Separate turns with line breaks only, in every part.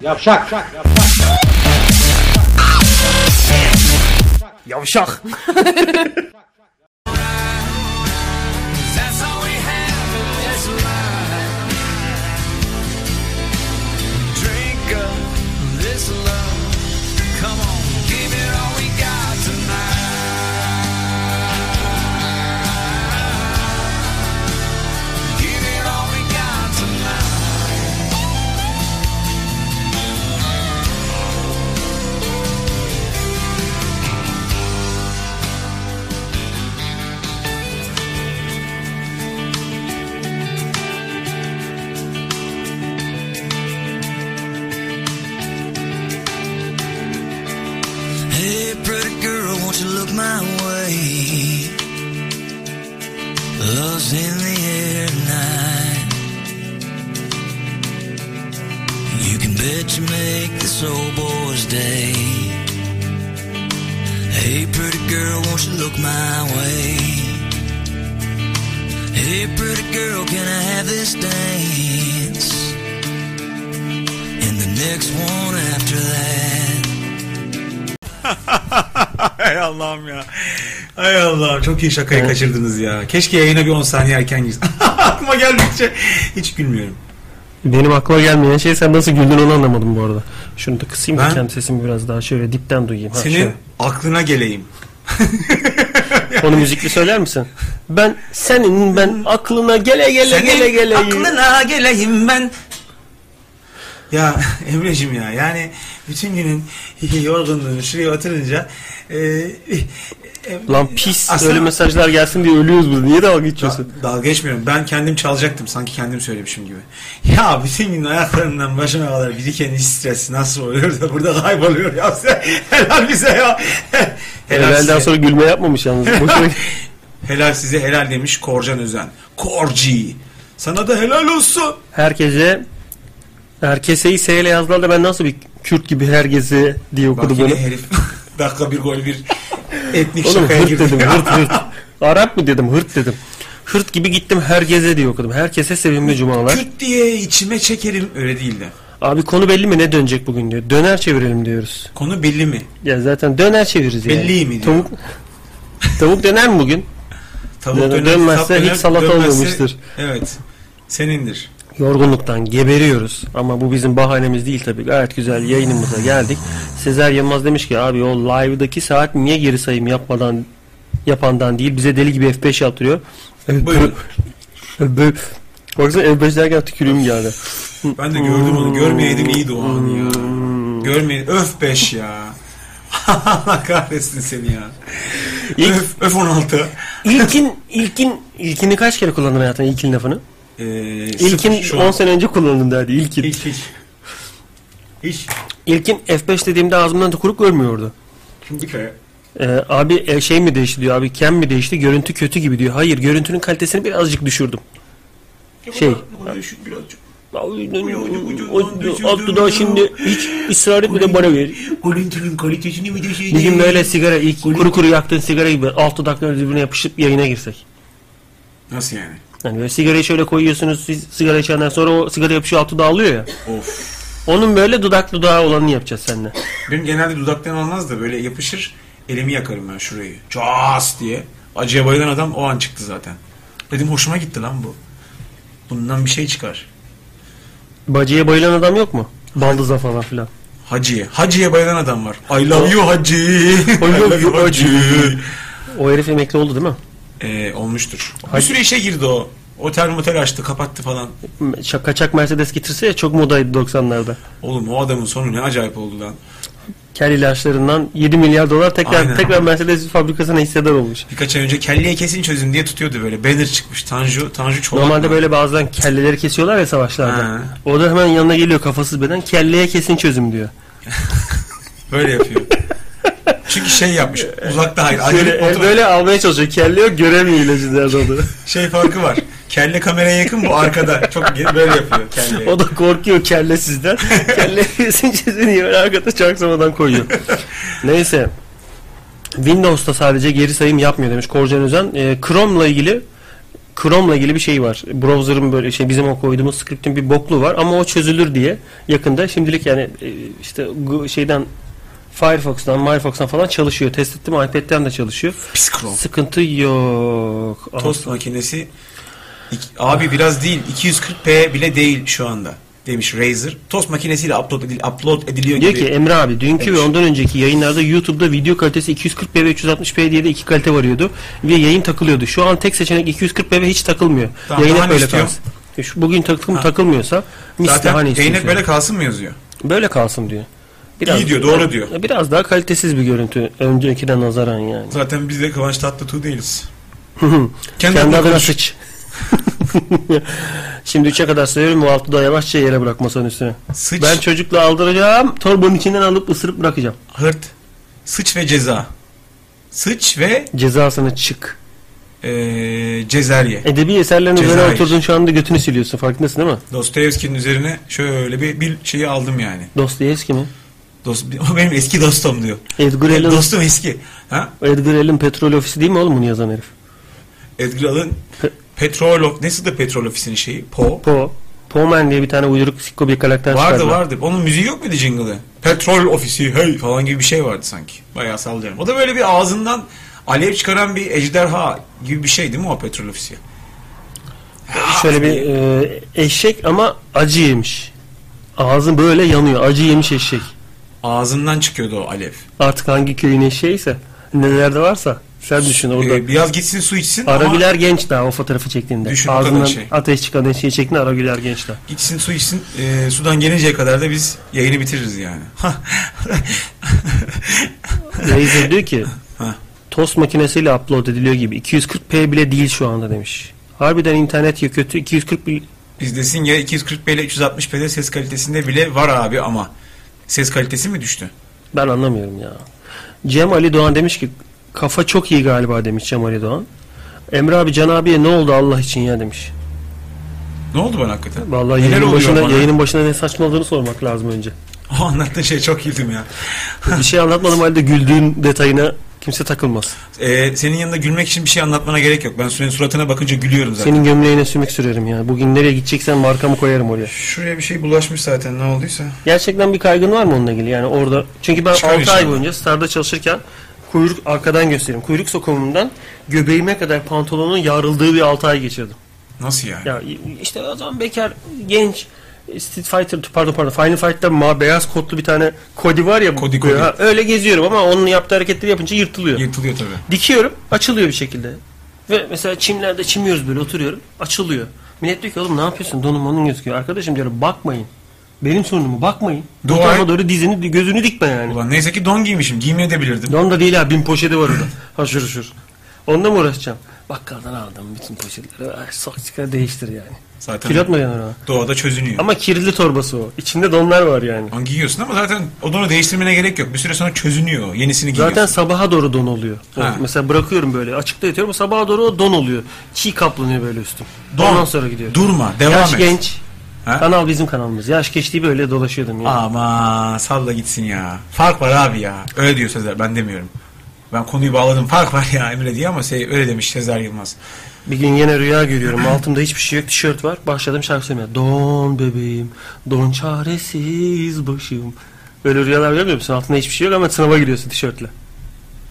Yavşak.
Yavşak.
Hey, pretty girl, won't you look my way? Love's in the air tonight. You can bet you make this old boy's day. Hey, pretty girl, won't you look my way? Hey, pretty girl, can I have this dance? And the next one after that.
Hay Allah'ım ya. Hay Allah'ım çok iyi şakayı kaçırdınız ya. Keşke yayına bir 10 saniye erken girsin. Aklıma geldikçe hiç gülmüyorum.
Benim aklıma gelmeyen şey sen nasıl güldün onu anlamadım bu arada. Şunu da kısayım
Ben-
da kendi sesimi biraz daha şöyle dipten duyayım. Ha,
Senin
şöyle.
aklına geleyim.
Onu müzikli söyler misin? Ben senin ben aklına gele gele
Senin
gele gele.
aklına geleyim ben. Ya Emre'cim ya yani bütün günün yorgunluğunu şuraya oturunca e, e,
Lan pis
Aslında-
öyle mesajlar gelsin diye ölüyoruz biz. Niye dalga
Da,
geçiyorsun?
dalga geçmiyorum. Ben kendim çalacaktım. Sanki kendim söylemişim gibi. Ya bütün gün ayaklarından başına kadar biriken iş stresi nasıl oluyor da burada kayboluyor ya. Helal bize ya. Helal
Evvelden
size.
sonra gülme yapmamış yalnız. Boşuna...
Helal size helal demiş Korcan Özen. Korci. Sana da helal olsun.
Herkese Herkeseyi S ile yazdılar da ben nasıl bir Kürt gibi herkese diye
Bak
okudum
yine
bunu.
herif. Dakika bir gol bir etnik
Oğlum
şakaya
hırt
girdi.
dedim hırt hırt. Arap mı dedim hırt dedim. Hırt gibi gittim herkese diye okudum. Herkese sevimli cumalar.
Kürt diye içime çekerim. Öyle değil de.
Abi konu belli mi ne dönecek bugün diyor. Döner çevirelim diyoruz.
Konu belli mi?
Ya zaten döner çeviririz yani.
Belli mi diyor.
Tavuk, tavuk döner mi bugün?
Tavuk
Döner-
döner,
dönmezse
tap döner,
hiç salata
dönmezse-
olmamıştır.
Evet. Senindir.
Yorgunluktan geberiyoruz ama bu bizim bahanemiz değil tabii. Gayet güzel yayınımıza geldik. Sezer Yılmaz demiş ki abi o live'daki saat niye geri sayım yapmadan yapandan değil bize deli gibi F5 yaptırıyor.
Buyurun.
Bö- Baksana F5 derken tükürüğüm geldi.
Ben de gördüm onu. Görmeyeydim iyiydi o anı ya. Görmeyin. Öf 5 ya. Allah kahretsin seni ya.
İlk-
öf, öf 16.
İlkin, ilkin, ilkini kaç kere kullandın hayatında ilkin lafını?
Ee, sıfır
İlkin
şu an.
10 sene önce kullandım derdi ilkin.
Hiç hiç. Hiç.
İlkin F5 dediğimde ağzımdan da kuruk görmüyordu.
Şimdi bir kere.
Ee, abi e, şey mi değişti diyor abi kem mi değişti görüntü kötü gibi diyor. Hayır görüntünün kalitesini birazcık düşürdüm. Şey.
Bunu düşün birazcık.
Alt dudağı şimdi hiç ısrar etmeden bana ver.
Görüntünün kalitesini mi düşün?
Bir gün böyle sigara ilk kuru kuru yaktığın sigara gibi alt dudakları birbirine yapışıp yayına girsek.
Nasıl yani?
Yani böyle sigarayı şöyle koyuyorsunuz siz sigara içenden sonra o sigara yapışıyor alt dudağı alıyor ya.
Of.
Onun böyle dudak dudağı olanını yapacağız seninle.
Benim genelde dudaktan almaz da böyle yapışır. Elimi yakarım ben şurayı. Ças diye. Acıya bayılan adam o an çıktı zaten. Dedim hoşuma gitti lan bu. Bundan bir şey çıkar.
Bacıya bayılan adam yok mu? Baldıza falan filan.
Hacı'ya. Hacı'ya bayılan adam var. I love you Hacı. I
love you, Hacı. O herif emekli oldu değil mi?
Ee, olmuştur. Bir
Hacı-
sürü işe girdi o. Otel motel açtı kapattı falan.
Şa- Kaçak Mercedes getirse ya çok modaydı 90'larda.
Oğlum o adamın sonu ne acayip oldu lan.
Kel ilaçlarından 7 milyar dolar tekrar
Aynen.
tekrar Mercedes fabrikasına hissedar olmuş.
Birkaç ay önce kelleyi kesin çözün diye tutuyordu böyle. Banner çıkmış. Tanju, Tanju Çolak.
Normalde
mı?
böyle bazen kelleleri kesiyorlar ya savaşlarda.
Ha.
O da hemen yanına geliyor kafasız beden kelleye kesin çözüm diyor.
Böyle yapıyor. Çünkü şey yapmış. Uzakta hayır.
Böyle,
acele- otur-
böyle almaya çalışıyor. Kelle yok göremiyor ilacın nerede olduğunu.
Şey farkı var. Kelle kameraya yakın bu arkada. Çok ge- böyle yapıyor kelle.
o da korkuyor kelle sizden. kelle kesin çözüm diyor. Böyle Arkada çaksamadan koyuyor. Neyse. Windows'ta sadece geri sayım yapmıyor demiş Korcan Özen. Ee, Chrome'la ilgili Chrome'la ilgili bir şey var. Browser'ın böyle şey bizim o koyduğumuz script'in bir boklu var ama o çözülür diye yakında şimdilik yani e, işte gu- şeyden Firefox'tan, Firefox'tan falan çalışıyor. Test ettim iPad'den de çalışıyor.
Pis Chrome.
Sıkıntı yok.
Tost makinesi İki- abi biraz değil 240p bile değil şu anda demiş Razer. Tost makinesiyle upload, edil, upload ediliyor
Diyor
gibi.
ki Emre abi dünkü
Demiş.
ve ondan önceki yayınlarda YouTube'da video kalitesi 240p ve 360p diye de iki kalite varıyordu. Ve yayın takılıyordu. Şu an tek seçenek 240p ve hiç takılmıyor.
Tamam,
yayın
daha
hep
ne
böyle
istiyorum?
kalsın. E şu- Bugün takım
Ha.
takılmıyorsa mis
Zaten
daha ne Hani istiyorsun?
peynir böyle kalsın mı yazıyor?
Böyle kalsın diyor.
İyi diyor, doğru diyor.
Biraz daha kalitesiz bir görüntü öncekine nazaran yani.
Zaten biz de Kıvanç Tatlıtuğ değiliz.
Kendi,
adına
adına
konuş.
sıç. Şimdi 3'e kadar sayıyorum. Bu altı da yavaşça yere bırak masanın üstüne.
Sıç,
Ben çocukla aldıracağım. Torbanın içinden alıp ısırıp bırakacağım.
hırt, sıç ve ceza. Sıç ve
Cezasını çık.
eee cezerye.
Edebi eserlerin üzerine
Cezayir.
oturdun şu anda götünü siliyorsun farkındasın değil mi?
Dostoyevski'nin üzerine şöyle bir, bir şeyi aldım yani.
Dostoyevski mi?
Dost, o benim eski dostum diyor.
Edgar Allan,
Dostum eski. Ha?
Edgar Allan petrol ofisi değil mi oğlum bunu yazan herif?
Edgar Allan
Pe-
petrol, of- neyse de petrol ofisinin şeyi? Po.
Poe. Poe Man diye bir tane uyduruk sikko bir karakter
Vardı
çıkardılar.
vardı. Onun müziği yok muydu jingle'ı? Petrol ofisi hey falan gibi bir şey vardı sanki. Bayağı sallıyorum. O da böyle bir ağzından alev çıkaran bir ejderha gibi bir şey değil mi o petrol ofisi?
Şöyle bir e, eşek ama acı yemiş. Ağzı böyle yanıyor. Acı yemiş eşek.
Ağzından çıkıyordu o alev.
Artık hangi köyün eşeğiyse nelerde varsa sen düşün orada.
Ee, biraz gitsin su içsin ama
Aragüler genç daha o fotoğrafı çektiğinde.
Düşün o kadar
Ağzından
şey.
ateş çıkan eşeği çektiğinde Aragüler genç daha.
gitsin su içsin Ee, sudan gelinceye kadar da biz yayını bitiririz yani.
Razer diyor ki
Ha.
tost makinesiyle upload ediliyor gibi 240p bile değil şu anda demiş. Harbiden internet ya kötü 240 bil-
biz desin ya 240p ile 360p'de ses kalitesinde bile var abi ama ses kalitesi mi düştü?
ben anlamıyorum ya. Cem Ali Doğan demiş ki kafa çok iyi galiba demiş Cem Ali Doğan. Emre abi Can abiye ne oldu Allah için ya demiş.
Ne oldu bana hakikaten?
Vallahi
Neler
yayının
oluyor
başına,
bana?
yayının başına ne saçmaladığını sormak lazım önce.
O anlattığın şey çok güldüm ya.
Bir şey anlatmadım halde güldüğün detayına kimse takılmaz.
Ee, senin yanında gülmek için bir şey anlatmana gerek yok. Ben senin suratına bakınca gülüyorum zaten.
Senin gömleğine sümük sürerim ya. Bugün nereye gideceksen markamı koyarım oraya.
Şuraya bir şey bulaşmış zaten ne olduysa.
Gerçekten bir kaygın var mı onunla ilgili? Yani orada çünkü ben
Çıkar
6 ay
inşallah.
boyunca Star'da çalışırken kuyruk arkadan göstereyim. Kuyruk sokumundan göbeğime kadar pantolonun yarıldığı bir 6 ay geçirdim.
Nasıl yani?
Ya işte o zaman bekar genç Street Fighter pardon pardon Final Fight'ta ma beyaz kotlu bir tane Cody var ya bu-
Cody, Cody.
Ha, öyle geziyorum ama onun yaptığı hareketleri yapınca yırtılıyor.
Yırtılıyor tabii.
Dikiyorum açılıyor bir şekilde. Ve mesela çimlerde çimiyoruz böyle oturuyorum açılıyor. Millet diyor ki oğlum ne yapıyorsun donum onun gözüküyor. Arkadaşım diyorum bakmayın. Benim sorunumu bakmayın. Bu
Dua
tarafa
et.
doğru dizini gözünü dikme yani.
Ulan neyse ki don giymişim. Giymeye de bilirdim.
Don da değil ha bin poşeti var orada. haşır huşur. Onunla mı uğraşacağım? Bakkaldan aldım bütün poşetleri. Ay, Sok çıkar değiştir yani.
Zaten
Kilot mu yanır ha?
doğada çözünüyor.
Ama kirli torbası o. İçinde donlar var yani.
Ulan giyiyorsun ama zaten o donu değiştirmene gerek yok. Bir süre sonra çözünüyor. o. Yenisini giyiyorsun.
Zaten sabaha doğru don oluyor. O-
Ha.
Mesela bırakıyorum böyle açıkta yatıyorum sabaha doğru o don oluyor. Çiğ kaplanıyor böyle üstüm.
Don.
Ondan sonra gidiyor.
Durma. Devam
Yaş
et.
genç.
Ha?
Kanal bizim kanalımız. Yaş geçtiği böyle dolaşıyordum ya.
Ama salla gitsin ya. Fark var abi ya. Öyle diyor Sezer. Ben demiyorum. Ben konuyu bağladım. Fark var ya Emre diye ama şey, öyle demiş Sezer Yılmaz.
Bir gün yine rüya görüyorum. Altımda hiçbir şey yok. Tişört var. Başladım şarkı söylemeye. Don bebeğim. Don çaresiz başım. Böyle rüyalar görmüyor musun? Altında hiçbir şey yok ama sınava giriyorsun tişörtle.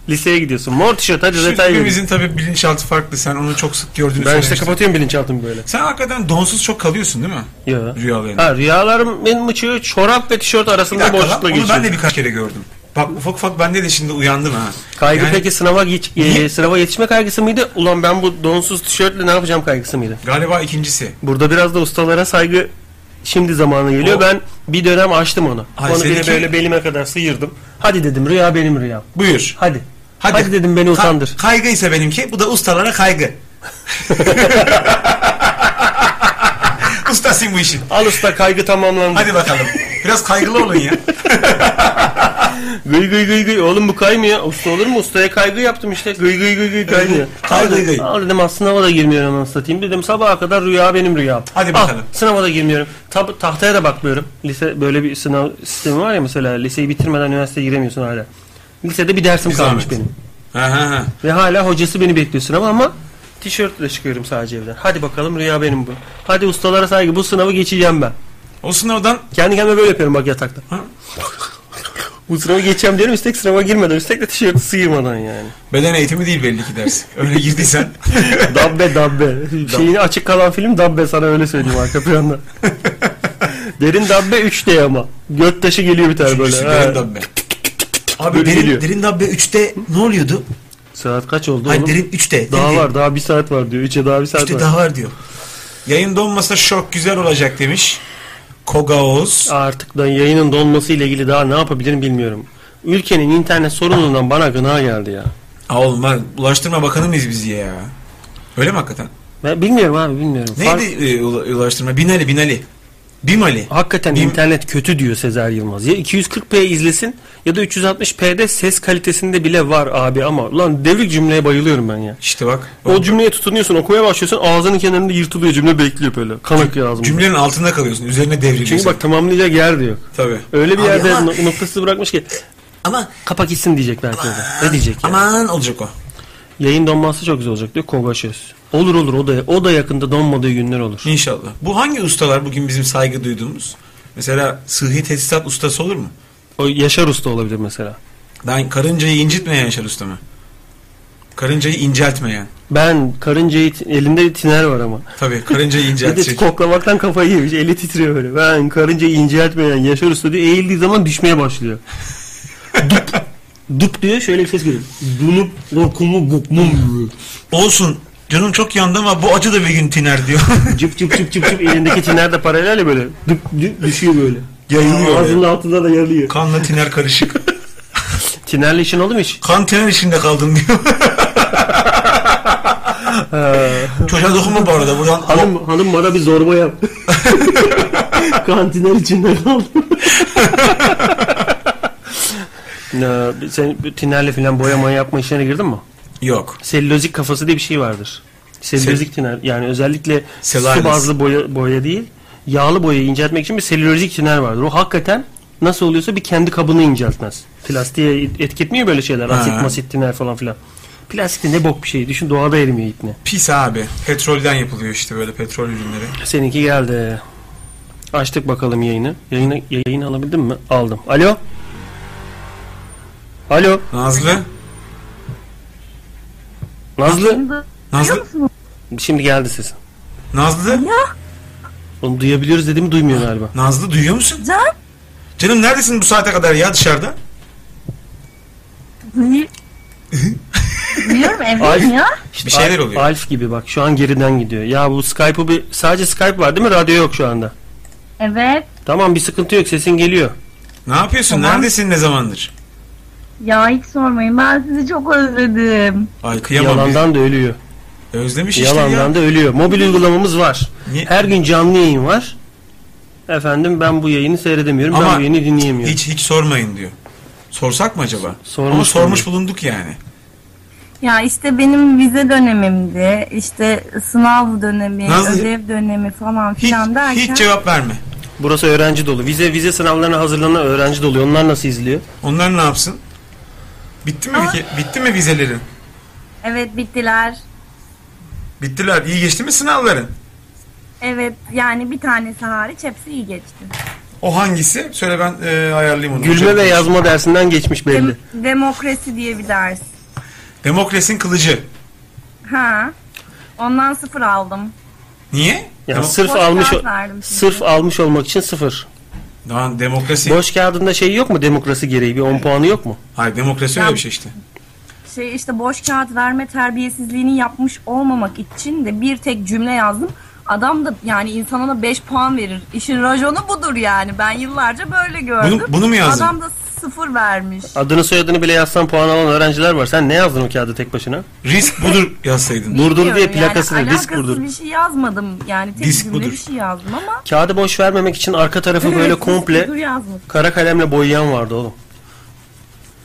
Liseye gidiyorsun. Mor tişört hadi
Şimdi
detay verin.
hepimizin tabii bilinçaltı farklı. Sen onu çok sık gördüğünü
Ben işte
söylemiştin.
kapatıyorum bilinçaltımı böyle.
Sen hakikaten donsuz çok kalıyorsun değil mi?
Ya.
Rüyalarında.
Ha, rüyalarım benim uçuyor. Çorap ve tişört
Bir
arasında
dakika lan,
boşlukla
onu
geçiyor.
ben de birkaç kere gördüm. Bak ufak ufak bende de şimdi uyandım ha.
Kaygı
Yani
peki sınava, geç, e,
Niye?
sınava yetişme kaygısı mıydı? Ulan ben bu donsuz tişörtle ne yapacağım kaygısı mıydı?
Galiba ikincisi.
Burada biraz da ustalara saygı şimdi zamanı geliyor.
O-
Ben bir dönem açtım onu.
Ay,
onu
seninki-
bir böyle belime kadar sıyırdım. Hadi dedim rüya benim rüyam.
Buyur.
Hadi. Hadi, dedim beni
Ka-
utandır.
kaygı ise benimki. Bu da ustalara kaygı. Ustasın bu işin.
Al usta kaygı tamamlandı.
Hadi bakalım. Biraz kaygılı olun ya.
Gıy gıy gıy gıy. Oğlum bu kaymıyor. Usta olur mu? Ustaya kaygı yaptım işte. Gıy gıy gıy gıy kaymıyor.
Kay gıy gıy.
Al dedim al sınava da girmiyorum anasını satayım. Dedim sabaha kadar rüya benim rüyam.
Hadi
Al,
bakalım.
sınava da girmiyorum. Tab- tahtaya da bakmıyorum. Lise böyle bir sınav sistemi var ya mesela. Liseyi bitirmeden üniversiteye giremiyorsun hala. Lisede bir dersim
Bir
kalmış
zahmet.
benim.
Ha, ha, ha.
Ve hala hocası beni bekliyor sınava ama Tişörtle çıkıyorum sadece evden. Hadi bakalım rüya benim bu. Hadi ustalara saygı bu sınavı geçeceğim ben.
O sınavdan
Kendi kendime böyle yapıyorum bak yatakta.
Ha?
bu sınavı geçeceğim diyorum üstelik sınava girmeden üstelik de tişörtü sıyırmadan yani.
beden eğitimi değil belli ki ders. Öyle girdiysen.
Dabbe dabbe. Şeyini açık kalan film dabbe sana öyle söyleyeyim arka planda. Derin dabbe 3D ama. Göt taşı geliyor bir tane böyle.
Üçüncüsü
Ha.
derin dabbe. Abi
Böyle
derin,
geliyor.
derin dabbe 3'te ne oluyordu?
Saat kaç oldu
Hayır
oğlum?
derin 3'te.
Daha
Derin-
var daha bir saat var diyor. 3'e daha bir saat
İşte
var.
daha var diyor. Yayın donmasa şok güzel olacak demiş. Kogaoz.
Artık da yayının donması ile ilgili daha ne yapabilirim bilmiyorum. Ülkenin internet sorunundan bana gına geldi ya.
Aa oğlum var. Ulaştırma Bakanı mıyız biz ya? Öyle mi hakikaten?
Ben bilmiyorum abi bilmiyorum. Fark-
Neydi e, ula- ulaştırma? Binali, Binali. Bimali.
Hakikaten
Bil-
internet kötü diyor Sezer Yılmaz. Ya 240p izlesin ya da 360p'de ses kalitesinde bile var abi ama ulan devrik cümleye bayılıyorum ben ya.
İşte bak.
O cümleye tutunuyorsun okumaya başlıyorsun ağzının kenarında yırtılıyor cümle bekliyor böyle. Kan akıyor ağzımda.
Cümlenin altında kalıyorsun. Üzerine devriliyorsun.
Çünkü bak tamamlayacak yer de yok.
Tabii.
Öyle bir
Abi
yerde
ama-
no- noktasız bırakmış ki
Ama
kapak gitsin diyecek belki orada. Ne diyecek yani?
aman olacak o.
Yayın donması çok güzel olacak diyor Kovaşöz. Olur olur o da, o da yakında donmadığı günler olur.
İnşallah. Bu hangi ustalar bugün bizim saygı duyduğumuz? Mesela sıhhi tesisat ustası olur mu?
O Yaşar Usta olabilir mesela.
Ben karıncayı incitmeyen Yaşar Usta mı? Karıncayı inceltmeyen.
Ben karıncayı ti- elinde tiner var ama.
Tabii karıncayı
Bir de
inceltecek.
koklamaktan kafayı yemiş. Eli titriyor böyle. Ben karıncayı inceltmeyen Yaşar Usta diyor. Eğildiği zaman düşmeye başlıyor. dup. Dup diyor şöyle bir ses geliyor. Dunup korkumu bukmum diyor.
Olsun. Canım çok yandı ama bu acı da bir gün tiner diyor.
Cıp cıp cıp cıp cıp elindeki tiner de paralel ya böyle. Dup, dup düşüyor böyle.
Yayılıyor
Ağzının altında da yarılıyor.
Kanla tiner karışık.
Tinerle işin oldu mu hiç?
Kan tiner içinde kaldım diyor. Çocuğa dokunma bu arada buradan.
Hanım, hanım bana bir zorba yap. Kantiner içinde kaldım. Ya, sen tinerle filan boyama yapma işlerine girdin mi?
Yok.
Selülozik kafası diye bir şey vardır. Selülozik tiner yani özellikle
Selülozik.
su bazlı boya, boya değil yağlı boyayı inceltmek için bir selülozik tiner vardır. O hakikaten nasıl oluyorsa bir kendi kabını inceltmez. Plastiğe etki etmiyor böyle şeyler.
Ha.
Asit masit tiner falan filan. Plastik de ne bok bir şey. Düşün doğada erimiyor ipne.
Pis abi. Petrolden yapılıyor işte böyle petrol ürünleri.
Seninki geldi. Açtık bakalım yayını. Yayını, yayını alabildim mi? Aldım. Alo. Alo.
Nazlı.
Nazlı.
Nazlı.
Şimdi geldi sesin.
Nazlı.
Onu duyabiliyoruz dediğimi duymuyor galiba.
Nazlı duyuyor musun?
Can,
Canım neredesin bu saate kadar ya dışarıda?
duyu- duyuyorum evdeyim
Ay.
Hani- ya.
İşte
Bir şeyler
Alf-
oluyor.
Alf gibi bak şu an geriden gidiyor. Ya bu Skype'ı bir sadece Skype var değil mi? Radyo yok şu anda.
Evet.
Tamam bir sıkıntı yok sesin geliyor.
Ne yapıyorsun?
Tamam.
Neredesin ne zamandır?
Ya hiç sormayın ben sizi çok özledim.
Ay kıyamam.
Yalandan da ölüyor.
biz. Özlemiş işte
Yalandan
şey ya.
da ölüyor. Mobil uygulamamız var.
Niye-
Her gün canlı yayın var. Efendim ben bu yayını seyredemiyorum.
Ama
ben bu yayını dinleyemiyorum.
Hiç hiç sormayın diyor. Sorsak mı acaba?
sormuş
Ama sormuş
bulunduk.
bulunduk yani.
Ya işte benim vize dönemimdi, işte sınav dönemi,
Nazlı-
ödev dönemi falan
Hiç,
filan derken.
hiç cevap verme.
Burası öğrenci dolu. Vize vize sınavlarına hazırlanan öğrenci dolu. Onlar nasıl izliyor?
Onlar ne yapsın? Bitti mi
Ama-
ki? Bitti mi vizelerin?
Evet bittiler.
Bittiler. İyi geçti mi sınavların?
Evet yani bir tanesi hariç hepsi iyi geçti.
O hangisi? Söyle ben e, ayarlayayım onu.
Gülme
Hocam.
ve yazma dersinden geçmiş belli.
Dem- demokrasi diye bir ders.
Demokrasin kılıcı.
Ha. Ondan sıfır aldım.
Niye?
Yani
Demo-
sırf
Boş
almış
kağıt
o-
verdim size.
sırf almış olmak için sıfır.
Lan demokrasi.
Boş kağıdında şey yok mu demokrasi gereği bir 10 puanı yok mu?
Hayır demokrasi öyle
Ya-
bir şey işte.
şey işte boş kağıt verme terbiyesizliğini yapmış olmamak için de bir tek cümle yazdım. Adam da yani insana da 5 puan verir. İşin rajonu budur yani. Ben yıllarca böyle gördüm.
Bunu- bunu mu yazdın?
Adam da sıfır vermiş.
Adını soyadını bile yazsan puan alan öğrenciler var. Sen ne yazdın o kağıda tek başına?
Risk budur yazsaydın.
Burdur diye
Bilmiyorum yani,
plakasını risk
alakasız
burdur.
bir şey yazmadım. Yani tek
Disk
cümle
budur.
bir şey yazdım ama.
Kağıdı boş vermemek için arka tarafı böyle
Evet, disk
komple
budur yazmış.
kara kalemle boyayan vardı oğlum.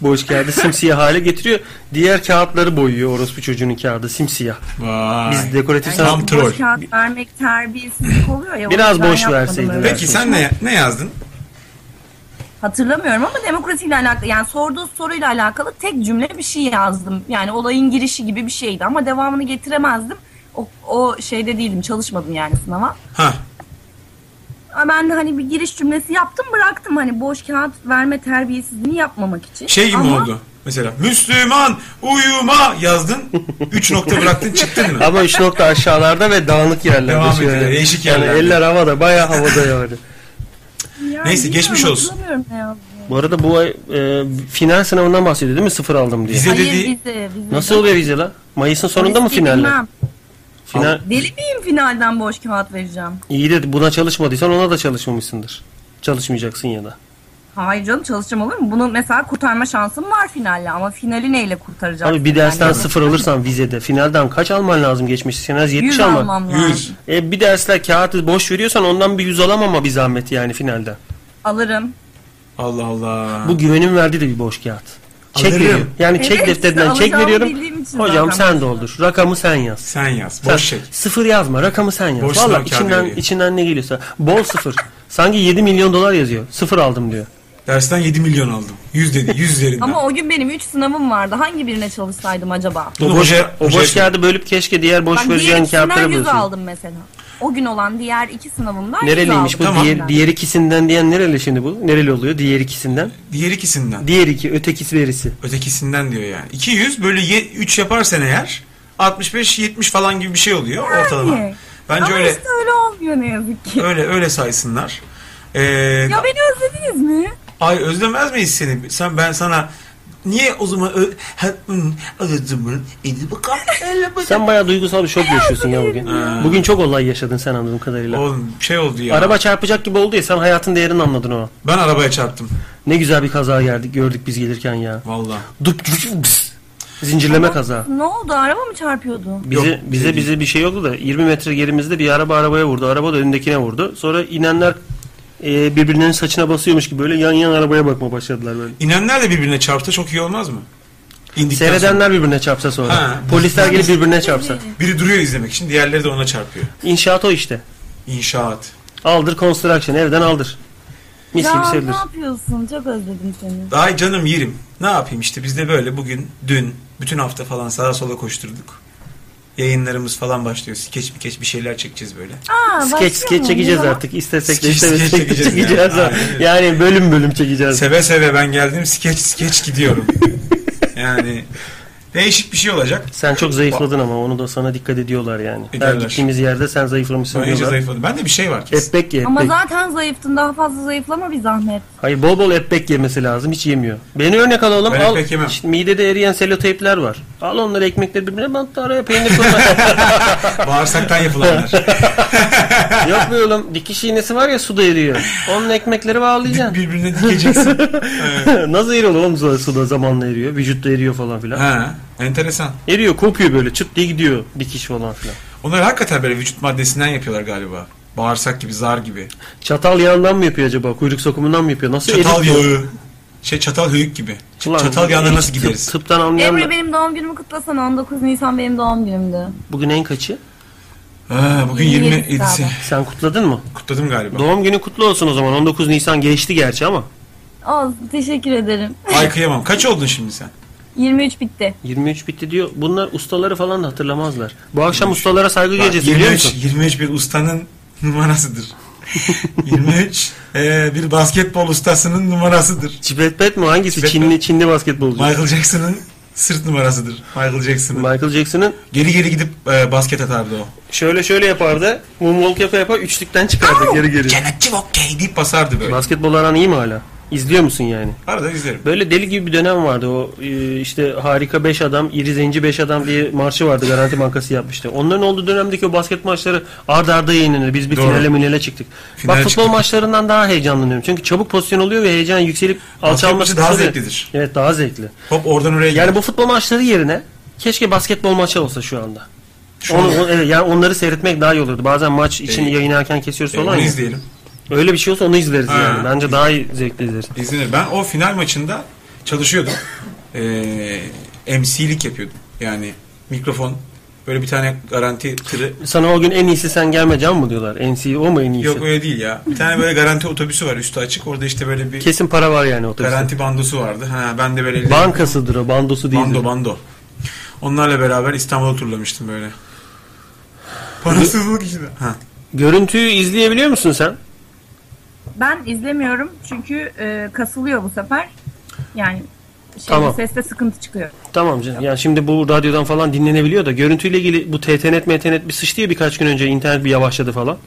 Boş kağıdı simsiyah hale getiriyor. Diğer kağıtları boyuyor orospu çocuğunun kağıdı simsiyah.
Vay.
Biz dekoratif
Tam
sanat...
troll.
Boş kağıt vermek terbiyesizlik oluyor ya. o
Biraz
yüzden
boş
yapmadım
verseydin.
öyle.
Peki sen ne ne yazdın?
Hatırlamıyorum ama demokrasiyle alakalı yani sorduğu soruyla alakalı tek cümle bir şey yazdım. Yani olayın girişi gibi bir şeydi ama devamını getiremezdim. o, o şeyde değilim çalışmadım yani sınava.
Ha.
Ama Ben de hani bir giriş cümlesi yaptım bıraktım hani boş kağıt verme terbiyesizliğini yapmamak için.
Şey gibi
Ama
oldu. Mesela Müslüman uyuma yazdın. 3 nokta bıraktın çıktın mı?
Ama üç nokta aşağılarda ve dağınık yerlerde.
Devam
şöyle.
ediyor, değişik
Yani
yerlerde.
eller havada bayağı havada yani.
yani
Neyse, geçmiş
bilmiyorum,
olsun.
hatırlamıyorum ne yazdığımı.
Bu arada bu ay e, final sınavından bahsediyor değil mi? Sıfır aldım diye.
Vize
Hayır
dediği-
vize, vize.
Nasıl oluyor vize la? Mayıs'ın sonunda mı
Polisi
finaller?
bilmem.
Final,
Deli miyim finalden boş kağıt vereceğim?
iyi de buna çalışmadıysan ona da çalışmamışsındır. Çalışmayacaksın ya da.
Hayır canım çalışacağım olur mu? Bunu mesela kurtarma şansım var finalle ama finali neyle kurtaracağım?
Abi bir dersten sıfır alırsan vizede finalden kaç alman lazım geçmiş? Sen az 70
100
alman.
almam lazım.
100.
E, bir dersler kağıtı boş veriyorsan ondan bir yüz alamam ama bir zahmet yani finalden.
Alırım.
Allah Allah.
Bu güvenin verdiği de bir boş kağıt. Çek
Alırım.
veriyorum. Yani çek
Evet,
defterinden
alacağımı
çek veriyorum.
bildiğim için
Hocam
zaten
sen doldur. Rakamı sen yaz.
Sen yaz. Boş
Sen
çek.
Sıfır yazma. Rakamı sen yaz.
Boş
Valla
sınav kağıdı
içinden,
veriyor.
içinden ne geliyorsa. Bol sıfır. Sanki 7 milyon dolar yazıyor. Sıfır aldım diyor.
Dersten 7 milyon aldım. 100 dedi. 100 üzerinden.
Ama o gün benim 3 sınavım vardı. Hangi birine çalışsaydım acaba?
Bunu
o boş,
hoca-
o
hocaya
boş
şey-
sor.
kağıdı bölüp keşke diğer boş
ben diğer
vereceğin
ikisinden
kağıtlara
100
bölsün.
aldım mesela. O gün olan diğer iki sınavımdan 100
Nereliymiş bu?
aldım.
Tamam.
Diğer, diğer ikisinden diyen nereli şimdi bu? Nereli oluyor diğer ikisinden?
Diğer ikisinden.
Diğer iki ötekisi verisi.
Ötekisinden diyor yani. 200 bölü 3 yaparsan eğer 65-70 falan gibi bir şey oluyor ortalama.
Yani.
Bence
Ama
öyle
işte öyle olmuyor ne yazık ki.
öyle öyle saysınlar. Ee,
Ya beni özlediniz mi?
Ay özlemez miyiz seni? Sen ben sana niye o zaman ö- ha, hı, özledim eli bakalım. Eli bakalım.
Sen bayağı duygusal bir şok yaşıyorsun ya bugün. Bugün çok olay yaşadın sen anladığım kadarıyla.
Oğlum şey oldu ya.
Araba çarpacak gibi oldu ya sen hayatın değerini anladın o. an.
Ben arabaya çarptım.
Ne güzel bir kaza geldik gördük biz gelirken ya.
Vallahi.
Dup dup, pıs. Zincirleme kaza.
Ne oldu? Araba mı çarpıyordu?
Bize
Yok,
bize
şey değil.
bize bir şey yoktu da 20 metre gerimizde bir araba arabaya vurdu. Araba da önündekine vurdu. Sonra inenler e, birbirlerinin saçına basıyormuş gibi böyle yan yan arabaya bakma başladılar böyle.
İnenler de birbirine çarptı çok iyi olmaz mı? İndikten sonra.
Seyredenler birbirine çarpsa sonra.
Ha.
Polisler gelip birbirine çarpsa.
Biri duruyor izlemek için diğerleri de ona çarpıyor.
İnşaat o işte.
İnşaat.
Aldır construction evden aldır. Mis gibi
ya ne
serilir.
yapıyorsun? Çok özledim seni.
Ay canım yerim. Ne yapayım işte biz de böyle bugün, dün, bütün hafta falan sağa sola koşturduk. Yayınlarımız falan başlıyor. Skeç bir bir şeyler çekeceğiz böyle.
Aa, başlıyor
Skeç
mu?
skeç çekeceğiz
Ya.
artık. İstesek de
Skeç-
istemesek
skeç
de
çekeceğiz yani.
çekeceğiz. ha.
Aynen.
Yani bölüm bölüm çekeceğiz.
Seve seve ben geldim skeç skeç gidiyorum. yani değişik bir şey olacak.
Sen çok zayıfladın ama onu da sana dikkat ediyorlar yani. Her
Ederler.
gittiğimiz yerde sen zayıflamışsın
Ben iyice
diyorlar.
zayıfladım. Bende bir şey var kesin.
Epbek ye
Ama
epbek.
zaten zayıftın. Daha fazla zayıflama bir zahmet.
Hayır bol bol epbek yemesi lazım hiç yemiyor. Beni örnek alalım.
Ben
al,
epbek yemem.
işte midede eriyen seloteypler var. Al onları ekmekleri birbirine bantla araya peynir koyma.
Bağırsaktan yapılanlar.
Yok be oğlum dikiş iğnesi var ya suda eriyor. Onun ekmekleri bağlayacaksın.
Birbirine dikeceksin.
Nasıl eriyor oğlum suda, suda zamanla eriyor. Vücutta eriyor falan filan.
ha, enteresan.
Eriyor kopuyor böyle çıt diye gidiyor dikiş falan filan.
Onlar hakikaten böyle vücut maddesinden yapıyorlar galiba. Bağırsak gibi, zar gibi.
Çatal yağından mı yapıyor acaba? Kuyruk sokumundan mı yapıyor? Nasıl
Çatal
eritiyor?
yağı. Şey çatal höyük gibi. Ç-
Ulan,
çatal yağına nasıl
tıp-
gideriz?
tıptan anlayan da-
Emre benim doğum günümü kutlasana. 19 Nisan benim doğum günümdü.
Bugün en kaçı?
Ha, bugün
27'si
27'si.
abi.
Sen kutladın mı?
Kutladım galiba.
Doğum günü kutlu olsun o zaman. 19 Nisan geçti gerçi ama.
Olsun teşekkür ederim.
Ay kıyamam. Kaç oldun şimdi sen?
23 bitti.
23 bitti diyor. Bunlar ustaları falan da hatırlamazlar. Bu akşam
23.
ustalara saygı
Bak,
gecesi biliyor
23,
musun?
23 bir ustanın numarasıdır. 23 e, bir basketbol ustasının numarasıdır.
Çipetpet mi? Hangisi?
Çipetpet.
Çinli Çinli basketbolcu.
Michael Jackson'ın sırt numarasıdır. Michael Jackson'ın.
Michael Jackson'ın
Geri geri gidip e, basket atardı o.
şöyle şöyle yapardı. Moonwalk yapa yapa üçlükten çıkardı geri geri.
Cennetçi okey deyip basardı böyle.
Basketbol aran iyi mi hala? İzliyor musun yani?
Arada izlerim.
Böyle deli gibi bir dönem vardı o e, işte harika 5 adam, iri zenci 5 adam diye marşı vardı Garanti Bankası yapmıştı. Onların olduğu dönemdeki o basket maçları arda arda yayınlanır. Biz bir
Doğru.
finale minale çıktık.
Finale
Bak futbol
çıktık.
maçlarından daha heyecanlanıyorum. Çünkü çabuk pozisyon oluyor ve heyecan yükselip alçalması
maçı daha
kısa bir-
zevklidir.
Evet daha zevkli.
Hop oradan oraya
Yani
gel.
bu futbol maçları yerine keşke basketbol maçı olsa şu anda.
Şu
Onu,
an-
o- evet, yani onları seyretmek daha iyi olurdu. Bazen maç için
Ee,
yayını erken kesiyoruz
E,
falan
onu
ya.
izleyelim.
Öyle bir şey olsa onu izleriz
Ha.
yani. Bence daha iyi zevkli izleriz.
İzlenir. Ben o final maçında çalışıyordum. Ee, MC'lik yapıyordum. Yani mikrofon böyle bir tane garanti tırı.
Sana o gün en iyisi sen gelme can mı diyorlar? En iyisi o mu en iyisi?
Yok öyle değil ya. Bir tane böyle garanti otobüsü var üstü açık. Orada işte böyle bir
Kesin para var yani otobüste.
garanti bandosu vardı. Ha, ben de böyle
Bankasıdır o, bandosu değil.
bando bando. Onlarla beraber İstanbul'u turlamıştım böyle.
Parasızlık içinde.
Görüntüyü izleyebiliyor musun sen?
Ben izlemiyorum çünkü e, kasılıyor bu sefer. Yani şey,
Tamam.
seste sıkıntı çıkıyor.
Tamam canım. Yani şimdi bu radyodan falan dinlenebiliyor da görüntüyle ilgili bu TTNet MTNet E bir sıçtı ya birkaç gün önce internet bir yavaşladı falan.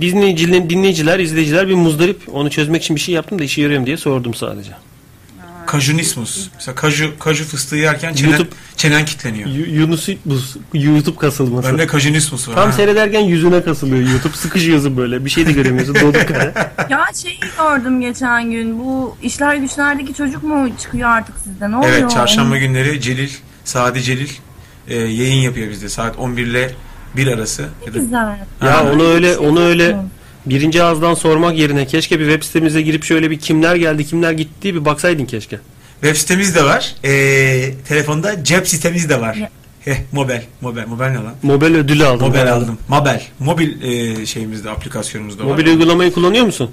Dinleyiciler, dinleyiciler, izleyiciler bir muzdarip. Onu çözmek için bir şey yaptım da işe yarıyor mu diye sordum sadece.
Kajunismus. Mesela kaju, kaju fıstığı yerken çenen,
YouTube-
çenen kitleniyor.
Yunus YouTube kasılması.
Bende kajunismus var.
Tam
ha.
seyrederken yüzüne kasılıyor YouTube. Sıkışıyorsun böyle. Bir şey de göremiyorsun. Doduk kare.
Ya şeyi gördüm geçen gün. Bu işler güçlerdeki çocuk mu çıkıyor artık sizde? Ne oluyor?
Evet çarşamba günleri Celil, Sadi Celil e, yayın yapıyor bizde saat 11 ile 1 arası. Ya da-
Güzel.
Ya onu öyle onu öyle birinci ağızdan sormak yerine keşke bir web sitemize girip şöyle bir kimler geldi kimler gitti bir baksaydın keşke.
Web sitemiz de var. E, telefonda cep sitemiz de var.
Ya.
Heh, mobil. Mobil. Mobil ne lan?
Mobil ödülü aldım.
Mobil aldım. Mobil. Mobil e, şeyimizde, aplikasyonumuzda var.
Mobil uygulamayı kullanıyor musun?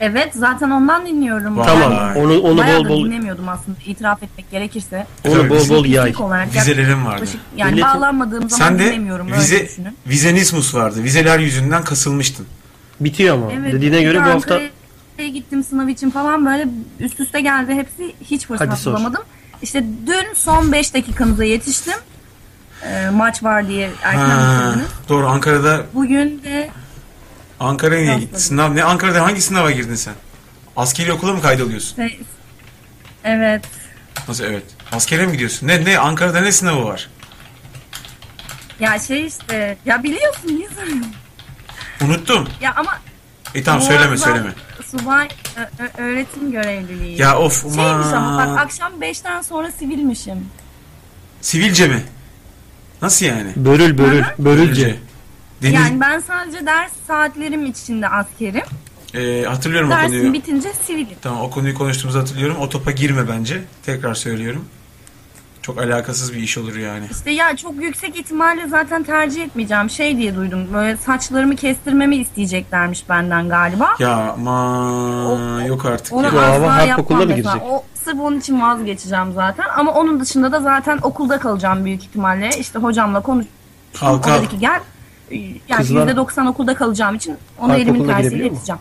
Evet zaten ondan dinliyorum.
Vay.
Ben
Tamam. Onu onu
Bayağı
bol
da
bol
dinlemiyordum aslında itiraf etmek gerekirse.
onu bol bol
Teknik
yay.
olarak
Vizelerim vardı.
yaklaşık- Yani
Milletin-
bağlanmadığım zaman
Sen de
dinlemiyorum. öyle
vize,
düşünün.
vizenismus vardı. Vizeler yüzünden kasılmıştın.
Bitiyor ama.
Evet,
Dediğine
bir
göre
de
bu hafta
Ankara'ya gittim sınav için falan böyle üst üste geldi hepsi hiç
Hadi
fırsat
sor.
bulamadım. İşte dün son 5 dakikanıza yetiştim. Ee, maç var diye erken
Ha,
bitirdiniz.
doğru Ankara'da
Bugün de
Ankara'ya niye
Yapmadım.
gittin? Sınav ne? Ankara'da hangi sınava girdin sen? Askeri okula mı kaydoluyorsun?
işte- şey- evet
Nasıl evet? Askere mi gidiyorsun? Ne ne Ankara'da ne sınavı var?
ya şey işte ya biliyorsun niye soruyorsun?
Unuttum.
Ya ama
E tamam söyleme söyleme.
Subay ö- ö- öğretim görevliliği.
Ya of
Şeymiş ama Şey bak
aman.
akşam 5'ten sonra sivilmişim.
Sivilce mi? Nasıl yani?
börül börül börülce.
Deniz,
Yani ben sadece ders saatlerim içinde askerim.
e, hatırlıyorum o konuyu.
Dersim bitince sivilim.
Tamam o konuyu konuştuğumuzu hatırlıyorum. O topa girme bence. Tekrar söylüyorum. Çok alakasız bir iş olur yani.
İşte ya çok yüksek ihtimalle zaten tercih etmeyeceğim şey diye duydum. Böyle saçlarımı kestirmemi isteyeceklermiş benden galiba.
Ya aman yok artık.
Onu
ya.
Bu hava
asla
harp
yapmam
okuluna mı
mesela.
girecek?
O sırf onun için vazgeçeceğim zaten. Ama onun dışında da zaten okulda kalacağım büyük ihtimalle. İşte hocamla konuş.
Kalk, kalk.
O dedi ki gel. Yani
Kızlar-
%90 okulda kalacağım için onu
Harp
elimin
okuluna
tersiyle
girebiliyor mu?
yeteceğim.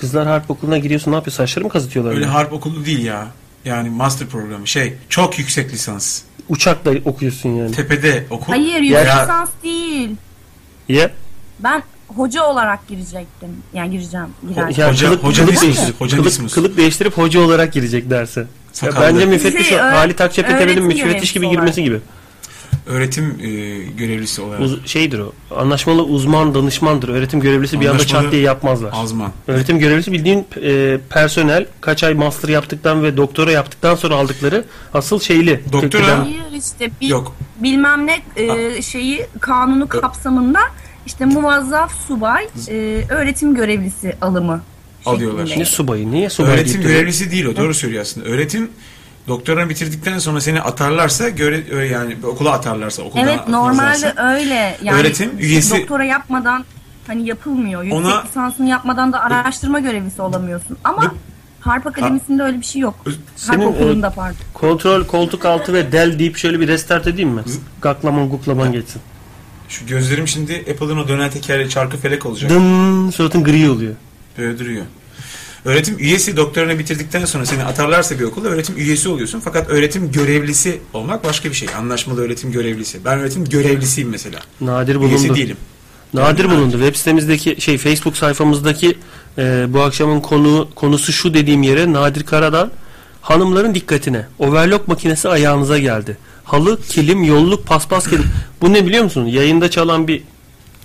Kızlar harp okuluna giriyorsun ne yapıyor? Saçları mı kazıtıyorlar?
Öyle
Öyle
harp okulu değil ya. Yani master programı şey çok yüksek lisans.
Uçakla okuyorsun yani.
Tepede okul.
Hayır yüksek
Ya-
lisans değil.
Ya,
Ben hoca olarak girecektim. Yani gireceğim. Girerdim.
yani
Hoca-
kılık,
hoca
kılık
lismus,
değiştirip,
hoca
kılık,
lismus.
kılık değiştirip hoca olarak girecek derse. Ya
Sakallı.
bence müfettiş
Şey,
o-
öğ-
Ali Takçepe'nin
öğretim
müfettiş
görevlisi
gibi girmesi gibi.
Öğretim e, görevlisi olarak.
Uz- şeydir o. Anlaşmalı uzman danışmandır. Öğretim görevlisi bir anda
Anlaşmalı-
çat diye yapmazlar.
Azman.
Öğretim görevlisi bildiğin e, personel kaç ay master yaptıktan ve doktora yaptıktan sonra aldıkları asıl şeyli.
Doktora-
Tekliden-
Hayır işte bil-
Yok.
bilmem ne e, şeyi kanunu kapsamında işte muvazzaf subay e, öğretim görevlisi alımı
Alıyorlar.
şeklinde.
Ne şey. subayı? Niye subay
Öğretim
deyip duruyor?
görevlisi değil o. Doğru söylüyor aslında. Öğretim doktoranı bitirdikten sonra seni atarlarsa göre ö- yani okula atarlarsa okuldan
Evet
atmazlarsa.
normalde öyle. Yani
Öğretim üyesi-
doktora yapmadan hani yapılmıyor. Yüksek
Ona-
lisansını yapmadan da araştırma görevlisi olamıyorsun. Ama Harp Akademisi'nde öyle bir şey yok.
Senin,
Harp Okulu'nda pardon.
Kontrol, koltuk altı ve del deyip şöyle bir restart edeyim mi? Gaklaman guklaman geçsin.
Şu gözlerim şimdi Apple'ın o dönen tekerle çarkı felek olacak.
Dın suratın gri oluyor.
Böyle duruyor. Öğretim üyesi doktorunu bitirdikten sonra seni atarlarsa bir okulda öğretim üyesi oluyorsun. Fakat öğretim görevlisi olmak başka bir şey. Anlaşmalı öğretim görevlisi. Ben öğretim görevlisiyim mesela.
Nadir
Üyesi
bulundu.
değilim.
Nadir bulundu. Web sitemizdeki şey Facebook sayfamızdaki e, bu akşamın konu konusu şu dediğim yere Nadir Karadan hanımların dikkatine overlock makinesi ayağınıza geldi. Halı, kilim, yolluk, paspas kilim. Bu ne biliyor musun? Yayında çalan bir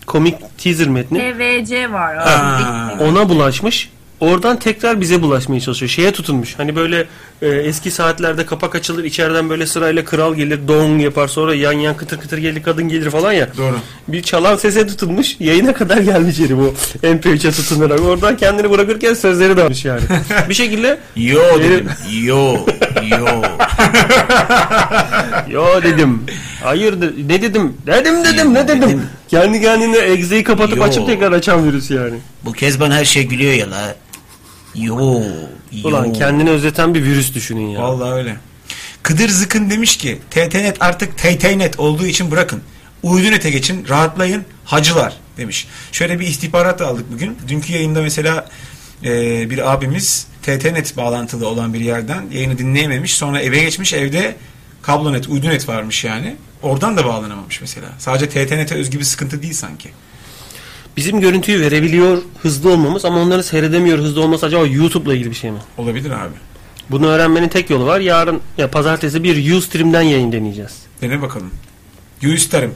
komik teaser metni.
TVC var.
Ha.
ona bulaşmış. Oradan tekrar bize bulaşmaya çalışıyor. Şeye tutunmuş. Hani böyle e, eski saatlerde kapak açılır içeriden böyle sırayla kral gelir don yapar sonra yan yan kıtır kıtır gelir kadın gelir falan ya.
Doğru.
Bir çalan sese tutunmuş yayına kadar gelmiş herif bu MP3'e tutunarak. Oradan kendini bırakırken sözleri de almış yani. bir şekilde
Yo dedim. Yo. Yo.
yo dedim. Hayır de- ne dedim? Dedim dedim ne dedim? Kendi kendine egzeyi kapatıp
Yo.
açıp tekrar açan virüs yani.
Bu Kezban her şey gülüyor ya la. Yo. yo.
Ulan kendini özleten bir virüs düşünün ya.
Vallahi öyle. Kıdır Zıkın demiş ki TTNet artık TTNet olduğu için bırakın. Uydun ete geçin, rahatlayın, hacılar demiş. Şöyle bir istihbarat da aldık bugün. Dünkü yayında mesela e, bir abimiz TTNet bağlantılı olan bir yerden yayını dinleyememiş. Sonra eve geçmiş, evde kablonet, uydunet varmış yani. Oradan da bağlanamamış mesela. Sadece TTNet'e özgü bir sıkıntı değil sanki.
Bizim görüntüyü verebiliyor hızlı olmamız ama onları seyredemiyor hızlı olması acaba YouTube'la ilgili bir şey mi?
Olabilir abi.
Bunu öğrenmenin tek yolu var. Yarın ya pazartesi bir Ustream'den yayın deneyeceğiz.
Dene bakalım. Yu isterim.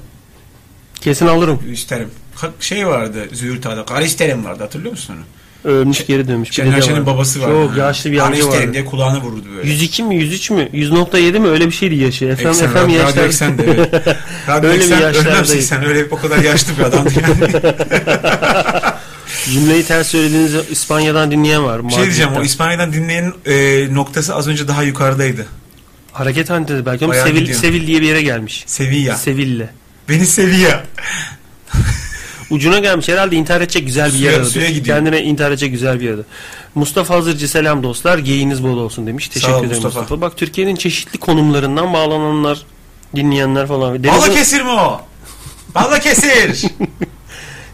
Kesin alırım.
Yu isterim. Ka- Şey vardı Züğürt'a'da. Karisterim vardı hatırlıyor musun onu?
Ölmüş geri dönmüş. Bir
Şener
dede
Şen'in
var.
babası Hani vardı.
Çok yaşlı bir amca
Karisterim
vardı.
diye kulağına vururdu böyle.
102 mi 103 mü 100.7 mi öyle bir şeydi yaşı. FM,
Eksen,
FM
radyo, radyo
yaşlar.
eksen de. evet. Radyo
Öyle bir
eksen,
yaşlardayım.
önlemsin sen. Öyle o kadar yaşlı bir adamdı yani.
Cümleyi ters söylediğiniz İspanya'dan dinleyen var.
bir şey diyeceğim o İspanya'dan dinleyenin e, noktası az önce daha yukarıdaydı.
Hareket halinde belki ama
Bayağı
Sevil,
gidiyor.
Sevil diye bir yere gelmiş.
Sevilla.
Seville.
Beni Sevilla.
Ucuna gelmiş herhalde intihar edecek güzel bir yer
Suya-
aradı.
suya gidiyor.
Kendine intihar edecek güzel bir yer aradı. Mustafa Hazırcı selam dostlar. Geyiniz bol olsun demiş. Teşekkür
ol
ederim
Mustafa.
Mustafa. Bak Türkiye'nin çeşitli konumlarından bağlananlar, dinleyenler falan. Deniz,
Balıkesir mi o? Balıkesir.
Şu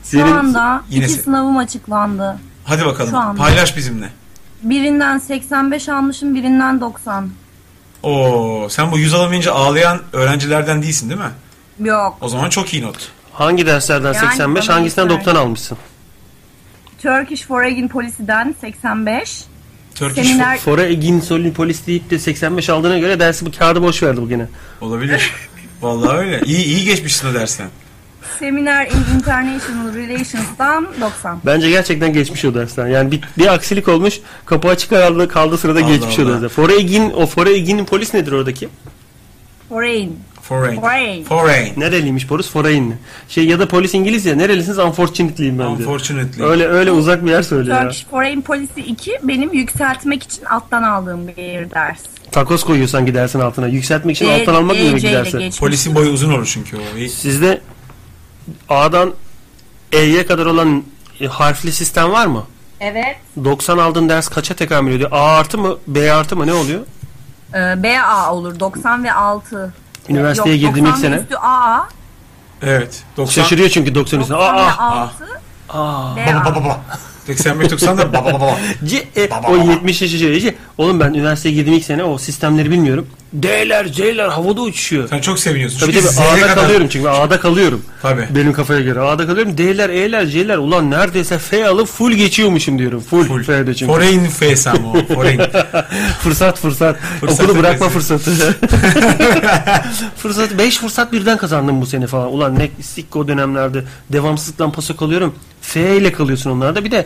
senin-
anda
Yine
iki
se-
sınavım açıklandı.
Hadi
Şu
bakalım.
anda.
Paylaş bizimle.
Birinden 85 almışım, birinden 90.
Oo, sen bu yüz alamayınca ağlayan öğrencilerden değilsin değil mi?
Yok.
O zaman çok iyi not.
hangi derslerden
Yani
85
bana
hangisinden
yeter.
90 almışsın?
Turkish Foreign Policy'den 85.
Turkish
Seminer
Fora Egin Solin Polis deyip de 85 aldığına göre dersi bu kağıdı boş verdi bugüne.
Olabilir. Vallahi öyle. İyi iyi geçmişsin o dersten.
Seminar in International Relations'dan 90.
Bence gerçekten geçmiş o dersten. Yani bir, bir aksilik olmuş. Kapı açık kaldı, kaldı sırada
Allah
geçmiş o
Allah.
dersten. Fora Egin, o Fora Egin'in polis nedir oradaki?
Foreign.
Foreign.
Foreign.
Foreign.
Nereliymiş polis? Forainli. Şey ya da polis İngiliz ya. Nerelisiniz? Unfortunatelyim ben diyor.
Unfortunately.
Öyle öyle uzak bir yer söyle ya.
Turkish Foreign Policy 2 benim yükseltmek için alttan aldığım bir ders.
Takoz koyuyor sanki dersin altına. Yükseltmek
E,
için alttan almak mı demek
EC
ki
ile
derse?
geçmiş.
Polisin boyu uzun olur çünkü o. İyi.
Sizde A'dan E'ye kadar olan e, harfli sistem var mı?
Evet.
90 aldığın ders kaça tekamül ediyor? A artı mı? B artı mı? Ne oluyor?
Ee, BA olur. 90 ve 6.
Üniversiteye
Yok,
girdiğim ilk
90 ve
sene.
Üstü AA.
Evet. 90.
Şaşırıyor çünkü 90 üstüne.
90 ve
Aa,
6.
Baba
BA.
baba baba. 85 90 da baba baba baba.
C, E,
Baba,
o
baba.
70 şaşırıyor. C. Oğlum ben üniversiteye girdiğim ilk sene o sistemleri bilmiyorum. D'ler, C'ler havada uçuşuyor.
Sen çok seviniyorsun.
Tabii
Çünkü
tabii
zerre
A'da
kadar-
kalıyorum çünkü A'da kalıyorum.
Tabii.
Benim kafaya göre A'da kalıyorum. D'ler, E'ler, C'ler ulan neredeyse F alıp full geçiyormuşum diyorum. Full,
Full.
F'de çünkü.
Foreign face ama o. Foreign.
fırsat fırsat.
Fırsat
Okulu bırakma
tepesi.
fırsatı. fırsat 5 fırsat birden kazandım bu sene falan. Ulan ne sikko dönemlerde devamsızlıktan paso kalıyorum. F ile kalıyorsun onlarda. Bir de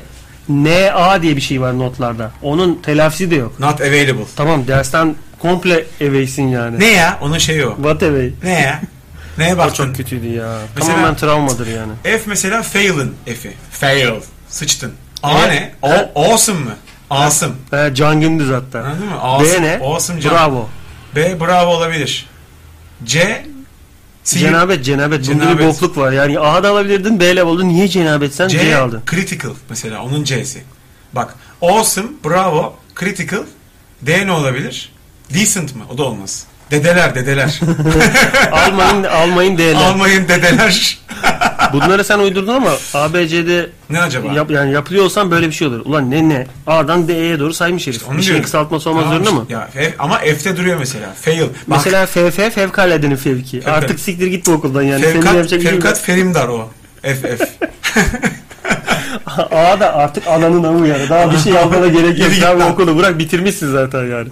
NA diye bir şey var notlarda. Onun telafisi de yok.
Not available.
Tamam dersten komple eveysin yani.
Ne ya? Onun şeyi o.
What away?
Ne ya? Neye
O çok
baktın?
kötüydü ya.
Mesela-
Tamamen travmadır yani.
F mesela fail'ın F'i. Fail. Sıçtın. A
Evet.
ne? O, awesome mı? Awesome.
He, Can Gündüz hatta.
Anladın mı?
B
Awesome.
ne?
Awesome Can.
Bravo.
B bravo olabilir. C sihir.
Cenabet, cenabet. Bunda bir
Cenabet.
bokluk var. Yani A'da alabilirdin, B'yle buldun. Niye cenabet sen?
C,
C aldın.
critical mesela onun C'si. Bak awesome, bravo, critical. D ne olabilir? Decent mı? O da olmaz. Dedeler, dedeler.
Almayın, almayın D'ler.
Almayın dedeler.
Bunları sen uydurdun ama ABC'de
ne acaba?
yap, yani yapılıyorsan böyle bir şey olur. Ulan ne ne? A'dan D'ye doğru saymış herif.
Onu
bir şey
diyorum.
kısaltması olmaz
Tamam
zorunda mı?
işte. Ya, F- ama F'te duruyor mesela. Fail. Bak,
Mesela FF fevkaladenin fevki. Artık siktir git bu okuldan yani. Senin
fevkat,
yapacak bir şey yok.
fevkat ferimdar o. FF.
A da artık ananın amı yani. Daha bir şey yapmana gerek yok.
Yürü git
Daha bu
lan.
okulu bırak bitirmişsin zaten yani.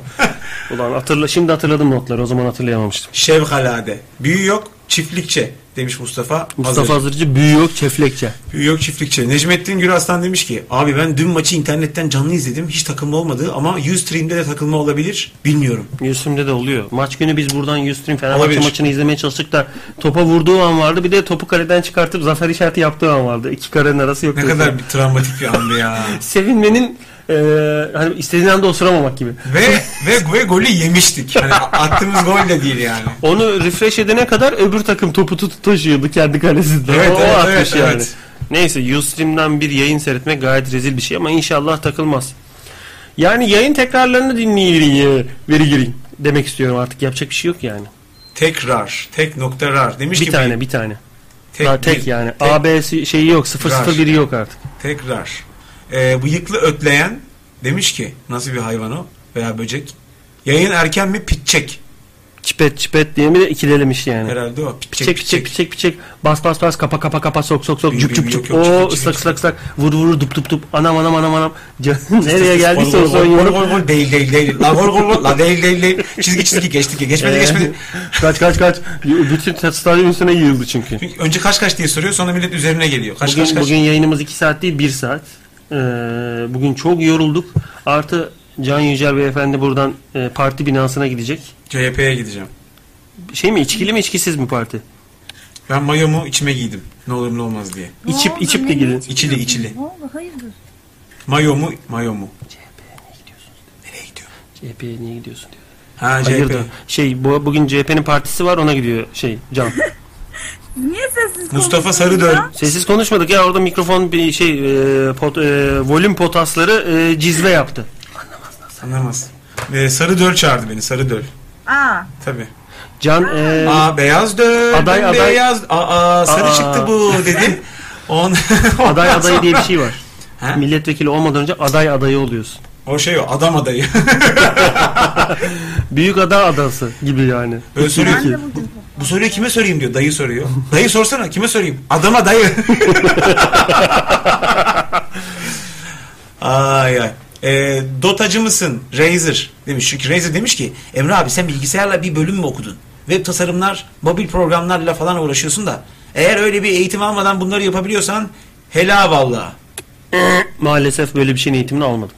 Ulan hatırla şimdi hatırladım notları. O zaman hatırlayamamıştım.
Şevkalade. Büyü yok, çiftlikçe demiş Mustafa.
Mustafa
Hazır.
Hazırcı büyü yok çeflekçe.
Büyü yok, çiftlikçe. Necmettin Güraslan demiş ki abi ben dün maçı internetten canlı izledim. Hiç takılma olmadı ama Ustream'de de takılma olabilir. Bilmiyorum.
Ustream'de de oluyor. Maç günü biz buradan Ustream Fenerbahçe
Olabilir.
maçını izlemeye çalıştık da topa vurduğu an vardı. Bir de topu kaleden çıkartıp zafer işareti yaptığı an vardı. İki karenin arası yok.
Ne kadar bir travmatik bir andı ya.
sevinmenin eee hani istediğin anda osuramamak gibi.
ve, ve ve golü yemiştik. Hani attığımız gol de değil yani.
Onu refresh edene kadar öbür takım topu tut taşıyordu kendi kalesinde.
Evet,
o, o
evet,
atmış
evet,
yani.
evet.
Neyse Ustream'den bir yayın seyretmek gayet rezil bir şey ama inşallah takılmaz. Yani yayın tekrarlarını dinleyin veri girin demek istiyorum artık yapacak bir şey yok yani.
Tekrar. Tek nokta rar. Demiş
Bir
ki
tane bir tane.
Tek,
Daha tek
bir-
yani.
Tek,
AB'si şeyi yok. 0 0 1'i yok artık.
tekrar. Ee, bıyıklı ötleyen demiş ki nasıl bir hayvan o veya böcek. Yayın erken mi pitçek.
Çipet çipet diye mi de ikilelemiş yani.
Herhalde o. Pitçek
Çek çek çek çek bas bas bas kapa kapa kapa sok sok sok
Yok,
cüp cüp
yok,
cüp
yok, yok,
o
yok,
ıslak
yok.
ıslak ıslak vur vur dup dup dup anam anam anam anam Canım nereye geldiyse o son
Gol
yumruk
gol gol değil değil değil. La gol gol gol la değil değil değil. Çizgi çizgi geçtik geçmedi
Ee,
geçmedi.
kaç kaç kaç bütün stadyum üstüne yığıldı çünkü
Çünkü önce kaç kaç diye soruyor sonra millet üzerine geliyor. Kaç
bugün,
kaç kaç.
bugün yayınımız 2 saat değil 1 saat. Ee, bugün çok yorulduk. Artı Can Yücel Beyefendi buradan e, parti binasına gidecek.
CHP'ye gideceğim.
Şey mi içkili mi içkisiz mi parti?
Ben mayomu içime giydim. Ne olur ne olmaz diye.
Ne
İçip-
oldu?
içip de
Ne- ne
gidin.
içip-
İçili, içili.
Ne oldu? Hayırdır?
Mayomu mayomu. Nereye gidiyor?
CHP'ye niye gidiyorsun diyor.
Ha
Hayırdır?
CHP.
Şey bu, bugün CHP'nin partisi var ona gidiyor şey Can.
Niye sessiz
Mustafa
konuşuyorsun
Sarıdöl.
ya?
Sessiz konuşmadık ya orada mikrofon bir şey e, pot, e, volüm potasları e, cizve yaptı.
Anlamaz. Ee, sarı döl çağırdı beni sarı döl.
Aa.
Tabii.
Can e,
Aa beyaz döl.
Aday,
ben
aday.
Beyaz. Aa, sarı
Aa.
çıktı bu dedi. On,
aday adayı diye bir şey var.
Ha?
Milletvekili olmadan önce aday adayı oluyorsun.
o şey o adam adayı.
Büyük ada adası gibi yani.
Böyle soruyor
Ben
ki
de bugün
bu soruyu kime sorayım diyor. Dayı soruyor. Dayı sorsana kime sorayım? Adama dayı. ay ay. Ee, dotacı mısın? Razer demiş. Çünkü Razer demiş ki Emre abi sen bilgisayarla bir bölüm mü okudun? Web tasarımlar, mobil programlarla falan uğraşıyorsun da eğer öyle bir eğitim almadan bunları yapabiliyorsan helal valla.
Maalesef böyle bir şeyin eğitimini almadım.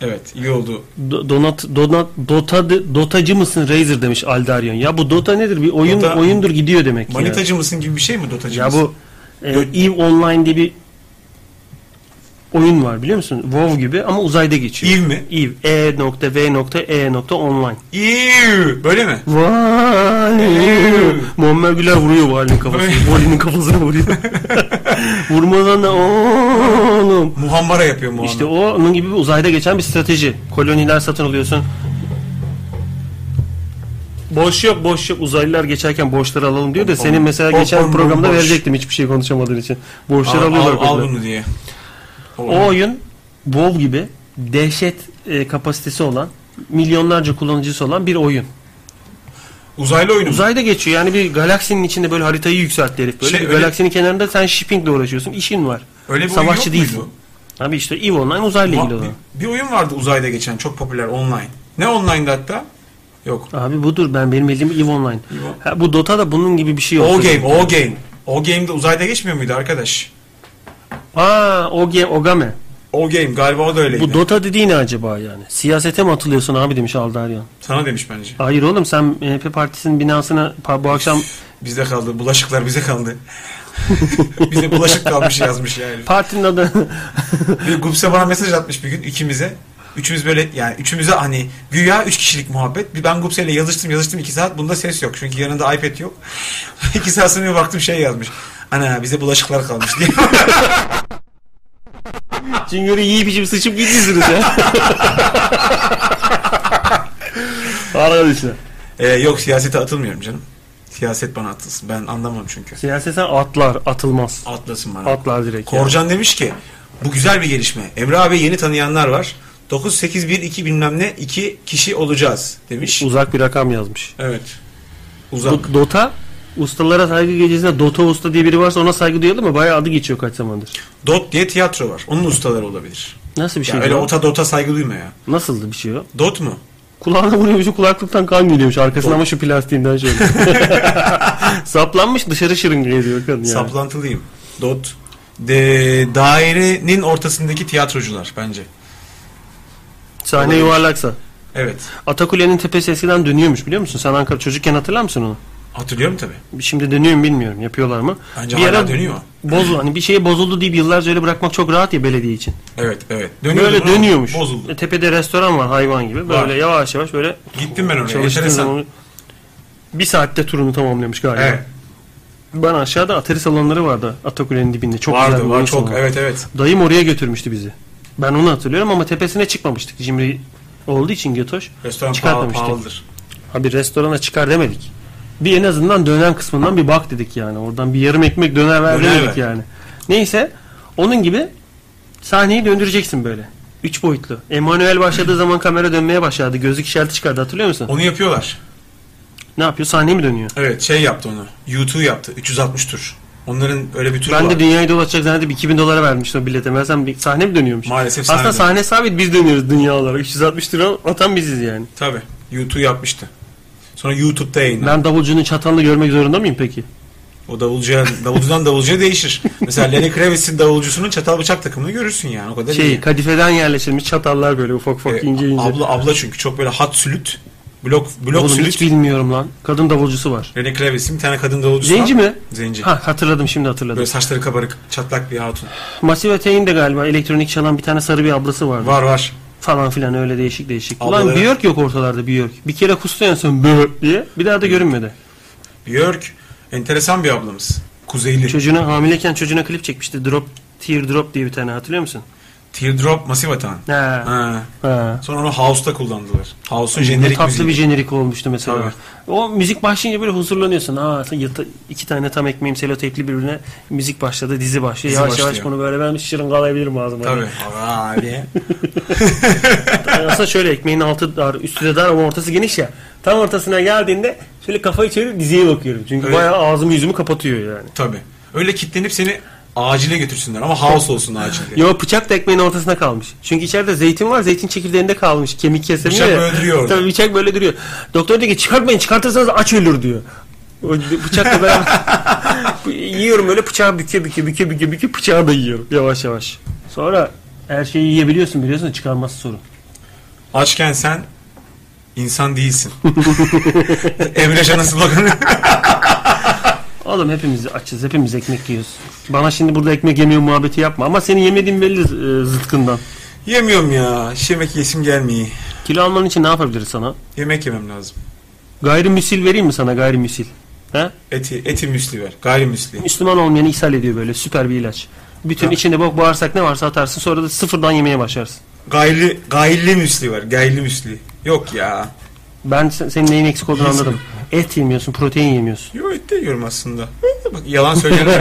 Evet iyi oldu.
Do- Donat, donat, dota, dotacı mısın Razer demiş Aldaryon. Ya bu dota nedir? Bir oyun
Dota-
oyundur gidiyor demek ki. ya.
Manitacı mısın gibi bir şey mi dotacı
Ya
mısın?
bu e, EVE Online diye bir oyun var biliyor musun? WoW gibi ama uzayda geçiyor.
Eve mi?
EVE. E nokta V nokta E nokta online.
İyi, böyle mi?
Vay. Muammer Güler vuruyor bu halinin kafasını.
Böyle.
Vali'nin kafasına vuruyor. Vurmadan da oğlum.
Muhammara yapıyor muhammara.
İşte o onun gibi bir uzayda geçen bir strateji. Koloniler satın alıyorsun. Boş yok boş yok uzaylılar geçerken borçları alalım diyor da
Hop,
senin mesela
hop,
geçen
hop,
programda
boş.
verecektim hiçbir şey konuşamadığın için. Borçları
al,
alıyorlar.
al, al
koloniler.
bunu diye.
O oyun WoW gibi dehşet e, kapasitesi olan milyonlarca kullanıcısı olan bir oyun.
Uzaylı oyunu mu?
Uzayda geçiyor yani bir galaksinin içinde böyle haritayı yükseltti herif. Böyle
Şey,
bir
öyle-
galaksinin kenarında sen shippingle uğraşıyorsun. işin var.
Öyle bir oyun
Savaşçı
yok
değilsin.
muydu?
Abi işte EVE Online uzayla ilgili olan.
bir, bir oyun vardı uzayda geçen çok popüler online. Ne online'da hatta? Yok.
Abi budur ben benim bildiğim EVE Online.
EVE.
Ha, bu Dota da bunun gibi bir şey yok.
O game, o game. O game'de uzayda geçmiyor muydu arkadaş?
Aa, o game, Ogame.
O game galiba o da öyleydi.
Bu Dota dediği ne acaba yani? Siyasete mi atılıyorsun abi demiş Aldaryan.
Sana demiş bence.
Hayır oğlum sen MHP partisinin binasına pa- bu akşam
Bizde kaldı. Bulaşıklar bize kaldı. bize bulaşık kalmış yazmış yani.
partinin adı
Bir Gupse bana mesaj atmış bir gün ikimize. Üçümüz böyle yani üçümüze hani güya üç kişilik muhabbet. Bir ben Gupse'yle yazıştım yazıştım iki saat. Bunda ses yok. Çünkü yanında iPad yok. iki saat sonra bir baktım şey yazmış. Ana bize bulaşıklar kalmış diye.
Cingöre yiyip içip sıçıp gidiyorsunuz ya. Arkadaşlar.
Ee, yok siyasete atılmıyorum canım. Siyaset bana atılsın. Ben anlamam çünkü.
Siyaseten atlar, atılmaz.
Atlasın bana.
Atlar direkt.
Korcan demiş ki bu güzel bir gelişme. Emre abi yeni tanıyanlar var. 9, 8, 1, 2 bilmem ne 2 kişi olacağız demiş.
yani. Uzak bir rakam yazmış.
Evet. Uzak.
Bu Dota Ustalara saygı gecesinde Dota Usta diye biri varsa ona saygı duyalım mı? Bayağı adı geçiyor kaç zamandır.
Dot diye tiyatro var. Onun ustaları olabilir.
Nasıl bir şey?
Ya öyle
bu?
ota dota saygı duyma ya.
Nasıldı bir şey o?
Dot mu?
Kulağına vuruyormuş o kulaklıktan kan geliyormuş arkasına ama şu plastiğinden şöyle. Saplanmış dışarı şırın geliyor kadın yani.
Saplantılıyım. Dot. De, dairenin ortasındaki tiyatrocular bence.
Sahne yuvarlaksa.
Evet.
Atakule'nin tepesi eskiden dönüyormuş biliyor musun? Sen Ankara çocukken hatırlar mısın onu?
Hatırlıyorum tabii.
Şimdi dönüyor mu bilmiyorum. Yapıyorlar mı?
Bence hala dönüyor.
Bozul, hani bir şeye bozuldu deyip yıllarca öyle bırakmak çok rahat ya belediye için.
Evet evet.
böyle
bunu-
dönüyormuş. E,
Bozuldu.
tepede restoran var hayvan gibi. Böyle
Var.
yavaş yavaş böyle
Gittim ben oraya.
çalıştığın
Enteresan.
zaman bir saatte turunu tamamlamış galiba.
Evet.
Ben aşağıda atari salonları vardı Atakule'nin dibinde. Çok güzel
Vardı
bir
var
oyun
çok.
salonu.
Evet evet.
Dayım oraya götürmüştü bizi. Ben onu hatırlıyorum ama tepesine çıkmamıştık. Cimri olduğu için Götoş.
Restoran pahalı,
Çıkartmamıştık.
pahalıdır.
Abi restorana çıkar demedik. bir en azından dönem kısmından bir bak dedik yani. Oradan bir yarım ekmek döner ver
Döner
dedik
ver.
yani. Neyse onun gibi sahneyi döndüreceksin böyle. Üç boyutlu. Emanuel başladığı zaman kamera dönmeye başladı. Gözlük işareti çıkardı hatırlıyor musun?
Onu yapıyorlar.
Ne yapıyor? Sahne mi dönüyor?
Evet şey yaptı onu. YouTube yaptı. 360 tur. Onların öyle bir turu
Ben
var.
de dünyayı dolaşacak zannedip 2000 dolara vermiştim o bilete. Meğersem bir sahne mi dönüyormuş?
Maalesef sahne
Aslında sahne sabit biz dönüyoruz dünya olarak. 360 lira atan biziz yani.
Tabii. YouTube yapmıştı. Sonra YouTube'da yayınlandı.
Ben davulcunun çatalını görmek zorunda mıyım peki?
O davulcuya, davulcudan davulcuya değişir. Mesela Lenny Kravitz'in davulcusunun çatal bıçak takımını görürsün yani. O kadar
Şey
iyi.
kadifeden yerleştirilmiş çatallar böyle ufak ufak
Ee,
ince ince.
abla abla çünkü çok böyle hat sülüt. Blok blok
Oğlum hiç
sülüt.
bilmiyorum lan. Kadın davulcusu var.
Lenny Kravitz'in bir tane kadın davulcusu
Zenci
var.
mi?
Zenci.
Ha hatırladım şimdi hatırladım.
Böyle saçları kabarık, çatlak bir hatun.
Massive Attack'in de galiba elektronik çalan bir tane sarı bir ablası vardı.
Var var.
Falan filan öyle değişik değişik. Ulan
Ablaları-
Björk yok ortalarda Björk. Bir kere kustu en son Björk diye. Bir daha da görünmedi.
Björk enteresan bir ablamız. Kuzeyli.
Çocuğuna hamileyken çocuğuna klip çekmişti. Drop Teardrop diye bir tane hatırlıyor musun?
Teardrop masif atan.
He.
Ha.
Ha.
Sonra onu House'da kullandılar. House'un
Ne
jenerik
tatlı
müziği.
bir şey. jenerik olmuştu mesela.
Tabii.
O müzik başlayınca böyle huzurlanıyorsun. Aa, yata- iki tane tam ekmeğim selotepli birbirine müzik başladı, dizi başlıyor.
Dizi
yavaş yavaş
başlıyor.
bunu böyle ben şırıngalayabilirim ağzıma.
Tabii. Abi.
Yani aslında şöyle ekmeğin altı dar, üstü de dar ama ortası geniş ya. Tam ortasına geldiğinde şöyle kafayı çevirip diziye bakıyorum. Çünkü
Evet.
bayağı ağzımı yüzümü kapatıyor yani.
Tabii. Öyle kitlenip seni acile götürsünler ama house olsun acilde.
Yo bıçak da ekmeğin ortasına kalmış. Çünkü içeride zeytin var. Zeytin çekirdeğinde kalmış. Kemik kesemiyor
Bıçak
ya.
böyle duruyor orada.
Tabii bıçak böyle duruyor. Doktor diyor ki çıkartmayın çıkartırsanız aç ölür diyor. O bıçakla beraber yiyorum böyle bıçağı büküyor büküyor büküyor büküyor büküyor bıçağı da yiyorum yavaş yavaş. Sonra her şeyi yiyebiliyorsun biliyorsun da çıkarması sorun.
Açken sen insan değilsin. Emre Can'ın sloganı.
Oğlum hepimiz açız hepimiz ekmek yiyoruz. Bana şimdi burada ekmek yemiyor muhabbeti yapma ama senin yemediğin belli e, zıtkından.
Yemiyorum ya. Hiç yemek yesim gelmiyor.
Kilo alman için ne yapabiliriz sana?
Yemek yemem lazım.
Gayrimüsil vereyim mi sana gayrimüsil? He?
Eti, eti müsli ver. Gayrimüsli.
Müslüman olmayanı ishal ediyor böyle süper bir ilaç. Bütün
Ha.
içinde bok bağırsak ne varsa atarsın sonra da sıfırdan yemeye başlarsın.
Gayri, gayri müsli var. Gayri müsli. Yok ya.
Ben sen- senin neyin eksik olduğunu
İyisin.
anladım. Et yemiyorsun, protein yemiyorsun.
Yo et de yiyorum aslında. Bak yalan söyleyen şey.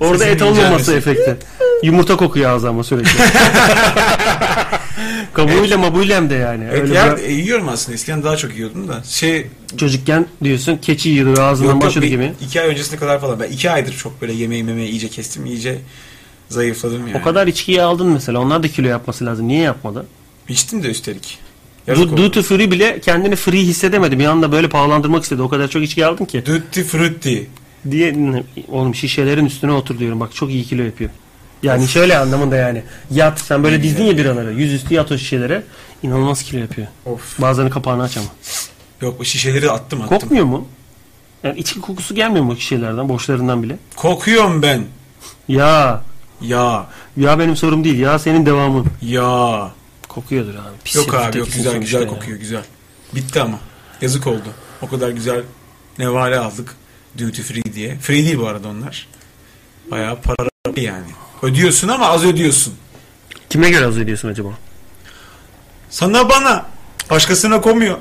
Orada
Sesini
et olmaması
incelmesin.
efekti. Yumurta kokuyor ağzı ama sürekli. Kabuğuyla mabuğuyla hem de yani.
Et
Öyle
yer,
bırak-
e, yiyorum aslında. Eskiden daha çok yiyordum da. Şey
Çocukken diyorsun keçi yiyordu ve
Yok,
ağzından
yok,
başladı
bir-
gibi.
iki ay öncesine kadar falan. Ben iki aydır çok böyle yemeği memeyi iyice kestim. iyice zayıfladım yani.
O kadar içkiyi aldın mesela. Onlar da kilo yapması lazım. Niye yapmadı?
İçtim de üstelik. Yazık
Du-
oldu.
Duty Free bile kendini free hissedemedi. Bir anda böyle pahalandırmak istedi. O kadar çok içki aldın ki.
Dutti frutti.
diye oğlum şişelerin üstüne otur diyorum bak çok iyi kilo yapıyor. Yani şöyle anlamında yani yat sen böyle dizdin ya biraları yüzüstü yat o şişelere inanılmaz kilo yapıyor.
Of.
Bazılarını kapağını aç ama.
Yok bu şişeleri attım attım.
Kokmuyor mu? Yani içki kokusu gelmiyor mu o şişelerden boşlarından bile?
Kokuyorum ben.
Ya
Ya.
ya benim sorum değil ya senin devamın.
Ya.
Kokuyordur abi. Pis
Yok
herif
abi yok
tekisin
güzel
sonuçta
güzel
ya.
kokuyor güzel. Bitti ama. Yazık oldu. O kadar güzel nevale aldık. Duty free diye. Free değil bu arada onlar. Bayağı para yani. Ödüyorsun ama az ödüyorsun.
Kime göre az ediyorsun acaba?
Sana bana. Başkasına komuyor.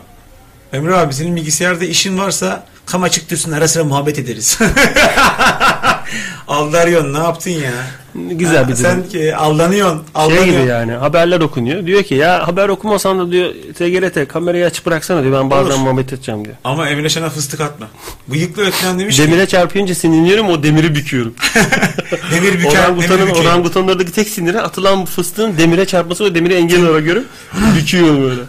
Emre abi senin bilgisayarda işin varsa kam açık dursun ara sıra muhabbet ederiz. Aldaryon ne yaptın ya?
Güzel bir durum.
Sen ki aldanıyorsun.
Şey
aldanıyorsun.
gibi yani haberler okunuyor. Diyor ki ya haber okumasan da diyor TGRT kamerayı açıp bıraksana diyor ben bazen
Olur.
muhabbet edeceğim diyor.
Ama Emre Şen'e fıstık atma. Bıyıklı ötlen demiş ki
Demire çarpınca sinirleniyorum o demiri büküyorum.
demir büker, demir
Orangutanın,
büker.
orangutanlardaki tek siniri atılan fıstığın demire çarpması ve demiri engel olarak görüp büküyorum böyle.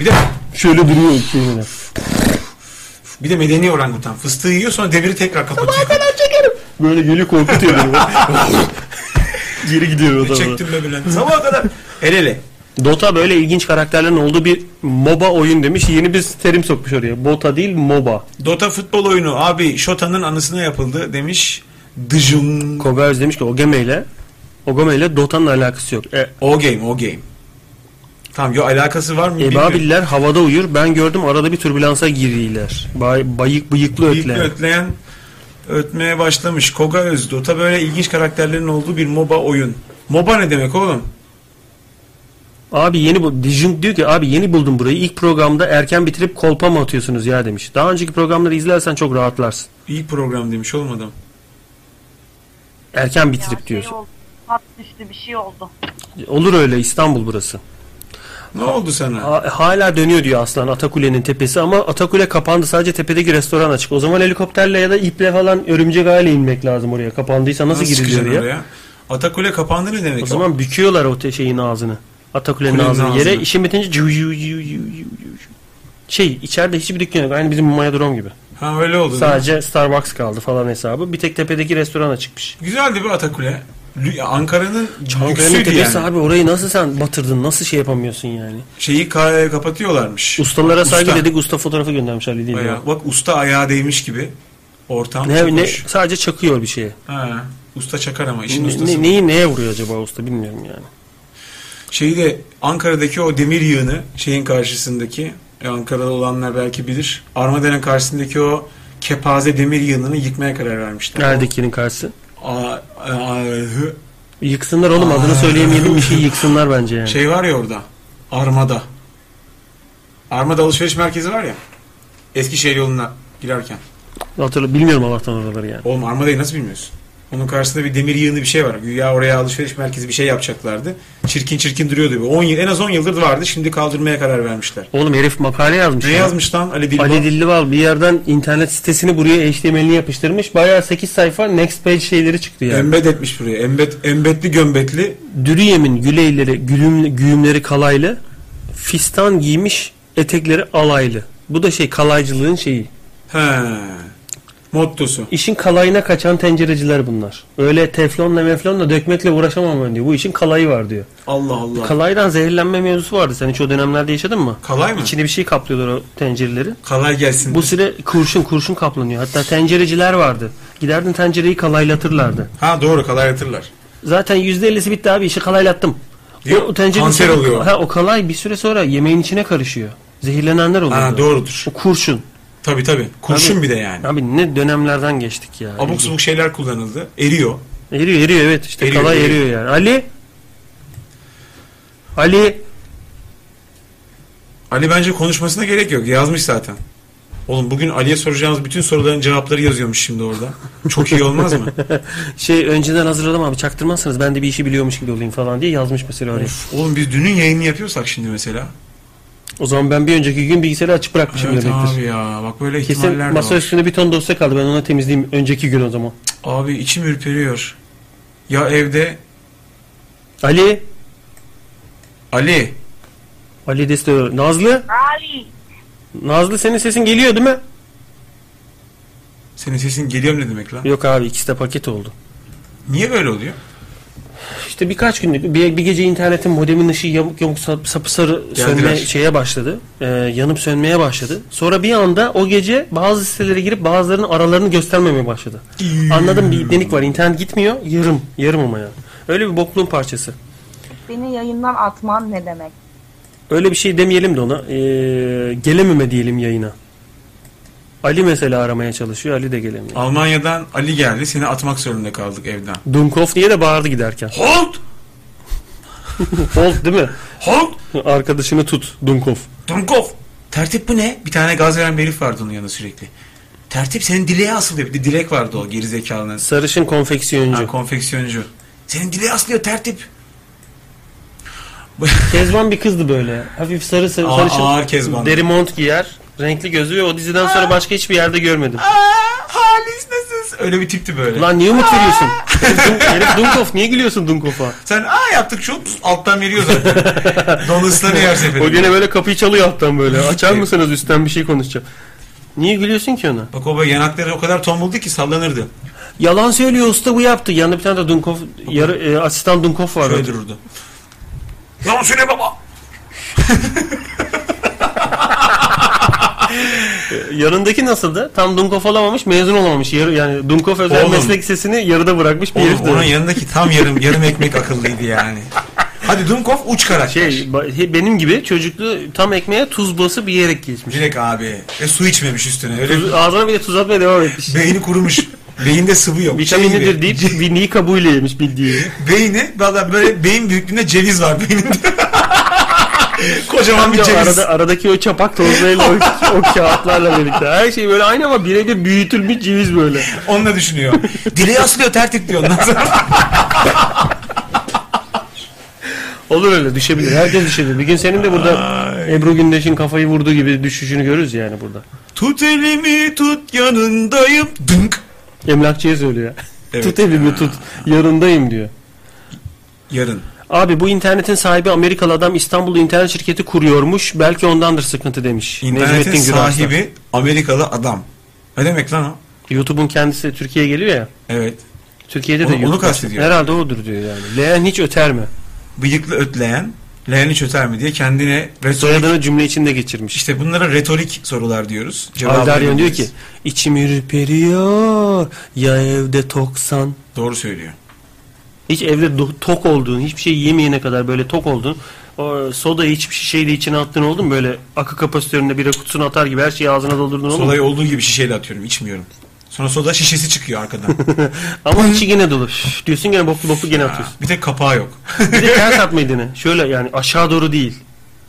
Bir de
Şöyle duruyor iki yönüne.
bir de medeni orangutan. Fıstığı yiyor sonra demiri tekrar kapatıyor.
Böyle geliyor korkutuyor beni. Geri gidiyor o zaman.
Çektim be Bülent. Sabaha kadar el ele.
Dota böyle ilginç karakterlerin olduğu bir MOBA oyun demiş. Yeni bir terim sokmuş oraya. Bota değil MOBA.
Dota futbol oyunu abi Şota'nın anısına yapıldı demiş. Dıjım.
Koga Öz demiş ki Ogame ile Ogame ile Dota'nın alakası yok. E,
O game o game. Tamam yo alakası var mı bilmiyorum.
Ebabiller havada uyur. Ben gördüm arada bir türbülansa giriyorlar. Bay, bayık bıyıklı
Bıyıklı
ötler.
ötleyen ötmeye başlamış. Koga Öz Dota böyle ilginç karakterlerin olduğu bir MOBA oyun. MOBA ne demek oğlum?
Abi yeni bu Dijunk diyor ki abi yeni buldum burayı. İlk programda erken bitirip kolpa mı atıyorsunuz ya demiş. Daha önceki programları izlersen çok rahatlarsın.
İyi program demiş olmadım.
Erken
Ya
bitirip
şey
diyorsun.
oldu, Hat düştü bir şey oldu.
Olur öyle İstanbul burası.
Ne oldu sana?
Ha- hala dönüyor diyor Aslan Atakule'nin tepesi ama Atakule kapandı. Sadece tepedeki restoran açık. O zaman helikopterle ya da iple falan örümcek aile inmek lazım oraya. Kapandıysa nasıl, giriliyor
çıkacaksın
oraya?
Atakule kapandı ne demek?
O zaman büküyorlar o te- şeyin ağzını. Atakule'nin
Kulenin
ağzını
ağzını.
yere. İşin bitince cıv cıv cıv cıv cıv cıv. şey içeride hiçbir dükkan yok. Aynı bizim Maya Drom gibi.
Ha öyle oldu.
Sadece Starbucks kaldı falan hesabı. Bir tek tepedeki restoran açıkmış.
Güzeldi bir Atakule. Lü- Ankara'nın
Ankara'nın
lüksüydü
tepesi
yani.
abi orayı nasıl sen batırdın? Nasıl şey yapamıyorsun yani?
Şeyi ka- e, kapatıyorlarmış.
Ustalara saygı
Usta.
dedik. Usta fotoğrafı göndermiş Ali değil mi?
Bayağı. Bak usta ayağa değmiş gibi. Ortam çok
Ne, ne,
hoş.
sadece çakıyor bir şeye.
Ha, usta çakar ama işin
Ne,
ustası.
ne- neyi neye vuruyor acaba usta bilmiyorum yani.
Şeyi de Ankara'daki o demir yığını şeyin karşısındaki e, Ankara'da olanlar belki bilir. Armada'nın karşısındaki o kepaze demir yığınını yıkmaya karar vermişler.
Neredekinin karşısı?
A- a- a- hı.
Yıksınlar oğlum adını
Aa.
söyleyemeyelim bir şey yıksınlar bence yani.
şey var ya orada. Armada. Armada alışveriş merkezi var ya. Eskişehir yoluna girerken.
Hatırla, bilmiyorum Allah'tan oraları yani.
Oğlum Armada'yı nasıl bilmiyorsun? Onun karşısında bir demir yığını bir şey var. Güya oraya alışveriş merkezi bir şey yapacaklardı. Çirkin çirkin duruyordu. bu. 10 yıl, en az 10 yıldır vardı. Şimdi kaldırmaya karar vermişler.
Oğlum herif makale yazmış.
Ne
ya.
yazmış lan Ali Dilba?
Ali Dillival bir yerden internet sitesini buraya HTML'ini yapıştırmış. Bayağı 8 sayfa next page şeyleri çıktı yani.
Embed etmiş buraya. Embed, embetli gömbetli.
Dürüyem'in güleyleri, gülüm, güğümleri kalaylı, fistan giymiş etekleri alaylı. Bu da şey kalaycılığın şeyi.
He. Mottosu.
İşin kalayına kaçan tencereciler bunlar. Öyle teflonla meflonla dökmekle uğraşamam ben diyor. Bu işin kalayı var diyor.
Allah Allah.
Kalaydan zehirlenme mevzusu vardı. Sen hiç o dönemlerde yaşadın mı?
Kalay mı?
İçine bir şey kaplıyorlar o tencereleri.
Kalay gelsin.
Bu süre kurşun kurşun kaplanıyor. Hatta tencereciler vardı. Giderdin tencereyi kalaylatırlardı.
Ha doğru kalay yatırırlar.
Zaten %50'si bitti abi işi kalaylattım.
Değil mi? Kanser
bir- şey-
oluyor.
Ha, o kalay bir süre sonra yemeğin içine karışıyor. Zehirlenenler oluyor.
Ha doğrudur.
O kurşun.
Tabii tabii. Kurşun bir de yani.
Abi ne dönemlerden geçtik ya.
Abuk subuk şeyler kullanıldı. Eriyor.
Eriyor eriyor evet işte
Eriyor,
kalay
eriyor.
eriyor yani. Ali Ali
Ali bence konuşmasına gerek yok. Yazmış zaten. Oğlum bugün Ali'ye soracağınız bütün soruların cevapları yazıyormuş şimdi orada. Çok iyi olmaz mı?
şey önceden hazırladım abi çaktırmazsanız ben de bir işi biliyormuş gibi olayım falan diye yazmış mesela oraya.
Of, oğlum biz dünün yayını yapıyorsak şimdi mesela.
O zaman ben bir önceki gün bilgisayarı açık bırakmışım
Evet
demektir.
abi ya. Bak böyle
Kesin
ihtimaller de
masa
var.
üstünde bir ton dosya kaldı ben ona temizleyeyim önceki gün o zaman.
Abi içim ürperiyor. Ya evde
Ali
Ali
Ali deste Nazlı
Ali.
Nazlı senin sesin geliyor değil mi?
senin sesin geliyor mu ne demek lan?
Yok abi ikisi de paket oldu.
Niye böyle oluyor?
İşte birkaç günlük bir, bir gece internetin modemin ışığı yamuk yamuk sap- sapı sarı sönme şeye başladı. Ee, yanıp sönmeye başladı. Sonra bir anda o gece bazı sitelere girip bazılarının aralarını göstermemeye başladı. Anladım bir denik var internet gitmiyor yarım yarım ama yani. Öyle bir bokluğun parçası.
Beni yayından atman ne demek?
Öyle bir şey demeyelim de ona. Ee, gelememe diyelim yayına. Ali mesela aramaya çalışıyor. Ali de gelemiyor.
Almanya'dan Ali geldi. Seni atmak zorunda kaldık evden.
Dunkov diye de bağırdı giderken.
Hold!
Holt değil mi?
Hold!
Arkadaşını tut Dunkov.
Dunkov! Tertip bu ne? Bir tane gaz veren bir herif vardı onun yanında sürekli. Tertip senin dileğe asılıyor. Bir de dilek vardı o gerizekalının.
Sarışın konfeksiyoncu.
Ha, konfeksiyoncu. Senin dileğe aslıyor tertip.
Kezban bir kızdı böyle. Hafif sarı sarı
Ağ-
sarışın.
ağır Kezban.
Deri mont giyer. Renkli gözü ve o diziden sonra başka hiçbir yerde görmedim.
Halis nasılsın? Öyle bir tipti böyle.
Lan niye umut veriyorsun? Herif Dun- Herif Dunkov niye gülüyorsun Dunkov'a?
Sen aa yaptık çok alttan veriyor zaten. Don ıslanıyor her seferinde.
O gene böyle kapıyı çalıyor alttan böyle. Açar mısınız üstten bir şey konuşacağım. Niye gülüyorsun ki ona?
Bak o böyle yanakları o kadar tombuldu ki sallanırdı.
Yalan söylüyor usta bu yaptı. Yanında bir tane de Dunkov, yarı, e, asistan Dunkov var.
Şöyle dururdu. Lan söyle baba.
Yanındaki nasıldı? Tam Dunkov olamamış, mezun olamamış. Yarı, yani Dunkov özel
Oğlum.
meslek lisesini yarıda bırakmış bir
Oğlum,
herif de.
onun yanındaki tam yarım yarım ekmek akıllıydı yani. Hadi Dunkov uç karakter.
Şey, ba- he- benim gibi çocuklu tam ekmeğe tuz basıp yiyerek geçmiş.
Dilek abi. E su içmemiş üstüne. Öyle
Tuz- ağzına bile tuz atmaya devam etmiş.
beyni kurumuş. Beyinde sıvı yok. Şey gibi.
Vitaminlidir deyip vinliği kabuğuyla yemiş bildiği.
Beyni valla böyle beyin büyüklüğünde ceviz var beyninde. Kocaman bir şey
Ya
ceviz.
arada, aradaki o çapak tozlarıyla o, o kağıtlarla birlikte. Her şey böyle aynı ama birebir büyütülmüş ceviz böyle.
Onu da düşünüyor. Direği asılıyor tertip diyor ondan sonra.
Olur öyle düşebilir. Herkes düşebilir. Bir gün senin de burada Ebru Gündeş'in kafayı vurduğu gibi düşüşünü görürüz yani burada.
tut elimi tut yanındayım. Dünk.
Emlakçıya söylüyor.
Evet.
Tut elimi tut. Yarındayım diyor.
Yarın.
Abi bu internetin sahibi Amerikalı adam İstanbul'da internet şirketi kuruyormuş. Belki ondandır sıkıntı demiş.
İnternetin
Necmettin Gürarslan.
sahibi Amerikalı adam. Ne demek lan o?
YouTube'un kendisi Türkiye'ye geliyor ya.
Evet.
Türkiye'de
Onu-
de
onu
YouTube-
kastediyor.
Herhalde odur diyor yani. Leğen hiç öter mi?
Bıyıklı ötleyen, leğeni çöter mi diye kendine retorik...
Soyadını cümle içinde geçirmiş.
İşte bunlara retorik sorular diyoruz. Cevabını
Aldaryan diyor
bilmiyoruz.
ki içim ürperiyor ya evde toksan.
Doğru söylüyor.
Hiç evde do- tok olduğun, hiçbir şey yemeyene kadar böyle tok olduğun, o sodayı hiçbir şeyle içine attığın oldu mu? Böyle akı kapasitöründe bira kutusunu atar gibi her şeyi ağzına doldurdun oldu mu?
Sodayı olduğu gibi şişeyle atıyorum, içmiyorum. Sonra soda şişesi çıkıyor arkadan.
Ama içi gene dolu. Üf, diyorsun gene boklu boklu gene atıyorsun.
bir tek kapağı yok.
Bir de ters atma yine. Şöyle yani aşağı doğru değil.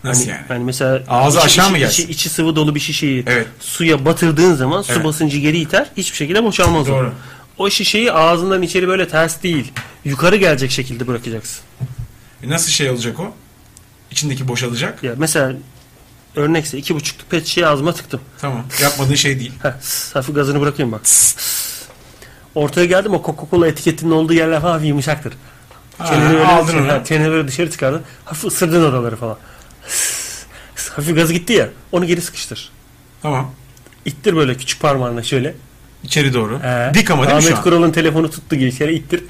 Nasıl
hani,
yani?
hani mesela
Ağzı
içi-
aşağı mı
içi-
gelsin?
Içi, içi sıvı dolu bir şişeyi
Evet.
suya batırdığın zaman su
Evet.
basıncı geri iter. Hiçbir şekilde boşalmaz. o.
Doğru.
O şişeyi ağzından içeri böyle ters değil. Yukarı gelecek şekilde bırakacaksın.
E Nasıl şey olacak o? İçindeki boşalacak.
Ya mesela örnekse iki buçukluk pet şişeyi ağzıma tıktım.
Tamam. Yapmadığın şey değil.
Heh, s- hafif gazını bırakıyorum bak. S- Ortaya geldim o Coca-Cola etiketinin olduğu yerler hafif yumuşaktır.
Ha,
Çeneni böyle,
aldın onu.
ha, çeneni böyle dışarı çıkardın. Hafif ısırdın oraları falan. S- s- Hafif gaz gitti ya. Onu geri sıkıştır.
Tamam.
İttir böyle küçük parmağınla şöyle.
İçeri doğru.
Ee,
Dik ama değil mi şu
Ahmet
an?
Kural'ın telefonu tuttu gibi içeri ittir.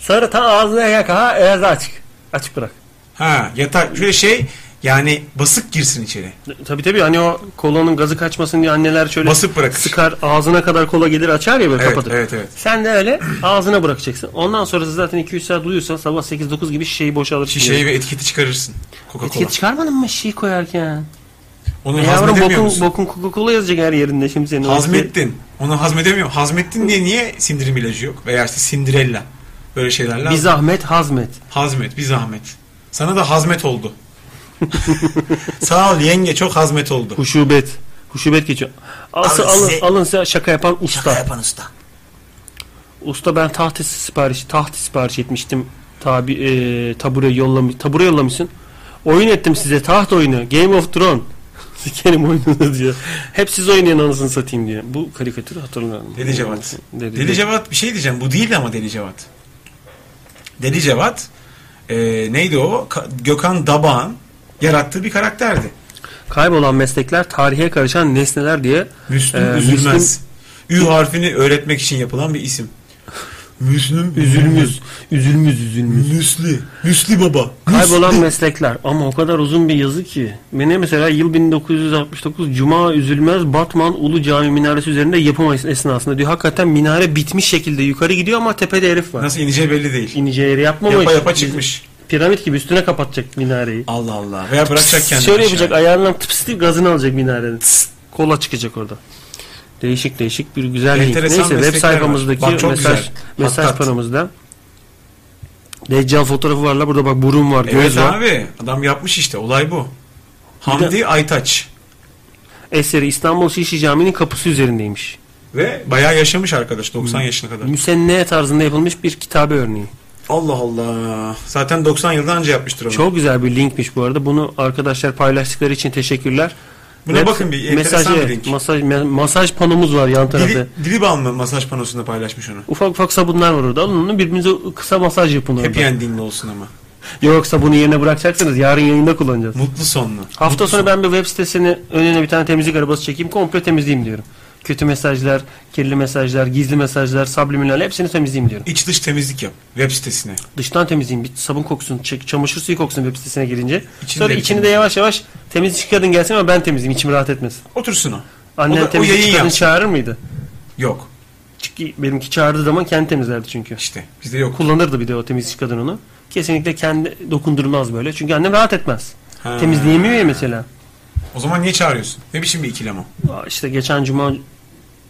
Sonra ta ağzına yak. Ha ağzı açık. Açık bırak.
Ha yatak. Şöyle şey yani basık girsin içeri.
Tabii tabii hani o kolanın gazı kaçmasın diye anneler şöyle
Basıp bırakır.
sıkar ağzına kadar kola gelir açar ya böyle
Evet,
kapatır.
evet, evet.
Sen de öyle ağzına bırakacaksın. Ondan sonrası zaten 2-3 saat uyuyorsan sabah 8-9 gibi şişeyi boşalır.
Şişeyi ve etiketi çıkarırsın.
Etiket
Coca-Cola.
çıkarmadın mı şişeyi koyarken?
Onu
E yavrum
hazmedemiyor
bokun,
musun?
bokun Coca-Cola yazacak her yerinde şimdi senin.
Hazmettin. Onu hazmedemiyor. Hazmettin diye niye sindirim ilacı yok? Veya işte sindirella. Böyle şeyler lazım.
Bir zahmet hazmet.
Hazmet, bir zahmet. Sana da hazmet oldu. Sağ ol yenge çok hazmet oldu.
Huşubet. Huşubet geçiyor. Asıl
Alın
alın,
size-
alın size şaka yapan usta.
Şaka yapan usta.
Usta ben tahta sipariş tahta sipariş etmiştim. Tabi e, tabure yollamış tabure yollamışsın. Oyun ettim size taht oyunu. Game of Thrones. Sikerim oyununu diyor. Hep siz oynayın anasını satayım diye. Bu karikatürü hatırlıyorum.
Deli Cevat.
Deli,
Deli Cevat bir şey diyeceğim. Bu değil ama Deli Cevat. Deli Cevat e, neydi o? Ka- Gökhan Dabağ'ın yarattığı bir karakterdi.
Kaybolan meslekler tarihe karışan nesneler diye.
Müslüm
Ee,
Üzülmez. Ü harfini öğretmek için yapılan bir isim. Müslüm
Üzülmüz. Üzülmüz üzülmüz.
Müslü. Müslü baba.
Kaybolan meslekler ama o kadar uzun bir yazı ki. Beni mesela yıl 1969 Cuma Üzülmez Batman Ulu Cami minaresi üzerinde yapım es- esnasında diyor. Hakikaten minare bitmiş şekilde yukarı gidiyor ama tepede herif var.
Nasıl ineceği belli değil.
İneceği yeri yapmamış.
Yapa yapa çıkmış.
Piramit gibi üstüne kapatacak minareyi.
Allah Allah. Veya bırakacak kendini.
Şöyle
aşağıya.
yapacak ayağından tıps deyip gazını alacak minarenin. Kola çıkacak orada. Değişik değişik bir güzel link.
Enteresan
Neyse web
meslekler var.
sayfamızdaki
Bak çok
mesaj
güzel.
mesaj
Hattat.
paramızda Deccal fotoğrafı varla burada bak burun var, göz
Evet
var.
abi. Adam yapmış işte. Olay bu. Hamdi Aytaç.
eseri İstanbul Şişli Camii'nin kapısı üzerindeymiş.
Ve bayağı yaşamış arkadaş 90 yaşına kadar.
Müsenne tarzında yapılmış bir kitabe örneği.
Allah Allah. Zaten 90 yıldan önce yapmıştır onu.
Çok güzel bir linkmiş bu arada. Bunu arkadaşlar paylaştıkları için teşekkürler.
Buna bakın bir, enteresan
mesaj,
bir link.
Masaj, me- masaj panomuz var yan tarafta.
Dili, Dilibal mı masaj panosunda paylaşmış onu?
Ufak ufak sabunlar var orada. Alın onu birbirinize kısa masaj yapın orada.
Happy endingli olsun ama.
Yoksa bunu yerine bırakacaksınız. Yarın yayında kullanacağız.
Mutlu sonlu.
Hafta sonu ben bir web sitesini önüne bir tane temizlik arabası çekeyim. Komple temizleyeyim diyorum. Kötü mesajlar, kirli mesajlar, gizli mesajlar, subliminal hepsini temizleyeyim diyorum.
İç dış temizlik yap web sitesine.
dıştan temizleyin. Bir sabun kokusunu, çek, çamaşır suyu kokusunu web sitesine girince.
İçini
Sonra
de
içini de
temizle.
yavaş yavaş temiz işçi kadın gelsin ama ben temizleyeyim. içim rahat etmesin.
Otursun o.
Annen
O da- o
temizlikçi
yayın
kadın
yapsın.
çağırır mıydı?
Yok
Çünkü benimki çağırdığı zaman kendi temizlerdi çünkü.
işte bizde yok.
Kullanırdı bir de o temizlikçi kadın onu. Kesinlikle kendi dokundurmaz böyle. Çünkü annem rahat etmez.
Ha.
Temizleyemiyor ya mesela.
O zaman niye çağırıyorsun? Ne biçim bir ikilem o?
Aa, İşte geçen cuma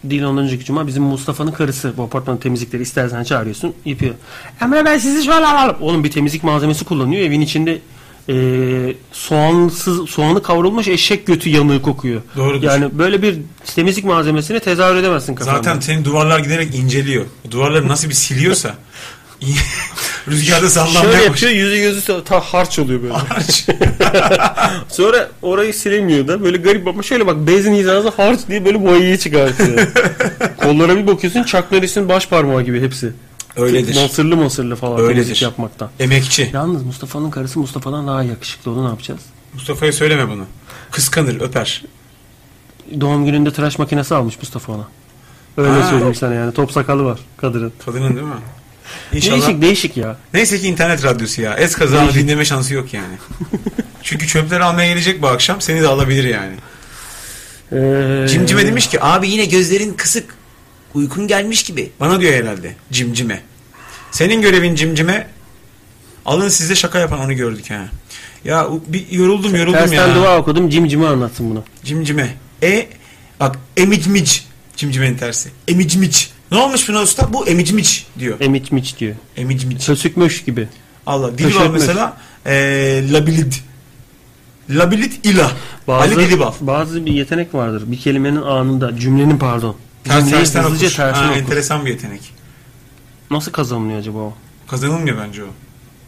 değil ondan önceki cuma bizim Mustafa'nın karısı bu apartmanın temizlikleri istersen çağırıyorsun yapıyor. Emre ben sizi şöyle alalım. Oğlum bir temizlik malzemesi kullanıyor evin içinde Ee, soğansız soğanı kavrulmuş eşek götü yanığı kokuyor.
Doğrudur.
Yani böyle bir temizlik malzemesini tezahür edemezsin kafanda.
Zaten senin duvarlar giderek inceliyor. O Duvarları nasıl bir siliyorsa rüzgarda
Şöyle
sallanmaya başlıyor.
yapıyor yüzü gözü ta harç oluyor böyle. Sonra orayı silemiyor da böyle garip ama şöyle bak bezin hizası harç diye böyle boyayı çıkartıyor. Kollara bir bakıyorsun Chuck Norris'in baş parmağı gibi hepsi.
Öyledir.
Mısırlı mısırlı falan
Öyledir.
temizlik yapmaktan.
Emekçi.
Yalnız Mustafa'nın karısı Mustafa'dan daha yakışıklı onu ne yapacağız?
Mustafa'ya söyleme bunu. Kıskanır, öper.
Doğum gününde tıraş makinesi almış Mustafa ona. Öyle
Ha.
söyleyeyim sana yani top sakalı var kadının.
Kadının değil mi? İnşallah.
Değişik değişik ya.
Neyse ki internet radyosu ya. Es kazanı
Değişik.
dinleme şansı yok yani. Çünkü çöpleri almaya gelecek bu akşam. Seni de alabilir yani.
Ee,
Cimcime demiş ki abi
Abi yine gözlerin kısık. Uykun gelmiş gibi.
bana diyor herhalde cimcime. Senin görevin cimcime. Alın size şaka yapan onu gördük ha. Ya u- bir yoruldum yoruldum
Tersten
ya.
dua okudum cimcime anlatsın bunu.
Cimcime. E bak emicmic. Cimcimenin tersi. Emicmic. Ne olmuş buna usta? Bu emicmic diyor.
Emiç miç diyor.
Emicmic.
Sösükmüş gibi.
Allah. Dil var
Teşekkür
mesela. E, labilid. Labilid ila.
Bazı,
Ali Dilibal.
bazı bir yetenek vardır. Bir kelimenin anında, cümlenin pardon.
Ters,
Cümleyi
tersten
hızlıca
okur.
tersine
Ha,
okur.
enteresan bir yetenek.
Nasıl kazanılıyor acaba o?
Kazanılmıyor bence o.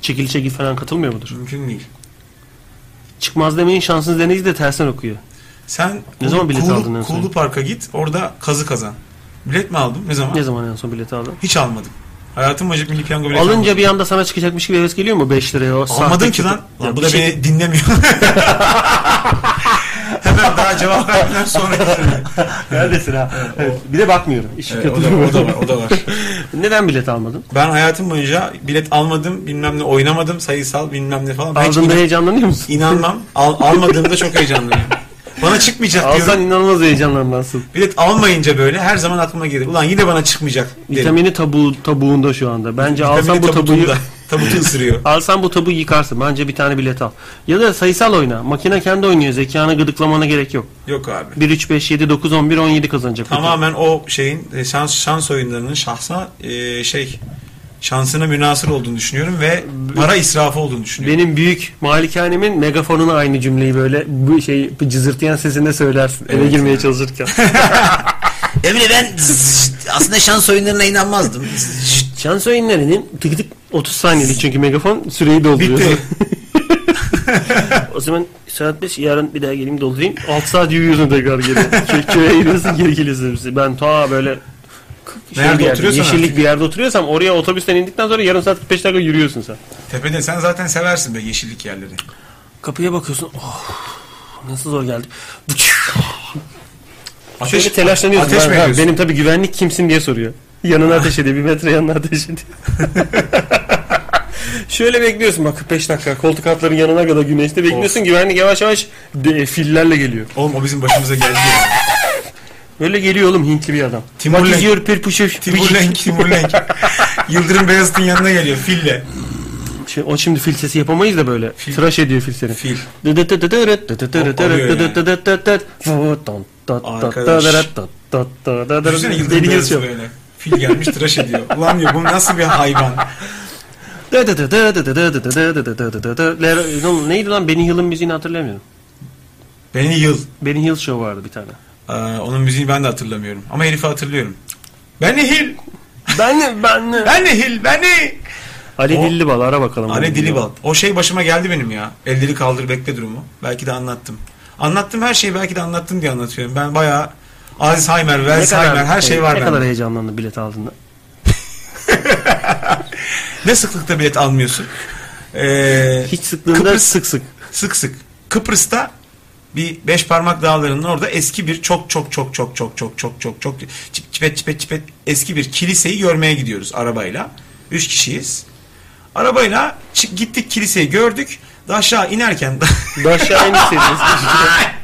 Çekil çekil falan katılmıyor mudur?
Mümkün değil.
Çıkmaz demeyin şansınız deneyiz de tersten okuyor.
Sen
Ne zaman bilet
Kuğulu-
aldın en son?
Kuğulu Park'a git. Orada kazı kazan. Bilet mi aldın? Ne zaman?
Ne zaman en son bileti aldın?
Hiç almadım. Hayatım boyunca milli piyango bileti
Alınca bir anda sana çıkacakmış gibi heves geliyor mu 5 liraya o
almadım. Almadın
sahte
ki lan.
Ya
Lan bu
bir
da
şey-
beni dinlemiyor. Hemen daha cevap vermeden sonra gidelim.
Neredesin ha? Evet, Bir de bakmıyorum. İşim
Evet,
kötü.
o, da, o da var, o da var.
Neden bilet almadın?
Ben hayatım boyunca bilet almadım, bilmem ne oynamadım, sayısal bilmem ne falan. Ben hiç
Aldığında
inan-
heyecanlanıyor musun?
inanmam. Al, almadığımda çok heyecanlıyım. Bana çıkmayacak diyorum.
Alsan inanılmaz heyecanlanmazsın.
Bilet almayınca böyle her zaman aklıma gelir. Ulan yine bana çıkmayacak derim.
Vitamini tabu, tabuğunda şu anda. Bence alsan
Vitamini
bu tabuyu
tabutunda. Tabutu ısırıyor.
Alsan bu tabu yıkarsın. Bence bir tane bilet al. Ya da sayısal oyna. Makine kendi oynuyor. Zekanı gıdıklamana gerek yok.
Yok abi.
1 3 5 7 9 11 17 kazanacak.
Tamamen o şeyin e, şans şans oyunlarının şahsa e, şey şansına münasır olduğunu düşünüyorum ve para israfı olduğunu düşünüyorum.
Benim büyük malikanemin megafonuna aynı cümleyi böyle bu şey bu cızırtıyan sesinde söylersin. Eve
Evet,
girmeye
yani.
çalışırken.
Emre ben zzzzt, aslında şans oyunlarına inanmazdım. Zzzzt.
Şans oyunlarının tık tık 30 saniyelik çünkü megafon süreyi dolduruyor.
Bitti.
o zaman saat 5 yarın bir daha geleyim doldurayım. 6 saat yürüyorsun tekrar geri. Kö- köye gidiyorsun geri geliyorsun. Ben ta böyle şey
Nerede
bir yerde,
oturuyorsan
yeşillik
artık.
bir yerde oturuyorsam oraya otobüsten indikten sonra yarım saat 45 dakika yürüyorsun sen.
Tepede sen zaten seversin be yeşillik yerleri.
Kapıya bakıyorsun. Oh, nasıl zor geldi.
Ateş,
Şöyle telaşlanıyorsun.
Ateş
Ben-
mi
ha,
ediyorsun?
benim tabii güvenlik kimsin diye soruyor. Yanına ateş ediyor. Bir metre yanına ateş ediyor. Şöyle bekliyorsun bak 5 dakika koltuk altların yanına kadar güneşte bekliyorsun güvenlik yavaş yavaş de, e, fillerle geliyor.
Oğlum o bizim başımıza geldi. ya.
Böyle geliyor oğlum Hintli bir adam.
Timur
What is
Lenk.
your purpose?
Timur Lenk, Timur Lenk. Yıldırım Beyazıt'ın yanına geliyor fille.
Şey, o şimdi fil sesi yapamayız da böyle.
Fil.
Tıraş ediyor fil seni.
Fil. Düşünsene Yıldırım
Deli
Beyazıt
geçiyor.
böyle. Fil gelmiş tıraş ediyor. Ulan diyor bu nasıl bir hayvan?
Lan Neydi lan Benny Hill'in müziğini hatırlamıyorum.
Beni yıl.
Benny Hill Show vardı bir tane.
Ee, onun müziğini ben de hatırlamıyorum. Ama herifi hatırlıyorum. Beni hil.
Ben ben
Beni hil. Beni.
Ali
O-
Dillibal ara bakalım.
Ali Dilibal. O şey başıma geldi benim ya. Elleri kaldır bekle durumu. Belki de anlattım. Anlattım her şeyi belki de anlattım diye anlatıyorum. Ben bayağı Alzheimer,
Ne kadar-
Alzheimer her şey var
Ne kadar
bende.
heyecanlandı bilet aldığında.
Ne sıklıkta bilet almıyorsun? Ee,
Hiç sıklığında
Kıbrıs-
sık sık.
sık sık. Kıbrıs'ta bir beş parmak dağlarının orada eski bir çok çok çok çok çok çok çok çok çok çip çipet çipet çipet eski bir kiliseyi görmeye gidiyoruz arabayla. Üç kişiyiz. Arabayla çı- gittik kiliseyi gördük. Da aşağı inerken
Aşağı inseydiniz.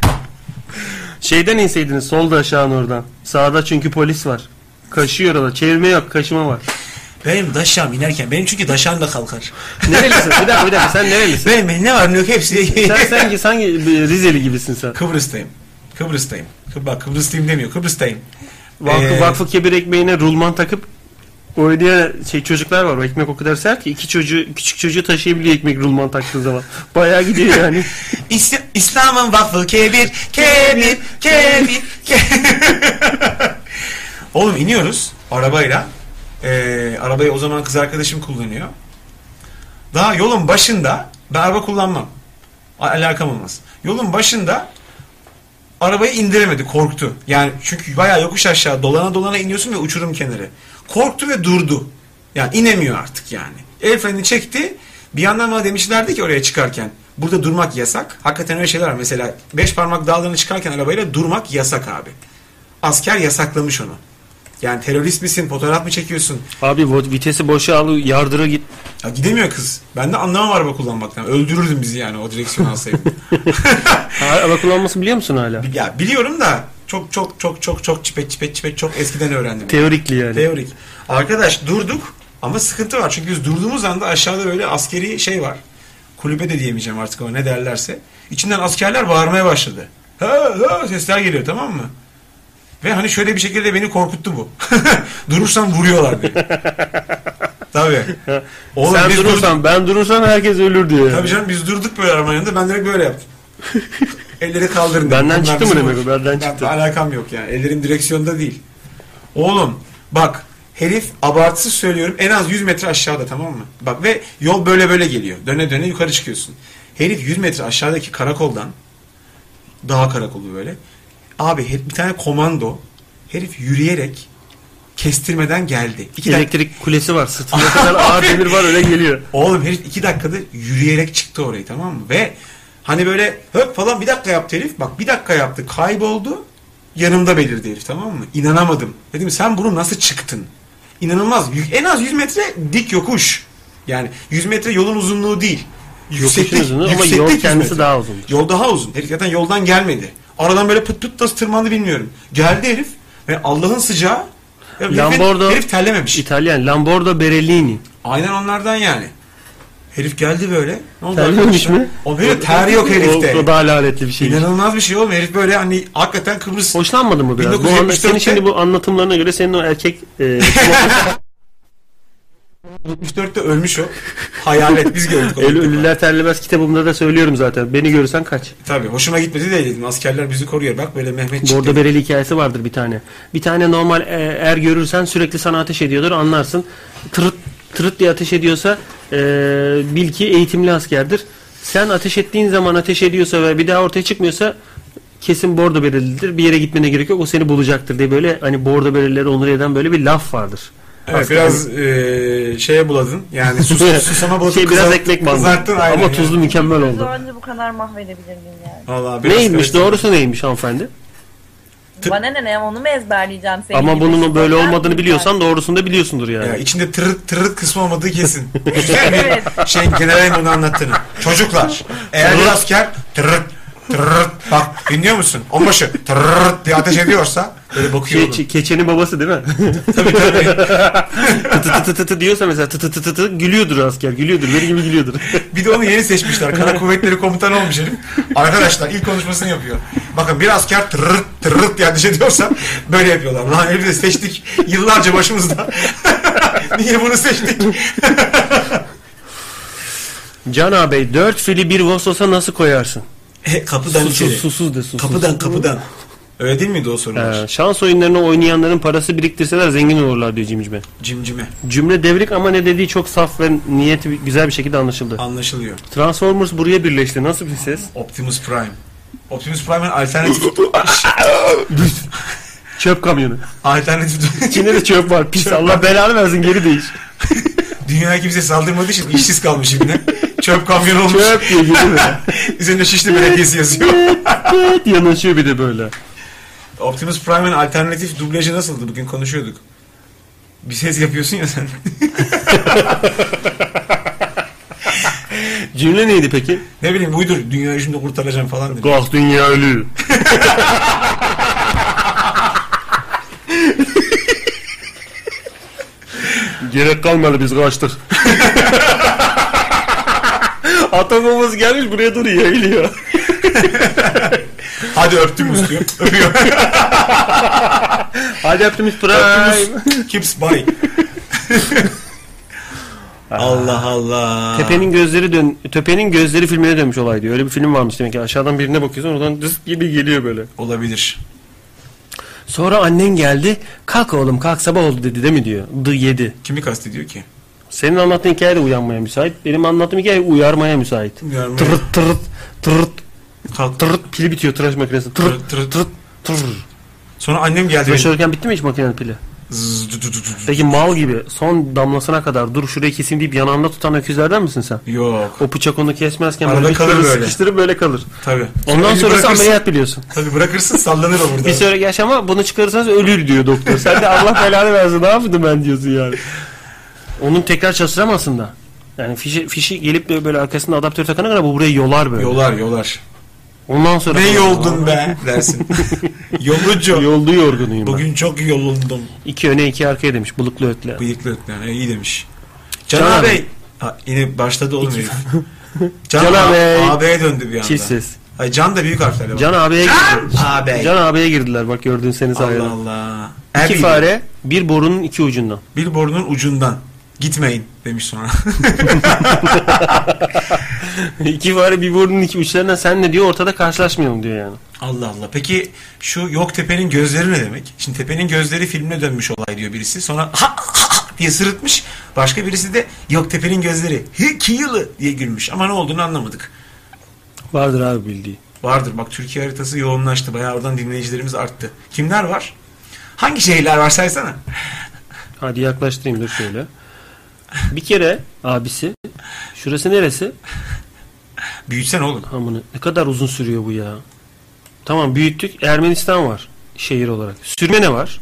Şeyden inseydiniz solda aşağı oradan. Sağda çünkü polis var. Kaşıyor orada. Çevirme yok. Kaşıma var.
Benim daşağım inerken benim çünkü daşağım da kalkar.
Nerelisin? Bir dakika bir dakika. Sen nerelisin?
Benim ne var ne yok hepsi.
sen sanki, sanki bir Rizeli gibisin sen.
Kıbrıs'tayım. Kıbrıs'tayım. Kıbra Kıbrıslıyım demiyor. Kıbrıs'tayım.
Vakfı,
Ee,
vakfı kebir ekmeğine rulman takıp oynayan şey çocuklar var. Ekmek o kadar sert ki iki çocuğu küçük çocuğu taşıyabiliyor ekmek rulman taktığı zaman. Bayağı gidiyor yani.
İsla- İslam'ın waffle kebir, kebir, kebir, kebir.
Oğlum iniyoruz arabayla. Ee, arabayı o zaman kız arkadaşım kullanıyor. Daha yolun başında ben araba kullanmam. A- Alakam olmaz. Yolun başında arabayı indiremedi korktu. Yani çünkü bayağı yokuş aşağı dolana dolana iniyorsun ve uçurum kenarı. Korktu ve durdu. Yani inemiyor artık yani. El frenini çekti. Bir yandan bana demişlerdi ki oraya çıkarken burada durmak yasak. Hakikaten öyle şeyler var. Mesela beş parmak dağlarına çıkarken arabayla durmak yasak abi. Asker yasaklamış onu. Yani terörist misin? Fotoğraf mı çekiyorsun?
Abi vo- vitesi boşa al yardıra git.
Ya gidemiyor kız. Ben de anlamam araba kullanmaktan. Öldürürdüm bizi yani o direksiyonu alsaydım.
Ha, Araba kullanması biliyor musun hala?
ya biliyorum da çok çok çok çok çok çipet çipet çipet çok eskiden öğrendim.
Teorikli yani.
Teorik. Arkadaş durduk ama sıkıntı var. Çünkü biz durduğumuz anda aşağıda böyle askeri şey var. Kulübe de diyemeyeceğim artık ama ne derlerse. İçinden askerler bağırmaya başladı. Ha, ha, sesler geliyor tamam mı? Ve hani şöyle bir şekilde beni korkuttu bu. Durursam vuruyorlar beni. Tabii. Oğlum
Sen
biz durduk-
durursan ben durursam herkes ölür diyor. yani.
Tabii canım biz durduk böyle arabanın yanında. Ben direkt böyle yaptım. Elleri kaldırın.
Benden
Bunlar
çıktı mı
bizim
demek o? Benden
Ben-
çıktı.
Alakam yok yani. Ellerim direksiyonda değil. Oğlum bak herif abartısız söylüyorum en az 100 metre aşağıda tamam mı? Bak ve yol böyle böyle geliyor. Döne döne yukarı çıkıyorsun. Herif 100 metre aşağıdaki karakoldan dağ karakolu böyle. Abi her- bir tane komando herif yürüyerek kestirmeden geldi. İki dakika-
Elektrik kulesi var. Sırtında kadar ağır demir var öyle geliyor.
Oğlum herif iki dakikada yürüyerek çıktı orayı tamam mı? Ve hani böyle höp falan bir dakika yaptı herif. Bak bir dakika yaptı kayboldu. Yanımda belirdi herif tamam mı? İnanamadım. Dedim sen bunu nasıl çıktın? İnanılmaz. Yük- En az 100 metre dik yokuş. Yani 100 metre yolun uzunluğu değil. Yükseklik-
uzunluğu ama
yükseklik
yol
100
kendisi
metre.
daha uzundur.
Yol daha uzun. Herif zaten yoldan gelmedi. Aradan böyle pıt pıt nasıl tırmandı bilmiyorum. Geldi herif ve Allah'ın sıcağı. Ya herif-
Lambordo
herif terlememiş.
İtalyan Lambordo Berellini.
Aynen onlardan yani. Herif geldi böyle. Ne oldu
Terlememiş
arkadaşlar?
mi?
Oğlum herif ter yok
O, o
herifte.
daha lanetli bir şey.
İnanılmaz bir şey oğlum. Herif böyle hani hakikaten Kıbrıs.
Hoşlanmadın mı biraz? Bu anla,
1974'te
senin şimdi bu anlatımlarına göre senin o erkek e,
74'te ölmüş o. Hayalet biz gördük. onu.
Ölü- Ölüler Terlemez kitabımda da söylüyorum zaten. Beni görürsen kaç.
Tabii hoşuma gitmedi de dedim. Askerler bizi koruyor. Bak böyle Mehmet çıktı.
Bordo Bereli hikayesi vardır bir tane. Bir tane normal e, er görürsen sürekli sana ateş ediyordur anlarsın. Tırıt tırıt diye ateş ediyorsa e, bil ki eğitimli askerdir. Sen ateş ettiğin zaman ateş ediyorsa ve bir daha ortaya çıkmıyorsa kesin bordo berelidir. Bir yere gitmene gerek yok. O seni bulacaktır diye böyle hani bordo berelileri onur eden böyle bir laf vardır.
Evet, biraz eee, şeye buladın. Yani sus, susama buladın.
şey biraz
kızart-
ekmek bandı.
Kızarttın aynen.
Ama
yani.
tuzlu mükemmel oldu.
Önce bu kadar mahvedebilir miyim yani?
Vallahi biraz
Neymiş
karıştı.
doğrusu neymiş hanımefendi?
Tı-
Bana ne ne onu mu ezberleyeceğim seni?
Ama bunun böyle
şey?
olmadığını biliyorsan doğrusunu da biliyorsundur yani.
Ya içinde tırırt tırırt kısmı olmadığı kesin. Güzel bir şey generalin bunu anlattığını. Çocuklar eğer bir asker tırırt tırırt bak dinliyor musun? Onbaşı tırırt diye ateş ediyorsa böyle bakıyor. oğlum.
Keçi- keçenin babası değil mi?
Tabii tabii.
tı tı tı tı tı diyorsa mesela tı tı tı tı tı gülüyordur asker. Gülüyordur. Benim gibi gülüyordur.
Bir de onu yeni seçmişler. Kara Kuvvetleri Komutanı olmuş herif. Arkadaşlar ilk konuşmasını yapıyor. Bakın bir asker tırırt tırırt diye ateş ediyorsa böyle yapıyorlar. Lan herifi de seçtik yıllarca başımızda. Niye bunu seçtik?
Can ağabey 4 fili bir vososa nasıl koyarsın?
kapıdan
Susuz, susuz de susuz.
kapıdan. Öyle değil miydi o sorular?
Ee, şans oyunlarını oynayanların parası biriktirseler zengin olurlar diyor Cimcime.
Cimcime.
Cümle devrik ama ne dediği çok saf ve niyeti bi- güzel bir şekilde anlaşıldı.
Anlaşılıyor.
Transformers buraya birleşti. Nasıl bir ses?
Optimus Prime. Optimus Prime'in alternatif
Çöp kamyonu.
alternatif
İçinde de çöp var. Pis
Çöp
Allah belanı versin geri değiş.
dünyaya kimse saldırmadığı için işsiz kalmış yine. Çöp kamyonu olmuş.
Çöp diye geliyor.
Üzerinde Şişli Belediyesi yazıyor.
Evet yanaşıyor bir de böyle.
Optimus Prime'in alternatif dublajı nasıldı? Bugün konuşuyorduk. Bir ses yapıyorsun ya sen.
Cümle neydi peki?
ne bileyim uydur dünyayı şimdi kurtaracağım falan dedi.
Kalk dünya ölü. Gerek kalmadı biz kaçtık. Atamamız gelmiş buraya duruyor eğiliyor.
Hadi öptüm mü diyor. Öpüyor.
Hadi Optimus Prime.
Optimus Kips Bay. Allah Allah.
Tepenin gözleri dön Tepenin gözleri filmine dönmüş olay diyor. Öyle bir film varmış demek ki. Aşağıdan birine bakıyorsun oradan dız gibi geliyor böyle.
Olabilir.
Sonra annen geldi. Kalk oğlum kalk sabah oldu dedi değil mi diyor. Dı yedi.
Kimi kastediyor ki?
Senin anlattığın hikaye de uyanmaya müsait. Benim anlattığım hikaye uyarmaya müsait.
Uyarmaya.
Tırıt tırıt tırıt
Kalk.
tırıt pili bitiyor tıraş makinesi. Tırıt
Tırıt,
tırıt
tırıt.
tırıt tırıt.
Sonra annem geldi.
Tıraş
benim.
olurken bitti mi hiç makinenin pili?
Zzz, du, du, du, du, du.
Peki mal gibi son damlasına kadar dur şurayı keseyim deyip yanağımda tutan öküzlerden misin sen?
Yok.
O bıçak onu kesmezken
Arada
böyle
kalır
sıkıştırır,
böyle.
sıkıştırır böyle kalır.
Tabii.
Ondan
elini
sonrası
bırakırsın.
ameliyat biliyorsun.
Tabii bırakırsın sallanır o
Bir şey-
burada.
sonraki yaşama bunu çıkarırsanız ölür diyor doktor. Sen de Allah belanı versin ne yaptım ben diyorsun yani. Onun tekrar çalıştıramazsın da. Yani fişi, fişi gelip böyle, böyle arkasında adaptör takana kadar bu burayı yolar böyle.
Yolar yolar.
Ondan sonra...
Ne yoldun be dersin. Yolucu.
Yoldu yorgunuyum ben.
Bugün çok yolundum.
İki öne iki arkaya demiş buluklu ötle.
Bıyıklı ötmen. iyi demiş. Canan
Canan
Bey. Ha, yine başladı oğlum herif. Can,
Canan
A-
Bey.
AB'ye döndü bir anda.
Çift ses.
Ay, can da büyük harflerle. bak.
Can abiye girdiler.
Ağabey.
Can abiye girdiler bak gördüğün seni
Allah
sayılan.
Allah.
İki
Abi,
fare bir borunun iki ucundan.
Bir borunun ucundan. Gitmeyin demiş sonra.
iki fare bir borunun iki uçlarından sen ne diyor ortada karşılaşmayalım diyor yani.
Allah Allah. Peki şu yok tepenin gözleri ne demek? Şimdi tepenin gözleri filmine dönmüş olay diyor birisi. Sonra ha, ha, ha diye sırıtmış. Başka birisi de yok tepenin gözleri. Hı ki yılı diye gülmüş. Ama ne olduğunu anlamadık.
Vardır abi bildiği.
Vardır. Bak Türkiye haritası yoğunlaştı. Bayağı oradan dinleyicilerimiz arttı. Kimler var? Hangi şehirler var saysana.
Hadi yaklaştırayım dur şöyle. Bir kere abisi şurası neresi?
Büyütsen oğlum.
Hamını ne kadar uzun sürüyor bu ya. Tamam büyüttük. Ermenistan var şehir olarak. Sürmene var.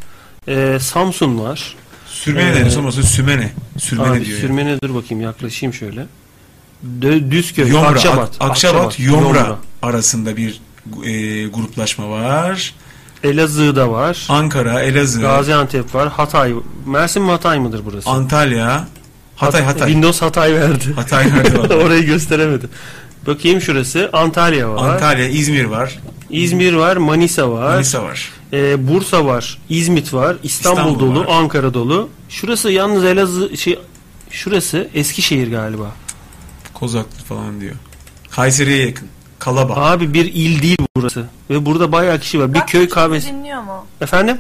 Ee, Samsun var.
Sürmene
Ee,
denir. Sonrası sümene. Sürmene
Abi
diyor.
sürmene dur bakayım yaklaşayım şöyle. Dö- Düzköy,
Yomra,
Akçabat,
Ak- Akçabat, Yomra,
Yomra.
arasında bir e, gruplaşma var.
Elazığ'da var.
Ankara, Elazığ,
Gaziantep var. Hatay. Mersin mi Hatay mıdır burası?
Antalya, Hatay, Hatay.
Windows Hatay verdi.
Hatay nerede var?
Orayı gösteremedi. Bakayım şurası. Antalya var.
Antalya, İzmir var,
İzmir var, Manisa var,
Manisa var.
e, Bursa var, İzmit var, İstanbul,
İstanbul
dolu,
var.
Ankara dolu. Şurası yalnız Elazığ şey şurası Eskişehir galiba.
Kozaklı falan diyor. Kayseri'ye yakın. Kalaba.
Abi bir il değil burası. Ve burada bayağı kişi var. Bir köy kahvesi.
Dinliyor mu?
Efendim?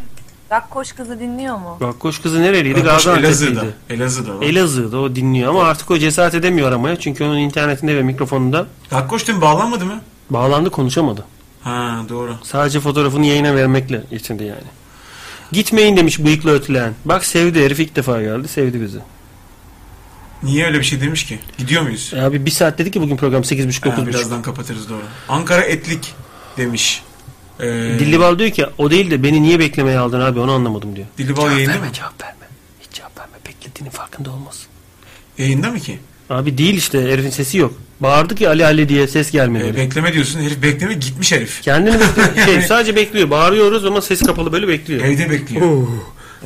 Rakkoş kızı dinliyor mu?
Rakkoş kızı nereliydi?
Kardeş, Elazığ'da.
Gaziantep'liydi.
Elazığ'da. var.
Elazığ'da o dinliyor ama artık o cesaret edemiyor aramaya. Çünkü onun internetinde ve mikrofonunda
Gakkoş dün bağlanmadı mı?
bağlandı konuşamadı.
Ha doğru.
Sadece fotoğrafını yayına vermekle yetindi yani. Gitmeyin demiş bıyıklı ötülen. Bak sevdi herif ilk defa geldi sevdi bizi.
Niye öyle bir şey demiş ki? Gidiyor muyuz?
E abi bir saat dedik ki bugün program 8.30
Ha,
9.30.
birazdan kapatırız doğru. Ankara Etlik demiş. Ee,
Dilli Bal diyor ki o değil de beni niye beklemeye aldın abi onu anlamadım diyor.
Dillibal yayında mı?
cevap verme. Hiç cevap verme beklediğinin farkında olmasın.
Yayında mı ki?
Abi değil işte herifin sesi yok. Bağırdı ki Ali Ali diye ses
Ee,
gelmedi. herif.
bekleme diyorsun. Herif bekleme gitmiş herif.
Kendini bekliyor. Şey, sadece bekliyor. Bağırıyoruz ama ses kapalı böyle bekliyor.
Evde bekliyor.
Oh,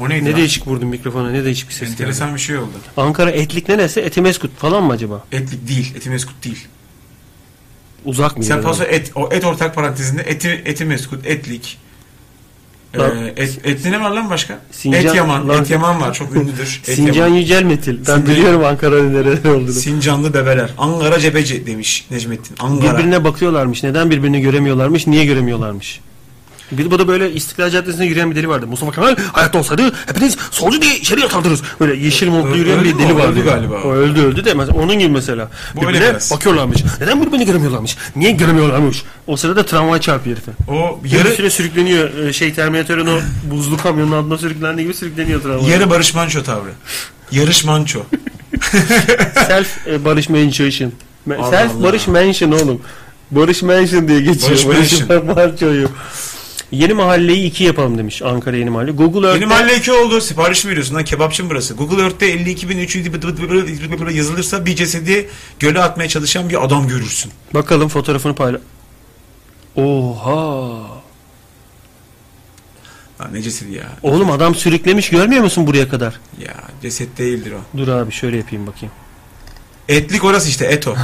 O neydi?
ne
lan?
değişik vurdun mikrofona ne değişik bir ses geldi.
Enteresan bir şey oldu.
Ankara Etlik neresi? Etimeskut falan mı acaba?
Etlik değil. Etimeskut değil.
Uzak mı?
Sen
yani?
paso et, o et ortak parantezinde eti, etimeskut, etlik. Ee,
Lan-
et, etli ne var lan başka?
Sincan-
et Yaman.
lan-
et Yaman var. Çok ünlüdür. Et
Sincan
Yaman.
Yücel Metil. Ben
Sincan-
biliyorum Ankara'nın nerede olduğunu.
Sincanlı bebeler. Ankara cebeci demiş Necmettin. Ankara.
Birbirine bakıyorlarmış. Neden birbirini göremiyorlarmış? Niye göremiyorlarmış? Bir bu da böyle İstiklal Caddesi'nde yürüyen bir deli vardı. Mustafa Kemal hayatta olsaydı hepiniz solcu diye içeri yatardınız. Böyle yeşil montlu
Ö-
yürüyen
öldü
bir
mü?
deli
O
vardı.
öldü galiba.
O öldü öldü de mesela onun gibi mesela.
Bu öyle
birbirine
biraz.
bakıyorlarmış. Neden birbirini göremiyorlarmış? Niye göremiyorlarmış? O sırada tramvay çarpıyor herife.
O
Yarı... Bir
yarı,
süre sürükleniyor. Ee, Şey Terminator'un o buzlu kamyonun altında sürüklendiği gibi sürükleniyor tramvay.
yarı Barış Manço tavrı. Yarış Manço.
Self e, Barış Mansion. Me-
Allah
Self
Allah.
Barış Mansion oğlum. Barış Mansion diye geçiyor.
Barış
Mansion'u. Yeni mahalleyi iki yapalım demiş Ankara Yeni Mahalle. Google Earth'te
Benim halle 2 oldu. Sipariş mi veriyorsun lan? Kebapçı mı burası? Google Earth'te 52.300 yazılırsa bir cesedi göle atmaya çalışan bir adam görürsün.
bakalım fotoğrafını payla. Oha.
Lan ne cesedi ya?
Oğlum adam sürüklemiş görmüyor musun buraya kadar?
Ya ceset değildir o.
Dur abi şöyle yapayım bakayım.
Etlik orası işte eto.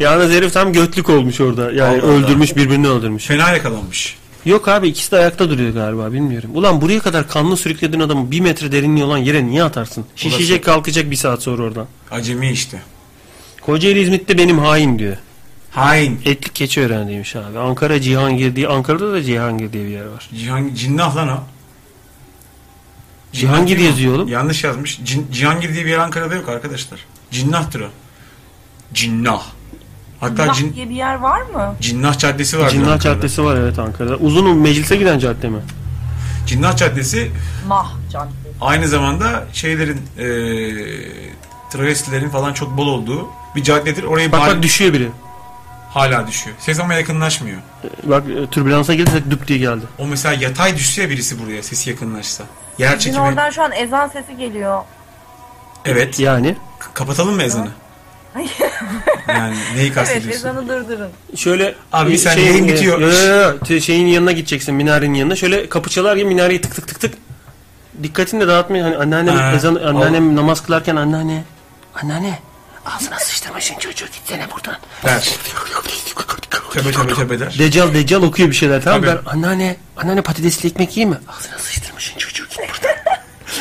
Yalnız herif tam götlük olmuş orada. Yani
Allah Allah.
öldürmüş birbirini öldürmüş.
Fena yakalanmış.
Yok abi ikisi de ayakta duruyor galiba bilmiyorum. Ulan buraya kadar kanlı sürüklediğin adamı bir metre derinliği olan yere niye atarsın? Şişecek kalkacak bir saat sonra oradan.
Acemi işte.
Kocaeli İzmit'te benim hain diyor.
Hain.
Etlik keçi öğrendiymiş abi. Ankara Cihangir diye Ankara'da da Cihangir diye bir yer var.
Cihan, cinnah lan o.
Cihangir
değil o.
yazıyor oğlum.
Yanlış yazmış. Cin, Cihangir diye bir yer Ankara'da yok arkadaşlar. Cinnahtır o. Cinnah. Hatta
Bak
cin,
diye bir yer var mı?
Cinnah Caddesi var.
Cinnah Caddesi var evet Ankara'da. Uzun meclise giden cadde mi?
Cinnah Caddesi
Mah can.
aynı zamanda şeylerin eee travestilerin falan çok bol olduğu bir caddedir. Orayı
Bak
bari-
bak düşüyor biri.
hala düşüyor. Ses ama yakınlaşmıyor.
Bak e, türbülansa girdi düp diye geldi.
O mesela yatay düşse ya birisi buraya sesi yakınlaşsa. Yer
Dün
çekimi.
oradan şu an ezan sesi geliyor.
Evet.
Yani
K- Kapatalım mı ezanı? yani neyi
Evet
kastediyorsun?
ezanı durdurun.
şöyle
Abi bir
e,
saniye, yayın bitiyor.
Yo, yo, yo, te- şeyin yanına gideceksin minarenin yanına. Şöyle kapı çalar gibi minareyi tık tık tık tık. Dikkatini de dağıtmayın. Hani anneannem
Ha,
ezan
al.
anneannem namaz kılarken anneanne anneanne ağzına sıçtırmışın çocuğu gitsene buradan.
Der. Tövbe tövbe tövbe der.
Deccal Deccal okuyor bir şeyler tamam mı?
Tabii.
Ben anneanne anneanne patatesli ekmek yiyeyim mi? Ağzına sıçtırmışın çocuğu git buradan.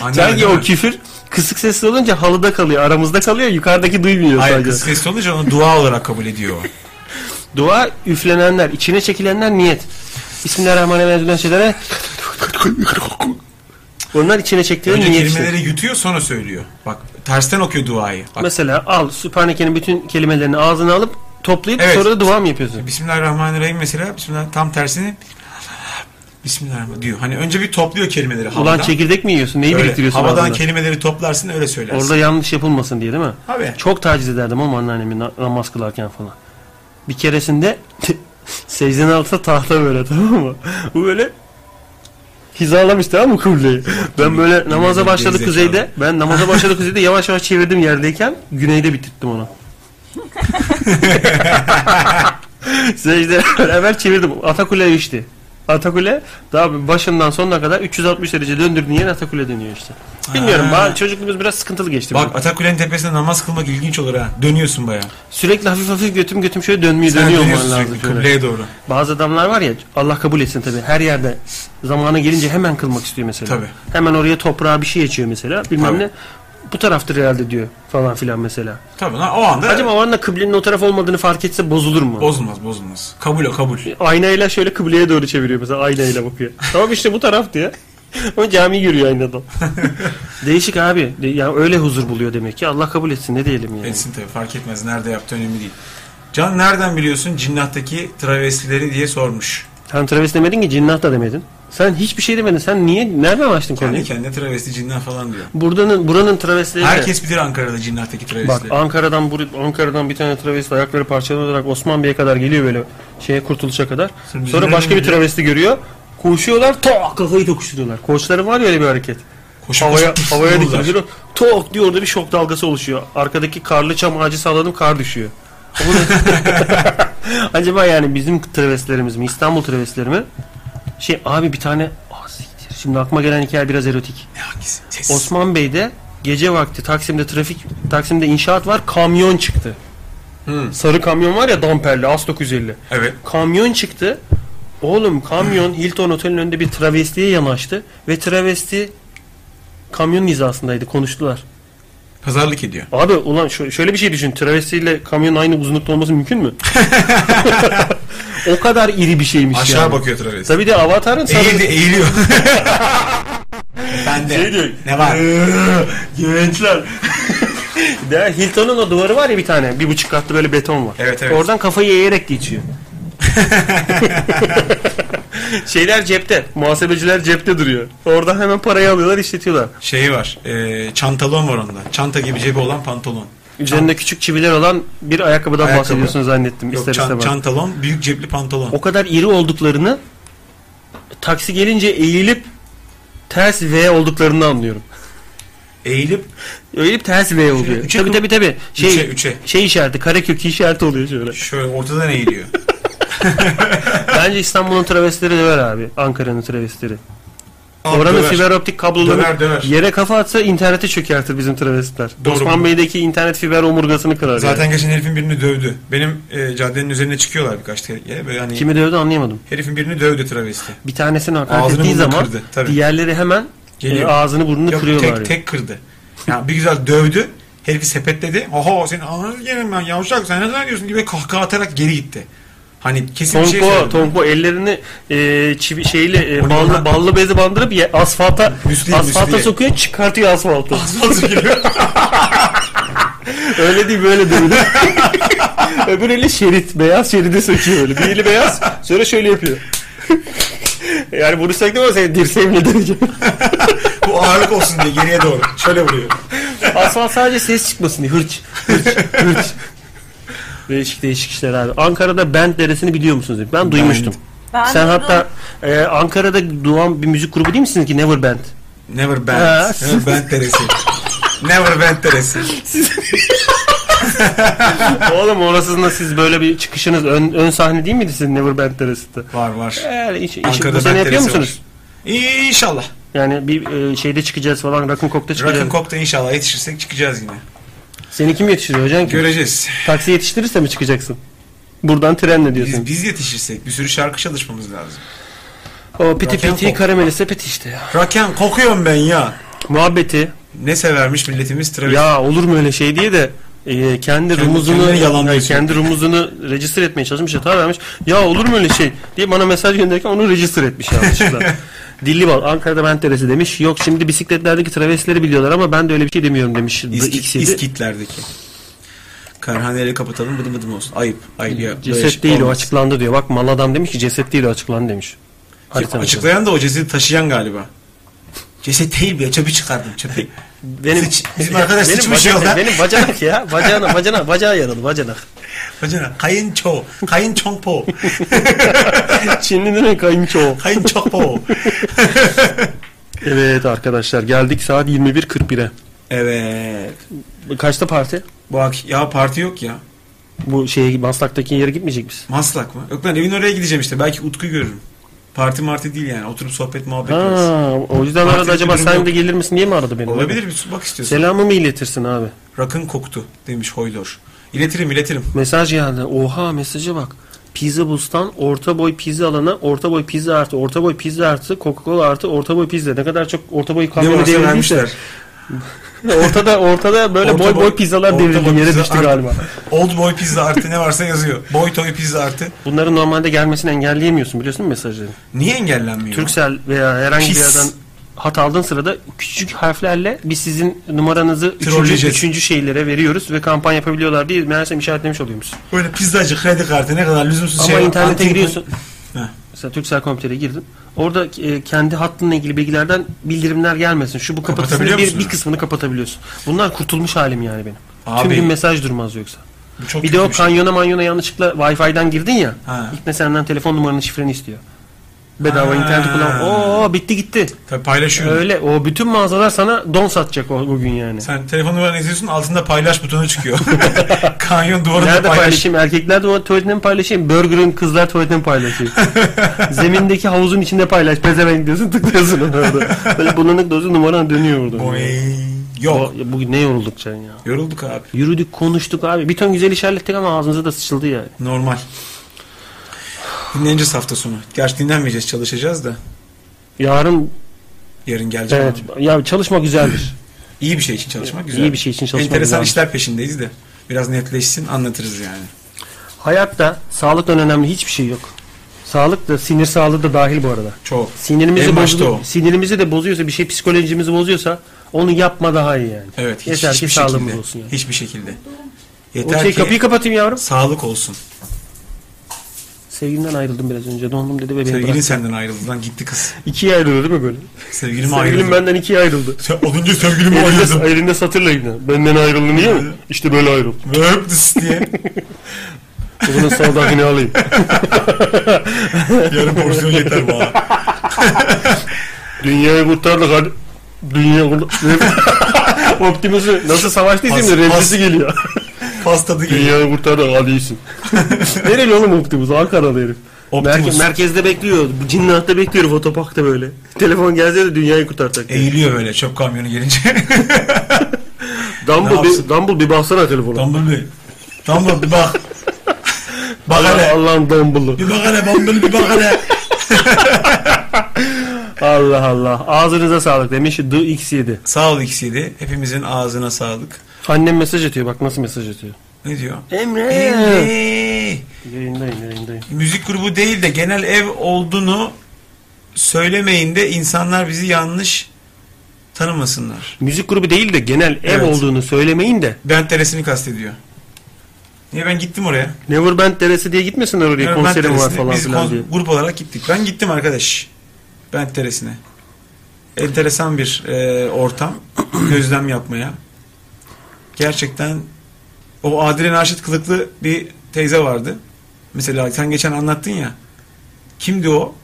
Anne
Sanki
öyle
o
mi?
küfür kısık sesli olunca halıda kalıyor aramızda kalıyor yukarıdaki duymuyor
Hayır
sadece.
kız sesli olunca onu dua olarak kabul ediyor. o.
Dua üflenenler, içine çekilenler niyet. Bismillahirrahmanirrahim edilen şeylere onlar içine çektiği
Önce
niyet işte.
kelimeleri yutuyor sonra söylüyor. Bak tersten okuyor duayı. Bak,
Mesela al Sübhaneke'nin bütün kelimelerini ağzına alıp toplayıp
Evet.
sonra da dua mı yapıyorsun?
Bismillahirrahmanirrahim mesela Bismillah tam tersini Bismillahirrahmanirrahim diyor. Hani önce bir topluyor kelimeleri havadan.
Ulan çekirdek mi yiyorsun? Neyi
Öyle,
biriktiriyorsun
havadan
ağzına?
kelimeleri toplarsın öyle söylersin.
Orada yanlış yapılmasın diye değil mi?
Abi.
Çok taciz ederdim ama anneannemi na- namaz kılarken falan. Bir keresinde secdenin altında tahta böyle tamam mı? Bu böyle hizalamış tamam mı kıbleyi? Ben böyle namaza
bir
başladı
gerizekalı.
kuzeyde. Ben namaza başladı kuzeyde yavaş yavaş çevirdim yerdeyken güneyde bitirttim onu. Secde evvel çevirdim. Atakule işte. Atakule daha başından sonuna kadar 360 derece döndürdüğün yer Atakule dönüyor işte. Bilmiyorum.
Ha.
ba- Çocukluğumuz biraz sıkıntılı geçti. bizim.
Bak Atakule'nin tepesinde namaz kılmak ilginç olur ha. Dönüyorsun baya.
Sürekli hafif hafif götüm götüm şöyle dönmüyor
Sen
dönüyor olman
dönüyorsun
lazım.
sürekli
şöyle.
kıbleye doğru.
Bazı adamlar var ya Allah kabul etsin tabi her yerde zamana gelince hemen kılmak istiyor mesela.
Tabii.
Hemen oraya toprağa bir şey açıyor mesela bilmem
Tabii.
ne. Bu taraftır herhalde diyor falan filan mesela.
Tabii lan o anda
Acaba o anda kıblenin o taraf olmadığını fark etse bozulur mu?
bozulmaz bozulmaz. Kabul o kabul.
aynayla şöyle kıbleye doğru çeviriyor mesela aynayla bakıyor. tamam işte bu taraf diyor. Ama cami görüyor aynadan. Değişik abi. De- Yani öyle huzur buluyor demek ki. Allah kabul etsin ne diyelim yani.
Etsin tabii fark etmez. Nerede yaptığı önemli değil. Can nereden biliyorsun cinnahtaki travestileri diye sormuş.
Sen travesti demedin ki cinnah da demedin. Sen hiçbir şey demedin. Sen niye nereden açtın konuyu?
Kendi kendine travesti cinnah falan diyor.
Buranın buranın travestileri. de-
Herkes bilir Ankara'da cinnahtaki
Bak
travestileri.
Ankara'dan bur- Ankara'dan bir tane travesti ayakları parçalanarak Osman Bey'e kadar geliyor böyle şeye kurtuluşa kadar.
Sen
Sonra
bizimle
başka
mi
bir
geliyor?
travesti görüyor. Koşuyorlar tok kafayı tokuşturuyorlar. Koçların var ya öyle bir hareket.
Koşu
Havaya
koşu
havaya
vururlar.
dikiliyor. Tok diyor orada bir şok dalgası oluşuyor. Arkadaki karlı çam ağacı salladım kar düşüyor. O da- Acaba yani bizim travestilerimiz mi İstanbul travestileri mi? Şey abi bir tane Ah, siktir. Şimdi aklıma gelen hikaye biraz erotik.
Ne hangisi? Ses.
Osman Bey'de gece vakti Taksim'de trafik Taksim'de inşaat var kamyon çıktı.
Hı.
Sarı kamyon var ya damperli As 950.
Evet.
Kamyon çıktı. Oğlum kamyon Hilton Otel'in önünde bir travestiye yanaştı ve travesti kamyonun hizasındaydı konuştular.
Pazarlık ediyor.
Abi ulan şö- şöyle bir şey düşün travestiyle kamyonun aynı uzunlukta olması mümkün mü? o kadar iri bir şeymiş
Aşağı
yani.
bakıyor travesti.
Tabii de avatarın sarı-
Eğildi, eğiliyor. ben
Şey
de. Ne var?
e- Gençler. De Hilton'un o duvarı var ya bir tane. Bir buçuk katlı böyle beton var.
Evet, evet.
Oradan kafayı eğerek geçiyor. Şeyler cepte. Muhasebeciler cepte duruyor. Oradan hemen parayı alıyorlar işletiyorlar.
Şeyi var. E, çantalon var onda. Çanta gibi cebi olan pantolon.
Üzerinde küçük çiviler olan bir ayakkabıdan
Ayakkabı.
bahsediyorsun zannettim.
Yok
ister
çan-
istemez.
çantalon, büyük cepli pantolon.
O kadar iri olduklarını taksi gelince eğilip ters V olduklarını anlıyorum.
Eğilip
Eğilip ters V oluyor.
üçe
tabii
kıl-
tabii tabii. Şey,
Üçe, üçe.
şey işareti, karekök işareti oluyor şöyle.
şöyle ortadan eğiliyor.
Bence İstanbul'un travestileri de var abi. Ankara'nın travestileri.
Abi
Oranın
döver.
fiber optik kabloları
Döver, döver.
yere kafa atsa interneti çökertir bizim travestler.
Doğru.
Osman Bey'deki internet fiber omurgasını kırar.
Zaten
yani.
geçen herifin birini dövdü. Benim e, caddenin üzerine çıkıyorlar birkaç kere. Böyle hani
Kimi dövdü anlayamadım.
herifin birini dövdü travesti.
Bir tanesini hakaret
Ağzını
ettiği
burnunu
zaman
kırdı, tabii.
diğerleri hemen
Geliyor.
e, ağzını burnunu
Yok,
kırıyorlar. yani.
tek, tek kırdı. Yani bir güzel dövdü. Herifi sepetledi. Oho senin ananı yerim ben yavşak sen ne zannediyorsun gibi kahkaha atarak geri gitti. Hani kesin bir şey
Tonko,
söyledi.
Tonko ellerini e, çivi, şeyle e,
Oyuna-
ballı, ballı bezi bandırıp ye, asfalta
Müsliye,
asfalta
müsliye.
sokuyor çıkartıyor asfaltı.
Nasıl geliyor?
Öyle değil böyle değil. Öbür eli şerit beyaz şeridi söküyor böyle. Bir eli beyaz sonra şöyle yapıyor. yani bunu söktüm ama seni dirseğimle döneceğim.
Bu ağırlık olsun diye geriye doğru. Şöyle vuruyor.
Asfalt sadece ses çıkmasın diye hırç hırç hırç. Değişik değişik işler abi. Ankara'da Bent Deresi'ni biliyor musunuz? Ben duymuştum.
Ben
Sen
duydum.
hatta e, Ankara'da doğan bir müzik grubu değil misiniz ki Never Band?
Never bend.
Ha.
Never bend teresi. Never bend teresi.
Oğlum orasında siz böyle bir çıkışınız ön, ön sahne değil miydi sizin Never Band Terası'da?
Var var.
Yani iş, iş,
Ankara'da
bu sene
Bent
yapıyor
Terası
musunuz?
İnşallah.
Yani bir e, şeyde çıkacağız falan Rock'n Coke'da çıkacağız.
Rock'ın kokta inşallah yetişirsek çıkacağız yine.
Seni kim yetiştiriyor hocam? ki?
Göreceğiz.
Taksi yetiştirirse mi çıkacaksın? Buradan trenle
Biz,
diyorsun.
biz yetişirsek bir sürü şarkı çalışmamız lazım.
o piti
Rock'n
piti
Coke.
karamelise piti işte ya.
Rock'ın kokuyorum ben ya.
Muhabbeti
Ne severmiş milletimiz travesti.
ya olur mu öyle şey diye de e, kendi rumuzunu
kendini yalanlıyor
e, kendi rumuzunu register etmeye çalışmış hata vermiş. Ya olur mu öyle şey diye bana mesaj gönderirken onu register etmiş yanlışlıkla. Dilli bal Ankara'da ben teresi demiş. Yok şimdi bisikletlerdeki travestileri biliyorlar ama ben de öyle bir şey demiyorum demiş. The
İskit,
X'ydi.
İskitlerdeki. Karhaneyle kapatalım bıdım bıdım olsun. Ayıp. Ayıp ya. Böyle
Ceset
şey
değil o
olmaz.
açıklandı diyor. Bak mal adam demiş ki ceset değil o açıklandı demiş. Haritanın üzerinde.
Açıklayan da o cesedi taşıyan galiba. Ceset değil ya çöpü çıkardım çöpü.
Benim,
Sıç- bizim arkadaş
benim
sıçmış
bacanak-
yolda.
Benim bacanak ya. Bacağına, bacağına, bacağı yaralı bacanak.
Hocana kayınço, kayınçongpo,
Çinlilerin kayınço.
kayınçokpo.
Evet arkadaşlar geldik saat 21.41'e.
evet.
Kaçta parti?
Bu ak- ya parti yok ya.
Bu şeye Maslak'taki yere gitmeyecek misin?
Maslak mı? Yok lan evin oraya gideceğim işte. Belki Utku görürüm. Parti marti değil yani. Oturup sohbet muhabbet ederiz.
Ha, o yüzden
Parti
aradı acaba
durum
sen
yok.
de gelir misin diye mi aradı beni?
Olabilir bir bak istiyorsun.
Selamımı iletirsin abi.
Rakın koktu demiş Hoydor. İletirim iletirim.
Mesaj geldi. Oha mesaja bak. Pizza Bus'tan orta boy pizza alana orta boy pizza artı orta boy pizza artı Coca-Cola artı orta boy pizza. Ne kadar çok orta boy
Ne
kamyonu
varsa
devrildiyse.
vermişler.
ortada ortada böyle
Orta
boy boy pizzalar
orta boy
devrildi yere
pizza
düştü
artı-
galiba.
Old boy pizza artı ne varsa yazıyor. Boy toy pizza artı.
Bunların normalde gelmesini engelleyemiyorsun biliyorsun mu mesajları?
Niye engellenmiyor?
Türksel veya herhangi bir
Pis.
yerden hat aldığın sırada küçük harflerle biz sizin numaranızı üçüncü,
Trolleyeceğiz.
üçüncü şeylere veriyoruz ve kampanya yapabiliyorlar diye meğersem işaretlemiş oluyormuş.
Böyle pizzacı kredi kartı ne kadar lüzumsuz
Ama
şey.
internete
Antin-
giriyorsun.
Heh.
Mesela Türksel Komiter'e girdin. Orada e, kendi hattınla ilgili bilgilerden bildirimler gelmesin. Şu bu kapatısını
Kapatabiliyor
bir,
musun?
bir kısmını kapatabiliyorsun. Bunlar kurtulmuş halim yani benim.
Abi.
Tüm gün mesaj durmaz yoksa.
Bu çok
Bir de
kötü
o
şey.
kanyona manyona yanlışlıkla Wi-Fi'den girdin ya.
Ha.
İlk de senden telefon numaranı şifreni istiyor. Bedava
Ha.
internet kullan. Oo bitti gitti.
Tabii paylaşıyorum.
Öyle o bütün mağazalar sana don satacak o bugün yani.
Sen telefon numaranı yazıyorsun altında paylaş butonu çıkıyor. Kanyon duvarında
Nerede
paylaş.
paylaşayım? Erkekler de tuvaletini mi paylaşayım? Burger'ın kızlar tuvaletini mi paylaşayım? Zemindeki havuzun içinde paylaş. Pezevenk diyorsun tıklıyorsun onu orada. Böyle bulanık dozu numaran dönüyor orada.
Boing.
O,
Yok.
ya bugün ne yorulduk can ya.
Yorulduk abi.
Yürüdük konuştuk abi. Bir ton güzel iş hallettik ama ağzımıza da sıçıldı yani.
Normal. Dinleneceğiz hafta sonu. Gerçi dinlenmeyeceğiz çalışacağız da.
Yarın
Yarın geleceğim.
evet
ama.
ya çalışma güzeldir.
İyi bir şey için çalışmak güzel.
İyi bir şey için çalışmak
Enteresan
güzel.
işler peşindeyiz de. Biraz netleşsin anlatırız yani.
Hayatta sağlıktan önemli hiçbir şey yok. Sağlık da sinir sağlığı da dahil bu arada.
Çok. En
Sinirimizi
başta
bozuyor,
o.
sinirimizi de bozuyorsa bir şey psikolojimizi bozuyorsa onu yapma daha iyi yani.
Evet. Hiç,
Yeter ki
hiçbir
sağlığımız
şekilde.
olsun yani.
Hiçbir şekilde.
O
Yeter
şey
ki
kapıyı kapatayım yavrum.
sağlık olsun.
Sevgilimden ayrıldım biraz önce. Dondum dedi ve beni
Sevgilin
bıraktı.
senden ayrıldı lan gitti kız.
İkiye ayrıldı değil mi böyle?
Sevgilim,
Sevgilim
ayrıldı.
benden ikiye ayrıldı.
Sen olunca sevgilimi
Elinde,
ayrıldım.
elinde satırla yine. Benden ayrıldı niye mi? İşte böyle ayrıldı.
Öp dıs diye.
Bunun sağdakini alayım.
Yarın porsiyon yeter bana.
Dünyayı kurtardık hadi. Dünya kurtardık. Optimus'u nasıl savaştıysa
Pas-
şimdi
pas-
rencisi geliyor.
Pastadı geliyor.
Dünyayı kurtardık hadi iyisin. Nereli oğlum Optimus? Ankara'da herif.
Optimus
Merke- merkezde bekliyor. Cinnah'ta bekliyor otoparkta böyle. Telefon gelse de dünyayı kurtaracak.
eğiliyor böyle çöp kamyonu gelince. ne
Dumble,
yapsın?
bir, Dumble bir baksana telefona.
Bumblebee. Bumblebee bir bak. Bak
Allah,
hele.
Allah'ın Dumble'ı.
Bir bak hele Bumblebee bir bak hele.
Allah Allah. Ağzınıza sağlık demiş DX7.
Sağ ol X7. Hepimizin ağzına sağlık.
Annem mesaj atıyor bak nasıl mesaj atıyor.
Ne diyor?
Emre.
Eee,
Yayındayım yayındayım.
müzik grubu değil de genel ev olduğunu söylemeyin de insanlar bizi yanlış tanımasınlar.
Müzik grubu değil de genel ev
Evet.
olduğunu söylemeyin de.
Ben teresini kastediyor. Niye ben gittim oraya?
Never Band Teresi diye gitmesinler oraya
Evet, Bent
konserim var
Teresi'ne.
falan
Biz
filan
kon-
diye.
grup olarak gittik. Ben gittim arkadaş. Ben teresine. Enteresan bir e, ortam. Gözlem yapmaya. Gerçekten o Adile Naşit kılıklı bir teyze vardı. Mesela sen geçen anlattın ya. Kimdi o?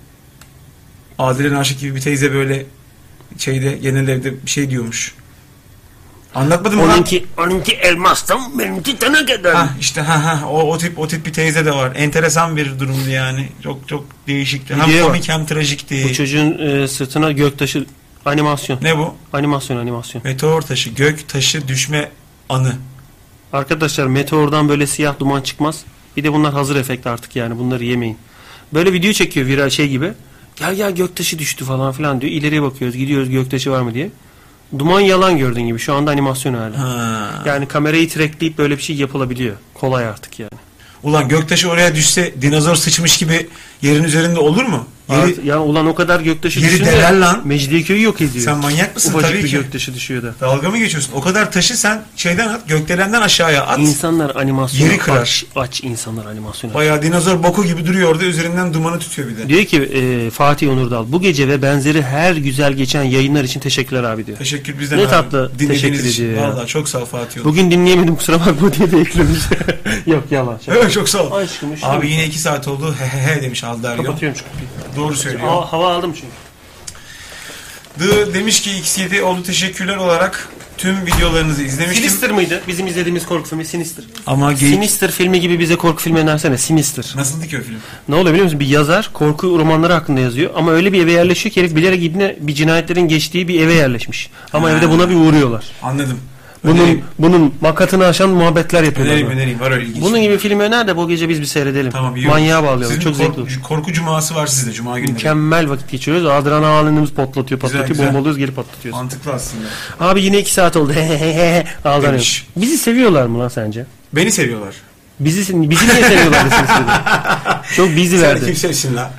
Adile Naşit gibi bir teyze böyle şeyde genel evde bir şey diyormuş. Anlatmadım mı lan?
Onunki, onunki elmastan benimki tane kadar.
Ha Ah, işte ha ha o, o tip o tip bir teyze de var. Enteresan bir durumdu yani. Çok çok değişikti. Hem
Video.
komik hem trajikti.
Bu çocuğun e, sırtına göktaşı animasyon.
Ne bu?
Animasyon animasyon.
Meteor taşı, gök taşı düşme anı.
Arkadaşlar meteordan böyle siyah duman çıkmaz. Bir de bunlar hazır efekt artık yani bunları yemeyin. Böyle video çekiyor viral şey gibi. Gel gel göktaşı düştü falan filan diyor. İleriye bakıyoruz gidiyoruz göktaşı var mı diye. Duman yalan gördüğün gibi şu anda animasyon hali.
Ha.
Yani kamerayı trackleyip böyle bir şey yapılabiliyor. Kolay artık yani.
Ulan gök taşı oraya düşse dinozor sıçmış gibi yerin üzerinde olur mu? Yeri-
Artık- yani ulan o kadar göktaşı
Yeri
düşünce
deler lan.
Mecidiyeköy'ü yok ediyor.
Sen manyak mısın?
Ufacık
Tabii
bir
ki.
göktaşı düşüyor da.
Dalga mı geçiyorsun? O kadar taşı sen şeyden at, gökdelenden aşağıya at.
İnsanlar animasyon
Yeri kırar.
aç, aç insanlar animasyon aç.
Bayağı dinozor boku gibi duruyor orada üzerinden dumanı tutuyor bir de.
Diyor ki e, Fatih Onurdal bu gece ve benzeri her güzel geçen yayınlar için teşekkürler abi diyor.
Teşekkür bizden
Ne
abi.
tatlı
Dinlediğiniz
teşekkür
için.
ediyor ya.
Vallahi çok sağ ol Fatih Yol.
Bugün dinleyemedim kusura bakma diye de eklemiş. Yok yalan. şaka.
Evet çok sağ ol.
Aşkım, aşkım.
Abi yine iki saat oldu. He he he demiş Aldar Yol.
Kapatıyorum şu kapıyı.
Doğru söylüyor.
Hava, hava aldım çünkü.
The demiş ki X7 oldu teşekkürler olarak tüm videolarınızı izlemiştim.
Sinister mıydı? Bizim izlediğimiz korku filmi Sinister.
Ama geyik.
Sinister filmi gibi bize korku filmi önersene Sinister.
Nasıldı ki o film?
Ne oluyor biliyor musun? Bir yazar korku romanları hakkında yazıyor ama öyle bir eve yerleşiyor ki herif bilerek ibne bir cinayetlerin geçtiği bir eve yerleşmiş. Ama
Ha.
evde buna bir uğruyorlar.
Anladım.
Bunun
Önereyim.
bunun makatını aşan muhabbetler yapıyorlar.
önereyim, önereyim. Var öyle ilginç.
Bunun gibi film öner de bu gece biz bir seyredelim.
tamam, iyi olur.
Manyağa bağlayalım.
Sizin
Çok
korku-
zevkli olur.
Korku cuması var sizde cuma günü.
Mükemmel vakit geçiriyoruz. Adrenalinimiz patlatıyor,
Güzel,
patlatıyor,
güzel.
bombalıyoruz, geri patlatıyoruz.
Mantıklı aslında.
Abi yine 2 saat oldu. Aldanıyoruz.
Demiş.
Bizi seviyorlar mı lan sence?
Beni seviyorlar.
Bizi bizi niye seviyorlar desin istedim. Çok bizi
Seni
verdi.
kim sevsin la?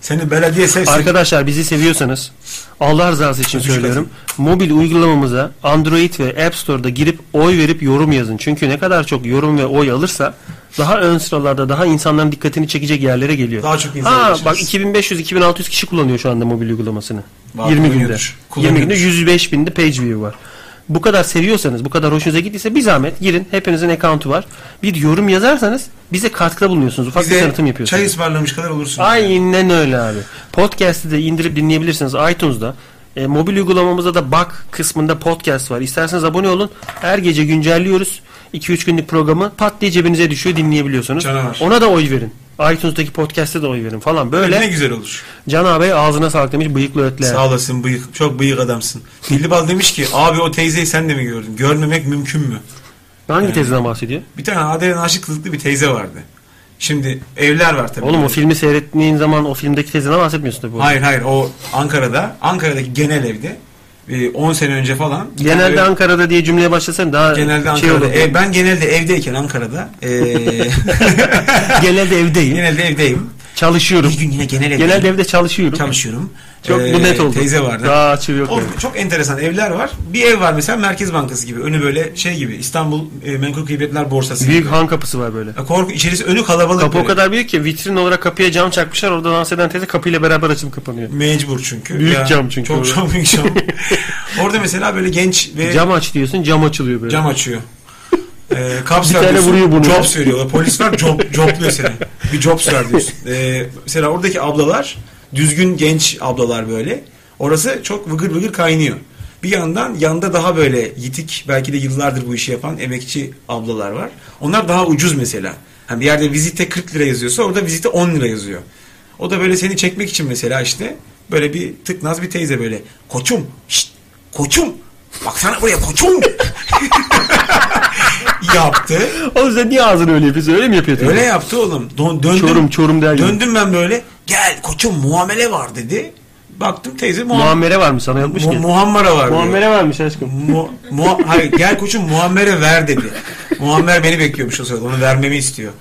Seni belediye sevsin.
Arkadaşlar bizi seviyorsanız Allah rızası için
Öpücük
söylüyorum. Mobil uygulamamıza Android ve App Store'da girip oy verip yorum yazın. Çünkü ne kadar çok yorum ve oy alırsa daha ön sıralarda daha insanların dikkatini çekecek yerlere geliyor.
Daha çok insan
Ha
ulaşırız.
bak 2500-2600 kişi kullanıyor şu anda mobil uygulamasını.
Var,
20 günde.
kullanıyordur,
20 günde
kullanıyordur.
105 binde page view var. Bu kadar seviyorsanız, bu kadar hoşunuza gittiyse bir zahmet girin. Hepinizin account'u var. Bir yorum yazarsanız bize katkıda bulunuyorsunuz. Ufak bir tanıtım
Bize
yapıyorsunuz.
çay ısmarlamış kadar olursun.
Aynen öyle abi. Podcast'i de indirip dinleyebilirsiniz iTunes'da. E, mobil uygulamamızda da bak kısmında podcast var. İsterseniz abone olun. Her gece güncelliyoruz. 2-3 günlük programı pat diye cebinize düşüyor dinleyebiliyorsunuz.
Canavar.
Ona da oy verin. iTunes'daki podcast'e de oy verin falan böyle.
Ne güzel olur.
Can abi ağzına sağlık demiş bıyıklı ötle.
Sağ olasın bıyık. Çok bıyık adamsın. Dilli Bal demiş ki abi o teyzeyi sen de mi gördün? Görmemek mümkün mü?
Hangi
Yani.
tezden bahsediyor?
Bir tane Adile Naşit kılıklı bir teyze vardı. Şimdi evler var tabii.
Oğlum o filmi seyrettiğin zaman o filmdeki tezden bahsetmiyorsun tabii. bu arada.
Hayır hayır o Ankara'da, Ankara'daki genel evde e, 10 sene önce falan. bir
Genelde
tane-
Ankara'da diye cümleye başlasan daha
Genelde
şey
Ankara'da.
olur.
E, ben genelde evdeyken Ankara'da. e,
genelde evdeyim.
genelde evdeyim.
Çalışıyorum.
Bir gün yine genel evdeyim.
Genelde evde çalışıyorum.
çalışıyorum.
Çok
E,
bu net oldu.
Teyze vardı.
Daha açığı yok.
O
yani.
çok enteresan evler var. Bir ev var mesela Merkez Bankası gibi. Önü böyle şey gibi. İstanbul e, Menkul Kıymetler Borsası
Büyük
gibi.
han kapısı var böyle.
E, Korku içerisi önü kalabalık.
Kapı o
böyle.
kadar büyük ki vitrin olarak kapıya cam çakmışlar. Orada dans eden teyze kapıyla beraber açılıp kapanıyor.
Mecbur çünkü.
Büyük cam çünkü
Çok
orada.
çok büyük cam. Orada mesela böyle genç ve
Cam aç diyorsun cam açılıyor böyle.
Ee, Cam açıyor. Ee, kaps
Bir
ver
tane
diyorsun,
vuruyor bunu.
Jobs veriyorlar. Polis var job, jobluyor seni. Bir jobs ver diyorsun. Ee, mesela oradaki ablalar düzgün genç ablalar böyle. Orası çok vıgır vıgır kaynıyor. Bir yandan yanda daha böyle yitik belki de yıllardır bu işi yapan emekçi ablalar var. Onlar daha ucuz mesela. Hani bir yerde vizite 40 lira yazıyorsa orada vizite 10 lira yazıyor. O da böyle seni çekmek için mesela işte böyle bir tıknaz bir teyze böyle koçum şşt, koçum baksana buraya koçum yaptı.
O yüzden niye ağzını öyle yapıyorsun? Öyle mi yapıyorsun?
Öyle yaptı oğlum. Don, döndüm,
Çorum, Çorum der gibi.
Döndüm ben böyle. Gel koçum muamele var dedi. Baktım teyze muam-
Muammere var mı sana yapmış
mu-
ki?
muhammara var. diyor.
Muammere varmış aşkım.
Mu- mu- hayır, gel koçum muammere ver dedi. Muammer beni bekliyormuş o sırada. Onu vermemi istiyor.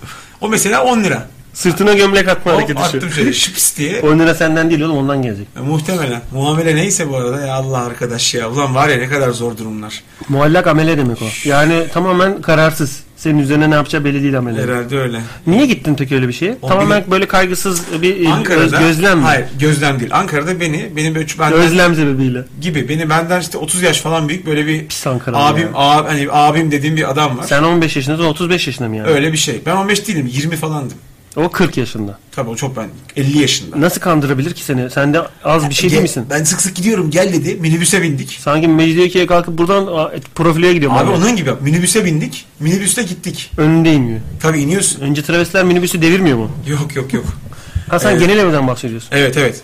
O mesela 10 lira.
Sırtına gömlek atma
Hop,
hareketi
attım
şu.
şöyle şıps diye.
10 lira senden değil oğlum ondan gelecek.
E, muhtemelen. Muamele neyse bu arada ya Allah arkadaş ya. Ulan var ya ne kadar zor durumlar.
Muallak amele demek o. Yani tamamen kararsız. Senin üzerine ne yapacağı belli değil amele.
Herhalde öyle.
Niye gittin peki öyle bir şeye?
O
Tamamen böyle kaygısız bir e, göz,
Ankara'da
gözlem mi?
Hayır, gözlem değil. Ankara'da beni benim böyle ben
Özlem sebebiyle.
gibi beni benden işte 30 yaş falan büyük böyle bir
Pis Ankaralı
abim
ya.
ab, hani abim dediğim bir adam var.
Sen 15 yaşındasın 35 yaşında mı yani?
Öyle bir şey. Ben 15 değilim 20 falandım.
O 40 yaşında.
Tabii o çok ben 50 yaşında.
Nasıl kandırabilir ki seni? Sen de az bir şey değil
Gel-
misin?
Ben sık sık gidiyorum gel dedi minibüse bindik.
Sanki Mecidiyeköy'e kalkıp buradan a, profile gidiyorum.
Abi onun gibi minibüse bindik minibüste gittik.
Önünde inmiyor.
Tabii iniyorsun.
Önce travestiler minibüsü devirmiyor mu?
Yok yok yok.
Ha sen
Evet.
genel evden bahsediyorsun.
Evet evet.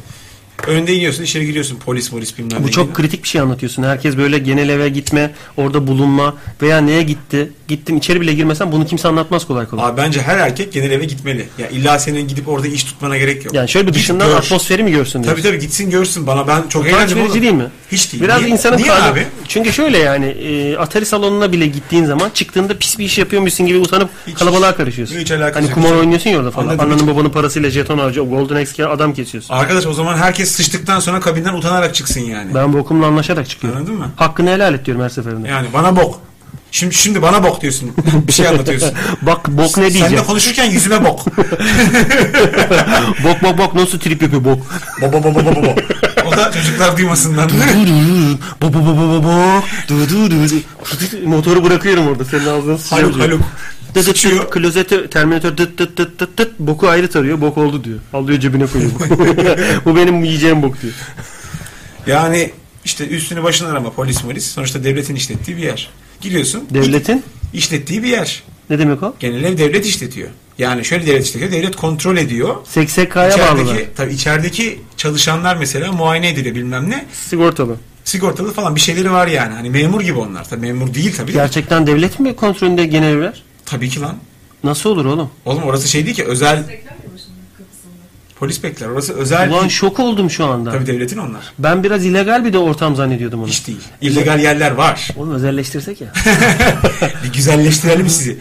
Önde iniyorsun içeri giriyorsun polis polis bilmem
Bu
ne
çok
gibi.
kritik bir şey anlatıyorsun. Herkes böyle genel eve gitme, orada bulunma veya neye gitti, gittim içeri bile girmesen bunu kimse anlatmaz kolay kolay.
Abi bence her erkek genel eve gitmeli. Ya illa senin gidip orada iş tutmana gerek yok.
yani şöyle bir
Git
dışından
gör.
atmosferi mi görsün diyorsun?
Tabii tabii gitsin görsün bana ben çok
Utanç
eğlendim
verici
oğlum.
değil mi?
Hiç değil.
Biraz
Niye-
insanın
Niye
tadı-
abi?
Çünkü şöyle yani e, Atari salonuna bile gittiğin zaman çıktığında pis bir iş yapıyormuşsun gibi utanıp
Hiç-
kalabalığa
hiç-
karışıyorsun.
hiç alakası
hani
yok.
kumar oynuyorsun ya orada falan.
Anladım,
Ananın
hiç-
babanın parasıyla jeton harcı, o Golden Axe adam kesiyorsun.
Arkadaş o zaman herkes sıçtıktan sonra kabinden utanarak çıksın yani.
Ben bokumla anlaşarak çıkıyorum.
Anladın mı? E,
Hakkını helal et diyorum her seferinde.
Yani bana bok. Şimdi şimdi bana bok diyorsun. Bir şey anlatıyorsun.
Bak bok ne
Sen de
diyeceğim.
konuşurken yüzüme bok.
Bok bok bok nasıl trip yapıyor bok.
Bo bo bo bo bo bo. O da çocuklar duymasından.
Bok bok bok bok bok. Du du du du. Motoru bırakıyorum orada senin ağzına sıçıyor.
Haluk Haluk.
Dıt dıt
Sıçıyor.
dıt, klozete terminatör dıt dıt dıt dıt dıt boku ayrı tarıyor bok oldu diyor. Alıyor cebine koyuyor. Bu benim yiyeceğim bok diyor.
Yani işte üstünü başını arama polis polis. Sonuçta devletin işlettiği bir yer. Giriyorsun.
Devletin
işlettiği bir yer.
ne demek o?
Genel ev devlet işletiyor. Yani şöyle devlet işletiyor. Devlet kontrol ediyor.
80K'ya bağlılar.
İçerideki, tabii içerideki çalışanlar mesela muayene ediliyor bilmem ne.
Sigortalı.
Sigortalı falan bir şeyleri var yani. Hani memur gibi onlar. Tabii memur değil tabii. de.
Gerçekten devlet mi kontrolünde genel evler?
Tabii ki lan.
Nasıl olur oğlum?
Oğlum orası şey değil ki özel... Polis bekler. Orası özel.
Ulan şok oldum şu anda.
Tabii devletin onlar.
Ben biraz illegal bir de ortam zannediyordum onu.
Hiç değil. İllegal yerler var.
Oğlum özelleştirsek ya.
Bir güzelleştirelim sizi.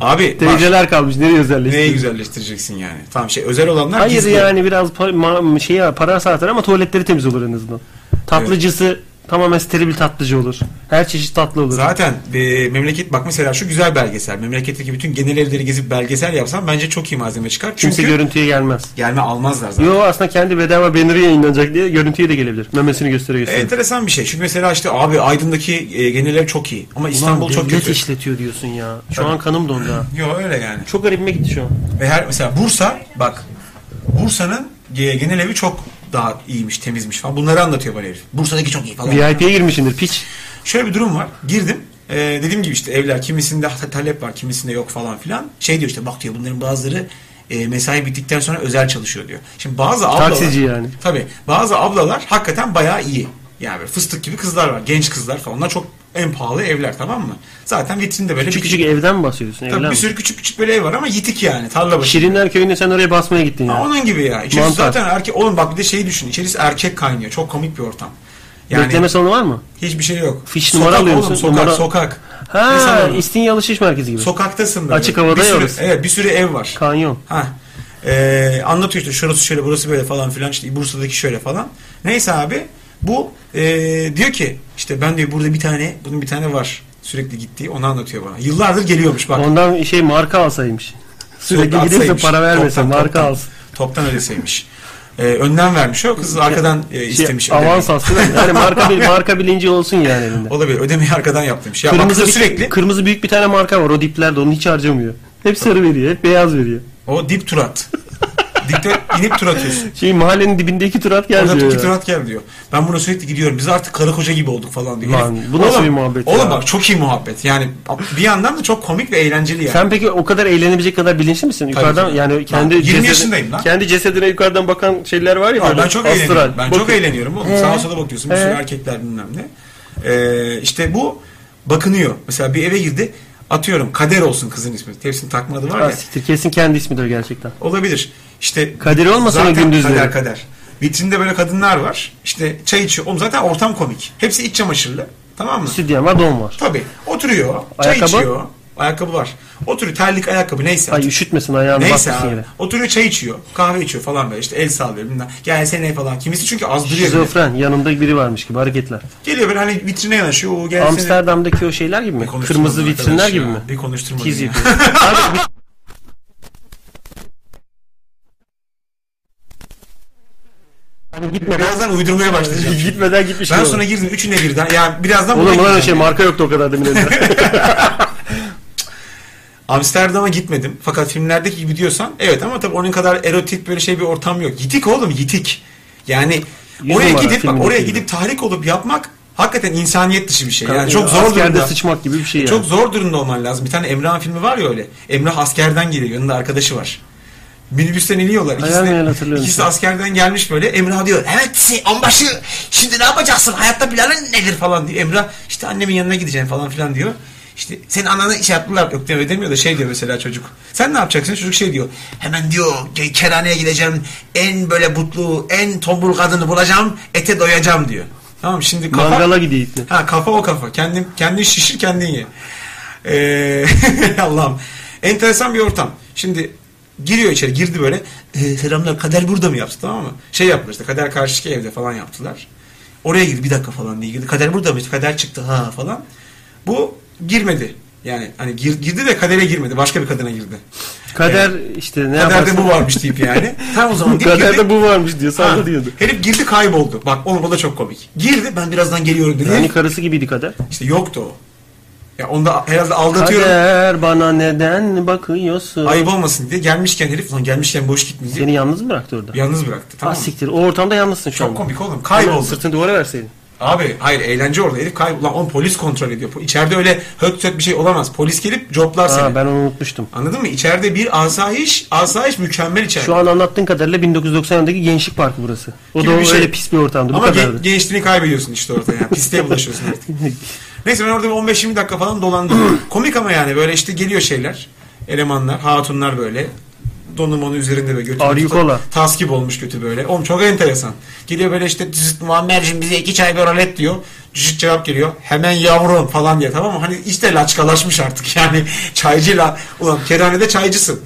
Abi var.
Dereceler kalmış. Nereye özelleştirecek?
Neyi güzelleştireceksin yani? Tamam şey özel olanlar
Hayır
gizli.
yani biraz pa- ma- şey ya, para satar ama tuvaletleri temiz olur en azından. Tatlıcısı tamamen steril tatlıcı olur. Her çeşit tatlı olur.
Zaten e, memleket bak mesela şu güzel belgesel. Memleketteki bütün genel evleri gezip belgesel yapsam bence çok iyi malzeme çıkar. Çünkü
Kimse görüntüye gelmez.
gelme almazlar zaten.
Yo aslında kendi bedava banner'ı yayınlanacak diye görüntüye de gelebilir. Memesini göstere
E,
göstere.
Enteresan bir şey. Çünkü mesela işte abi Aydın'daki e, genel ev çok iyi. Ama İstanbul
Ulan
çok
devlet
kötü.
işletiyor diyorsun ya. Şu
Tabii.
an kanım dondu ha.
Yo öyle yani.
Çok garibime gitti şu an.
Ve her mesela Bursa bak Bursa'nın e, genel evi çok daha iyiymiş, temizmiş falan. Bunları anlatıyor bana herif. Bursa'daki çok iyi falan.
VIP'ye girmişsindir piç.
Şöyle bir durum var. Girdim. Ee, dediğim gibi işte evler kimisinde ta- talep var kimisinde yok falan filan. Şey diyor işte bak diyor bunların bazıları e, mesai bittikten sonra özel çalışıyor diyor. Şimdi bazı ablalar.
Taksici yani.
Tabii bazı ablalar hakikaten bayağı iyi. Yani böyle fıstık gibi kızlar var. Genç kızlar falan. Onlar çok en pahalı evler tamam mı? Zaten vitrinde böyle
Küçük
bir,
küçük evden mi bahsediyorsun?
tabii
Evlen
bir
mi?
sürü küçük küçük böyle ev var ama yitik yani. Tarla başı.
Şirinler köyünde sen oraya basmaya gittin ya.
Ha, onun gibi ya. İçerisi
Mantar.
zaten erkek. Oğlum bak bir de şeyi düşün. İçerisi erkek kaynıyor. Çok komik bir ortam. Yani
Bekleme salonu var mı?
hiçbir şey yok.
Fiş
sokak
numara alıyor
oğlum,
musun?
Sokak
Numara-
sokak. Ne
Ha,
sanıyorsun?
İstinye Alışveriş Merkezi gibi.
Sokaktasın böyle.
Açık havada
bir sürü,
yiyoruz.
Evet bir sürü ev var.
Kanyon.
Ha. Ee, anlatıyor işte şurası şöyle burası böyle falan filan işte Bursa'daki şöyle falan. Neyse abi bu ee, diyor ki işte ben diyor burada bir tane bunun bir tane var sürekli gittiği onu anlatıyor bana. Yıllardır geliyormuş bak.
Ondan şey marka alsaymış. Sürekli
Toptan
gidip de
atsaymış.
para vermese
Toptan,
marka
toptan.
alsın.
Toptan ödeseymiş. Ee, önden vermiş o kız arkadan ee,
Şey,
istemiş. ödemeyi.
avans alsın. Yani marka, bil- marka bilinci olsun yani elinde.
Olabilir ödemeyi arkadan yaptırmış. Ya bak
bir, şey,
kız sürekli
kırmızı büyük bir tane marka var o diplerde onu hiç harcamıyor. Hep sarı veriyor, hep beyaz veriyor.
o dip turat. Dikte inip tur atıyorsun.
Şey mahallenin dibinde iki tur at gel
Orada
diyor.
iki
ya.
tur at gel diyor. Ben buna sürekli gidiyorum. Biz artık karı koca gibi olduk falan diyor.
Lan,
Herif,
bu nasıl bir muhabbet
Oğlum
ya?
bak çok iyi muhabbet. Yani bir yandan da çok komik ve eğlenceli yani.
Sen peki o kadar eğlenebilecek kadar bilinçli misin? Yukarıdan
ki.
yani kendi
20 yaşındayım lan.
Kendi cesedine yukarıdan bakan şeyler var ya.
Abi
böyle
ben çok
astral.
eğleniyorum. Ben çok
Bakın.
eğleniyorum oğlum. Sağa sola bakıyorsun. Bir sürü
Ee?
erkekler bilmem ne. Ee, işte bu bakınıyor. Mesela bir eve girdi. Atıyorum Kader olsun kızın ismi. Hepsinin takma adı var
Ha,
ya.
siktir kesin kendi ismidir gerçekten.
Olabilir. İşte
Kadir olmasa
zaten
mı gündüzleri?
Kader kader. Vitrinde böyle kadınlar var. İşte çay içiyor. Oğlum zaten ortam komik. Hepsi iç çamaşırlı. Tamam mı?
Stüdyen var don var.
Tabii. Oturuyor.
Ayakkabı?
Çay içiyor. Ayakkabı var. Oturuyor. Terlik ayakkabı neyse.
Ay üşütmesin ayağını
Neyse
bakmasın
abi.
yere.
Oturuyor çay içiyor. Kahve içiyor falan böyle. İşte el sallıyor. Bilmem. Gelsene falan. Kimisi çünkü azdırıyor. bile.
Şizofren yanında biri varmış gibi hareketler.
Geliyor böyle hani vitrine yanaşıyor. O gelsene.
Amsterdam'daki o şeyler gibi mi?
Bir konuşturmadın
Kırmızı
arkadaş
vitrinler
ya.
gibi mi?
Bir konuşturmadın
Tiz
ya.
yapıyor. Abi, Hani gitmeden,
Birazdan uydurmaya başlayacağım.
gitmeden gitmiş
ben
gibi
sonra
olur.
girdim. Üçüne birden. Yani birazdan
Olur
buna
mu lan öyle
gireceğim.
şey marka yoktu o kadar demin önce.
Amsterdam'a gitmedim. Fakat filmlerdeki gibi diyorsan evet ama tabii onun kadar erotik böyle şey bir ortam yok. Yitik oğlum yitik. Yani
Yüz
oraya
numara
gidip bak
filmin
oraya
filmi.
gidip tahrik olup yapmak hakikaten insaniyet dışı bir şey. Yani çok zor
Askerde
durumda.
sıçmak gibi bir şey yani.
E, Çok zor durumda olman lazım. Bir tane Emrah'ın filmi var ya öyle. Emrah askerden geliyor. Yanında arkadaşı var. Minibüsten iniyorlar. İkisi,
Hayal meyal
de,
hatırlıyorum
ikisi de
şimdi.
askerden gelmiş böyle. Emrah diyor evet onbaşı şimdi ne yapacaksın? Hayatta planın nedir falan diyor. Emrah işte annemin yanına gideceğim falan filan diyor. İşte senin ananı şey yaptılar yok demiyor, demiyor da şey diyor mesela çocuk. Sen ne yapacaksın? Çocuk şey diyor. Hemen diyor ke- kerhaneye gideceğim. En böyle butlu, en tombul kadını bulacağım. Ete doyacağım diyor. Tamam şimdi kafa...
Mangala gidiyor iple.
Ha kafa o kafa. Kendin, kendin şişir kendin ye. Ee, Allah'ım. Enteresan bir ortam. Şimdi giriyor içeri girdi böyle. Ee, selamlar kader burada mı yaptı tamam mı? Şey yaptılar işte kader karşıki evde falan yaptılar. Oraya girdi bir dakika falan diye girdi. Kader burada mı? İşte kader çıktı ha falan. Bu girmedi. Yani hani gir- girdi de kadere girmedi. Başka bir kadına girdi.
Kader işte ne
Kaderde
yaparsın?
bu varmış deyip yani. Tam o zaman deyip girdi.
Kaderde bu varmış diyor
Ha,
diyordu.
herif girdi kayboldu. Bak oğlum o da çok komik. Girdi ben birazdan geliyorum dedi.
Yani Hani karısı gibiydi kader.
İşte yoktu o. Ya onda herhalde aldatıyorum.
Kader bana neden bakıyorsun?
Ayıp olmasın diye gelmişken herif lan gelmişken boş gitmeyecek.
Seni yalnız mı bıraktı orada?
Yalnız bıraktı
Ah
tamam mı?
siktir. O ortamda yalnızsın şu
Çok
anda.
komik oğlum.
Ulan
Kayboldu.
Sırtını duvara verseydin.
Abi hayır eğlence orada. Herif kayboldu. Lan on polis kontrol ediyor. Po- İçeride öyle höt söt bir şey olamaz. Polis gelip coplar
Ha,
seni.
ben onu unutmuştum.
Anladın mı? İçeride bir asayiş, asayiş mükemmel içeride.
Şu an anlattığın kadarıyla 1990 yılındaki Gençlik Parkı burası. O
Gibi
da o
bir şey.
öyle pis bir ortamdı.
Ama
bu
gen-
kadardı.
gençliğini kaybediyorsun işte orada yani. Pisliğe bulaşıyorsun artık. Neyse ben orada bir 15-20 dakika falan dolandım. Komik ama yani böyle işte geliyor şeyler. Elemanlar, hatunlar böyle. Donum onu üzerinde böyle götü.
Arıyı kola.
Tasgip olmuş götü böyle. Oğlum çok enteresan. Geliyor böyle işte "Cızıt, Muammer'cim bize iki çay bir et diyor. Cızıt cevap geliyor. Hemen yavrum falan diye tamam mı? Hani işte laçkalaşmış artık yani. Çaycı la. Ulan kerhanede çaycısın.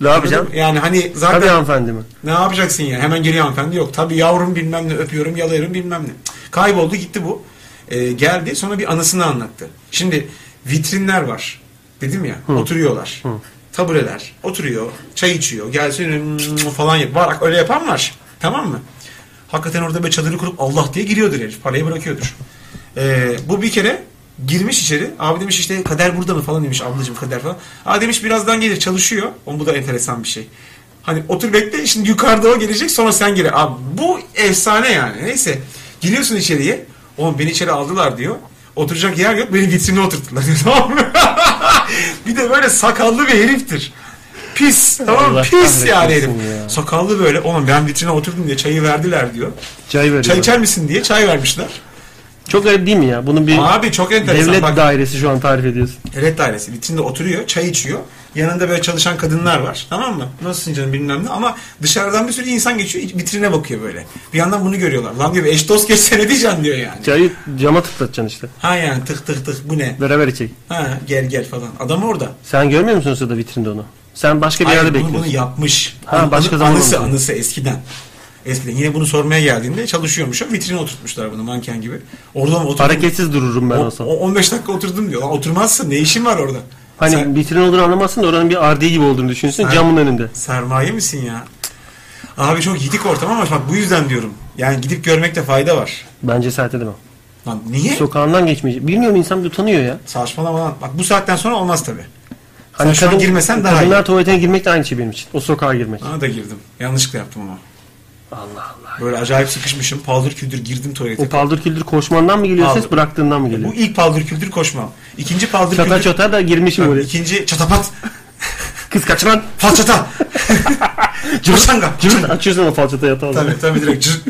Ne yapacağım?
Yani hani zaten
Tabii hanımefendi mi?
ne yapacaksın ya? Hemen geliyor hanımefendi. Yok tabii yavrum bilmem ne öpüyorum yalarım bilmem ne. Cık, Kayboldu gitti bu. Ee, geldi sonra bir anısını anlattı. Şimdi vitrinler var. Dedim ya oturuyorlar. Tabureler. Oturuyor. Çay içiyor. Gelsin mm, falan yap. Var öyle yapan var. Tamam mı? Hakikaten orada böyle çadırı kurup Allah diye giriyordur herif. Parayı bırakıyordur. Ee, bu bir kere girmiş içeri. Abi demiş işte kader burada mı falan demiş ablacığım kader falan. Aa demiş birazdan gelir çalışıyor. Oğlum bu da enteresan bir şey. Hani otur bekle şimdi yukarıda o gelecek sonra sen gir. Abi bu efsane yani. Neyse giriyorsun içeriye. Oğlum beni içeri aldılar diyor. Oturacak yer yok beni vitrine oturttular diyor. Tamam mı? bir de böyle sakallı bir heriftir. Pis tamam mı?
Allah
pis yani herif.
kahretmesin ya.
Sakallı böyle oğlum ben vitrine oturdum diye çayı verdiler diyor.
Çay veriyor.
Çay içer misin diye çay vermişler.
Çok garip değil mi ya? Bunun bir
Abi çok enteresan.
devlet
Bak,
dairesi şu an tarif ediyorsun.
devlet dairesi. Vitrinde oturuyor, çay içiyor. Yanında böyle çalışan kadınlar var. Tamam mı? Nasılsın canım bilmem ne. Ama dışarıdan bir sürü insan geçiyor. Vitrine bakıyor böyle. Bir yandan bunu görüyorlar. Lan diyor eş dost geçse ne diyeceksin diyor yani.
Çayı cama tıklatacaksın işte.
Ha yani tık tık tık bu ne?
Beraber içecek.
Ha gel gel falan. Adam orada.
Sen görmüyor musun o sırada vitrinde onu? Sen başka bir
Hayır,
yerde
bunu, bunu
bekliyorsun.
yapmış.
Ha,
Anı-
başka
anı-
zaman
anısı,
olmuş.
anısı eskiden. Eskiden. Yine bunu sormaya geldiğinde çalışıyormuş. o. Vitrine oturtmuşlar bunu manken gibi. Orada mı oturdun?
Hareketsiz dururum ben
O-
olsam.
o- 15 dakika oturdum diyor. Lan oturmazsın. Ne işin var orada?
Hani
Sen-
vitrin olduğunu anlamazsın da oranın bir ardi gibi olduğunu düşünsün
Sen-
camın önünde.
Sermaye misin ya? Abi çok yitik ortam ama bak bu yüzden diyorum. Yani gidip görmekte fayda var.
Ben cesaret edemem.
Lan niye?
Sokağından geçmeyecek. Bilmiyorum insan bir utanıyor ya. Hani
Saçmalama lan. Bak bu saatten sonra olmaz tabi. Sen şu an girmesen daha iyi.
Kadınlar tuvaletine girmek de aynı şey benim için. O sokağa girmek.
Ona da girdim. Yanlışlıkla yaptım ama.
Allah Allah.
Böyle acayip sıkışmışım. Paldır küldür girdim
O
tuvalete.
paldır küldür koşmandan mı geliyor ses
Paldır.
bıraktığından mı geliyor?
Bu ilk paldır küldür koşmam. İkinci paldır
Çata
küldür.
çata da girmişim
Tabii,
oraya.
İkinci çatapat.
Kız kaç lan.
Fal çata. Cırçanga.
Cırt açıyorsun o falçata yatağı.
Tabii tabii direkt cırt.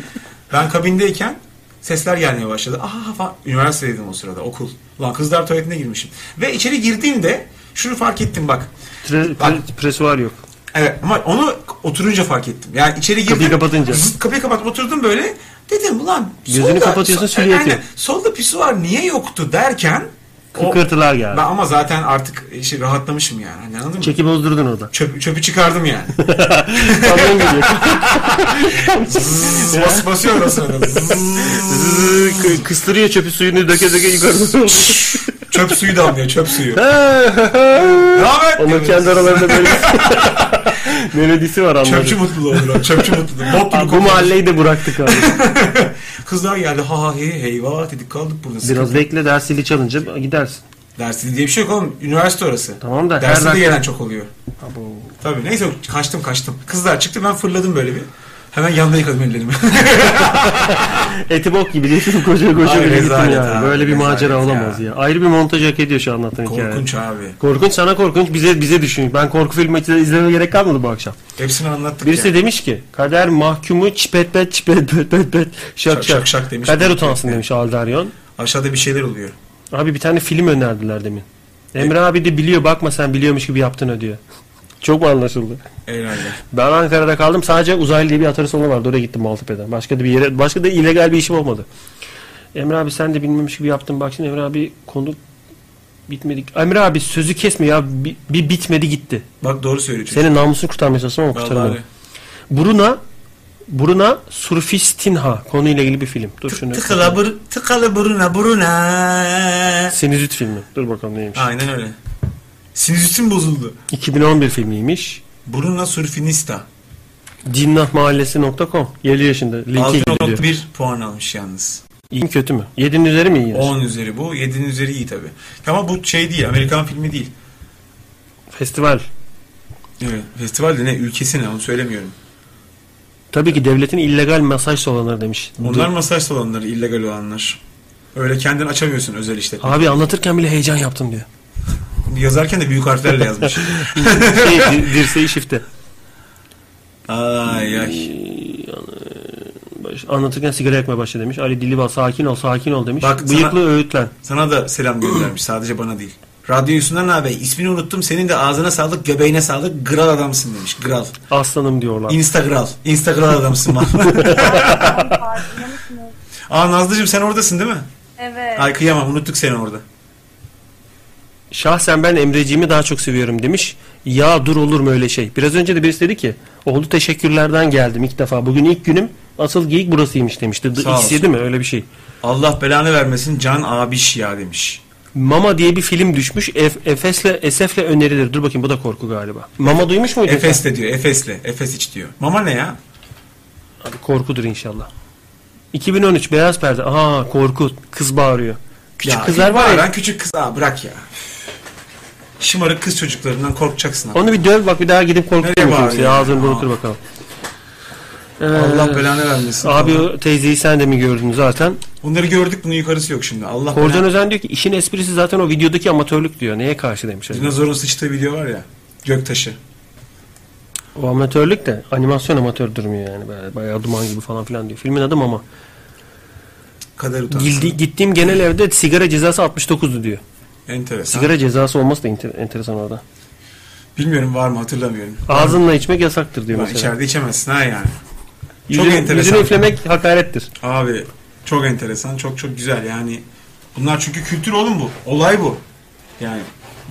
Ben kabindeyken sesler gelmeye başladı. Aha falan. Üniversitedeydim o sırada okul. Lan kızlar tuvaletine girmişim. Ve içeri girdiğimde şunu fark ettim bak.
Pre,
Bak.
pre- presuar yok.
Evet ama onu oturunca fark ettim. Yani içeri girdim.
Kapıyı kapatınca.
Zıt kapıyı kapatıp oturdum böyle. Dedim ulan
Gözünü kapatıyorsun,
so- E,
süliyet yok."
solda pisuar niye yoktu derken o-
Kıkırtılar geldi.
ben ama zaten artık işi rahatlamışım yani. Hani anladın mı?
Çeki bozdurdun orada.
Çöpü, çöpü çıkardım yani.
Kamyon geliyor.
Zzz, bas, basıyor o sırada. Zzz.
Kı- Kıstırıyor çöpü suyunu döke döke yukarı doğru.
çöp suyu damlıyor çöp suyu. Ne haber?
Onun kendi aralarında böyle melodisi var anladım.
Çöpçü mutluluğu olur o. Çöpçü mutluluğu. Bok gibi
Abi, bu
kokuyor.
mahalleyi de bıraktık abi.
Kızlar geldi. Ha ha hey heyvah dedik kaldık burada. Sıkıntı.
Biraz bekle dersili çalınca gidersin.
Dersli diye bir şey yok oğlum. Üniversite orası.
Tamam da her
Dersli de
dakika-
gelen çok oluyor. Tabii neyse kaçtım kaçtım. Kızlar çıktı ben fırladım böyle bir. Hemen yanına yıkadım ellerimi.
Eti bok gibi diyorsun koca koca
Ay,
bile gittin
rezalet
yani.
abi,
Böyle bir
rezalet
macera
ya.
olamaz ya. Ayrı bir montaj hak ediyor şu anlattığın hikaye.
Korkunç abi.
Korkunç sana korkunç bize bize düşün. Ben korku filmi izle- izlemeye gerek kalmadı bu akşam.
Hepsini anlattık
Birisi
ya.
demiş ki kader mahkumu çipet pet çipet pet pet pet şak şak,
şak şak demiş.
Kader utansın demiş Aldaryon.
Aşağıda bir şeyler oluyor.
Abi bir tane film önerdiler demin.
E-
Emre abi de biliyor bakma sen biliyormuş gibi yaptın ödüyor. Çok mu anlaşıldı?
Herhalde.
Ben Ankara'da kaldım. Sadece uzaylı diye bir atarı vardı. Oraya gittim Maltepe'den. Başka da bir yere, başka da illegal bir işim olmadı. Emre abi sen de bilmemiş gibi yaptın. Bak şimdi Emre abi konu bitmedi. Emre abi sözü kesme ya. Bir, bir bitmedi gitti.
Bak doğru söylüyor çocuk.
Senin namusunu kurtarmaya çalıştım ama
Vallahi
kurtaramadım.
abi.
Bruna Bruna Surfistinha konuyla ilgili bir film. Dur şunu.
Tıkala bır, tıkalı buruna buruna.
Sinüzit filmi. Dur bakalım neymiş.
Aynen öyle. Sinüzitim bozuldu.
2011 filmiymiş.
Buruna surfinista.
Cinnahmahallesi.com 7 yaşında. Linke gidiyor.
6.1 puan almış yalnız.
İyi mi kötü mü? 7'nin üzeri mi iyi?
10 üzeri bu. 7'nin üzeri iyi tabi. Ama bu şey değil. Amerikan filmi değil.
Festival.
Evet. Festivalde ne? Ülkesi ne? Onu söylemiyorum.
Tabii ki devletin illegal masaj salonları demiş.
Onlar masaj salonları. illegal olanlar. Öyle kendin açamıyorsun özel işletme.
Abi anlatırken bile heyecan yaptım diyor.
Yazarken de büyük harflerle yazmış.
Şey, di- dirseği şifte.
ay ay.
Baş- Anlatırken sigara yakmaya başla demiş. Ali Dilibal sakin ol sakin ol demiş.
Bak sana-
Bıyıklı öğütlen.
Sana da selam göndermiş. Sadece bana değil. Radyo Yusunan abi ismini unuttum. Senin de ağzına sağlık, göbeğine sağlık. Gral adamsın demiş. Gral.
Aslanım diyorlar.
Instagram. Instagram adamsın vallahi.
Farkında mısınız?
Aa Nazlıcığım sen oradasın değil mi?
Evet.
Ay kıyamam unuttuk seni orada.
Şahsen ben Emreciğimi daha çok seviyorum demiş. Ya dur olur mu öyle şey? Biraz önce de birisi dedi ki oldu teşekkürlerden geldim ilk defa. Bugün ilk günüm asıl geyik burasıymış demişti.
Sağ olsun.
X7 mi öyle bir şey.
Allah belanı vermesin Can Abiş ya demiş.
Mama diye bir film düşmüş. Ef- Efes'le Esef'le önerilir. Dur bakayım bu da korku galiba. Mama duymuş muydun? sen?
Efes'le diyor Efes'le. Efes iç diyor. Mama ne ya?
Abi korkudur inşallah. 2013 beyaz perde. Aa korku. Kız bağırıyor. Küçük
Ya,
kızlar var ya.
Ben küçük kız. Aa bırak ya. Şımarık kız çocuklarından korkacaksın. abi.
Onu bir döv bak bir daha gidip korkutuyor
Nereye
musun?
bağırıyor?
kimseye? Ağzını
Aa.
burutur bakalım. Ee,
Allah belanı vermesin.
Abi
Allah.
o teyzeyi sen de mi gördün zaten?
Bunları gördük bunun yukarısı yok şimdi. Allah
Korcan
belanı.
Özen diyor ki işin esprisi zaten o videodaki amatörlük diyor. Neye karşı demiş. acaba?
Dinozorun sıçtığı video var ya. Göktaşı.
O amatörlük de animasyon amatör durmuyor yani. Böyle Bayağı duman gibi falan filan diyor. Filmin adı Mama.
Kader utansın.
Gildi, gittiğim genel evde sigara cezası 69'du diyor.
Enteresan.
Sigara cezası olması da enter- enteresan orada.
Bilmiyorum var mı hatırlamıyorum.
Ağzınla içmek yasaktır diyor
Ya,
mesela.
içeride içemezsin ha yani. Çok
Yüzünü,
enteresan.
yüzünü üflemek hakarettir.
Abi çok enteresan, çok çok güzel yani. Bunlar çünkü kültür oğlum bu. Olay bu. Yani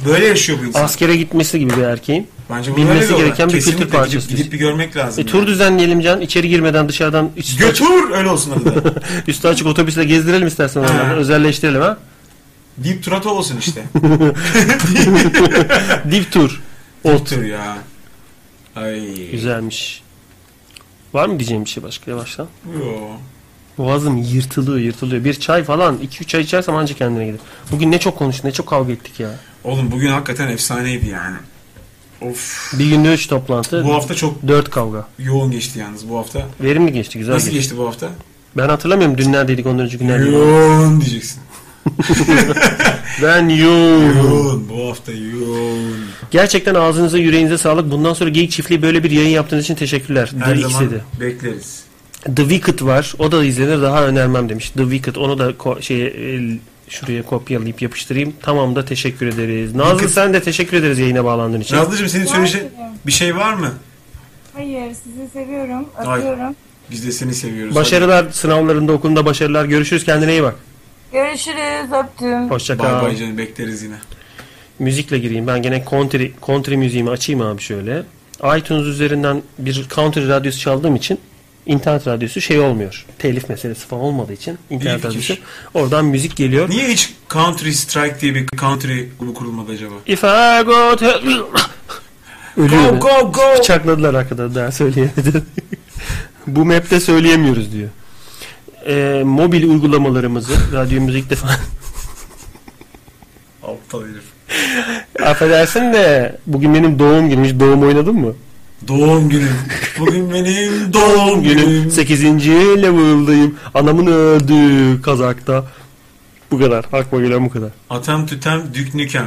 böyle yaşıyor bu insan.
Askere gitmesi gibi bir erkeğin.
Bence bunlar
bilmesi
öyle olay.
gereken bir
Kesinlikle
kültür
gidip-
parçası.
Gidip, bir görmek lazım.
E, tur
yani.
düzenleyelim Can. İçeri girmeden dışarıdan üstü, açık,
Götür öyle olsun adı da.
üstü açık otobüsle gezdirelim istersen. onları. Özelleştirelim ha.
Deep Turat olsun işte.
Dip tur. Ot.
Otur ya. Ay.
Güzelmiş. Var mı diyeceğim bir şey başka yavaştan?
Yo.
Boğazım yırtılıyor yırtılıyor. Bir çay falan 2-3 çay içersem anca kendine gelir. Bugün ne çok konuştuk ne çok kavga ettik ya.
Oğlum bugün hakikaten efsaneydi yani. Of.
Bir günde 3 toplantı,
Bu hafta çok
4 kavga.
yoğun geçti yalnız bu hafta.
Verimli geçti, güzel
Nasıl
geçti.
geçti bu hafta?
Ben hatırlamıyorum dün neredeydik, ondan önceki neredeydik.
Yoğun diyeceksin.
Ben you.
Yoğun. Bu hafta yoğun.
Gerçekten ağzınıza yüreğinize sağlık. Bundan sonra Geyik Çiftliği böyle bir yayın yaptığınız için teşekkürler.
Her
The
zaman
X'di.
bekleriz.
The Wicked var. O da izlenir. Daha önermem demiş. The Wicked. Onu da ko- şeye, el- şuraya kopyalayıp yapıştırayım. Tamam da teşekkür ederiz. Nazlı
Wicked-
sen de teşekkür ederiz yayına bağlandığın için.
Nazlıcığım senin söyleyecek bir şey var mı?
Hayır sizi seviyorum.
Ay.
Öpüyorum.
Biz de seni seviyoruz.
Başarılar sınavlarında, okulunda başarılar. Görüşürüz. Kendine iyi bak.
Görüşürüz. Öptüm.
Hoşça
Hadi. Bay
kal.
bay canım bekleriz yine.
Müzikle gireyim. Ben gene country, country müziğimi açayım abi şöyle. iTunes üzerinden bir country radyosu çaldığım için internet radyosu şey olmuyor. Telif meselesi falan olmadığı için internet
fikir.
radyosu. Oradan müzik geliyor.
Niye hiç Country Strike diye bir country grubu kurulmadı acaba?
If I go to... Ölüyor.
Go go go!
Bıçakladılar arkada daha söyleyemedim. Bu map'te söyleyemiyoruz diyor. Ee, mobil uygulamalarımızı radyomuzu ilk defa
Aptal herif.
affedersin de bugün benim doğum günüm. Hiç doğum oynadın mı?
Doğum günüm. Bugün benim doğum günüm.
Günüm 8. level'dayım. Anamın öldü Kazak'ta. Bu kadar. Aklıma gelen bu kadar.
Atam tütem düknükem.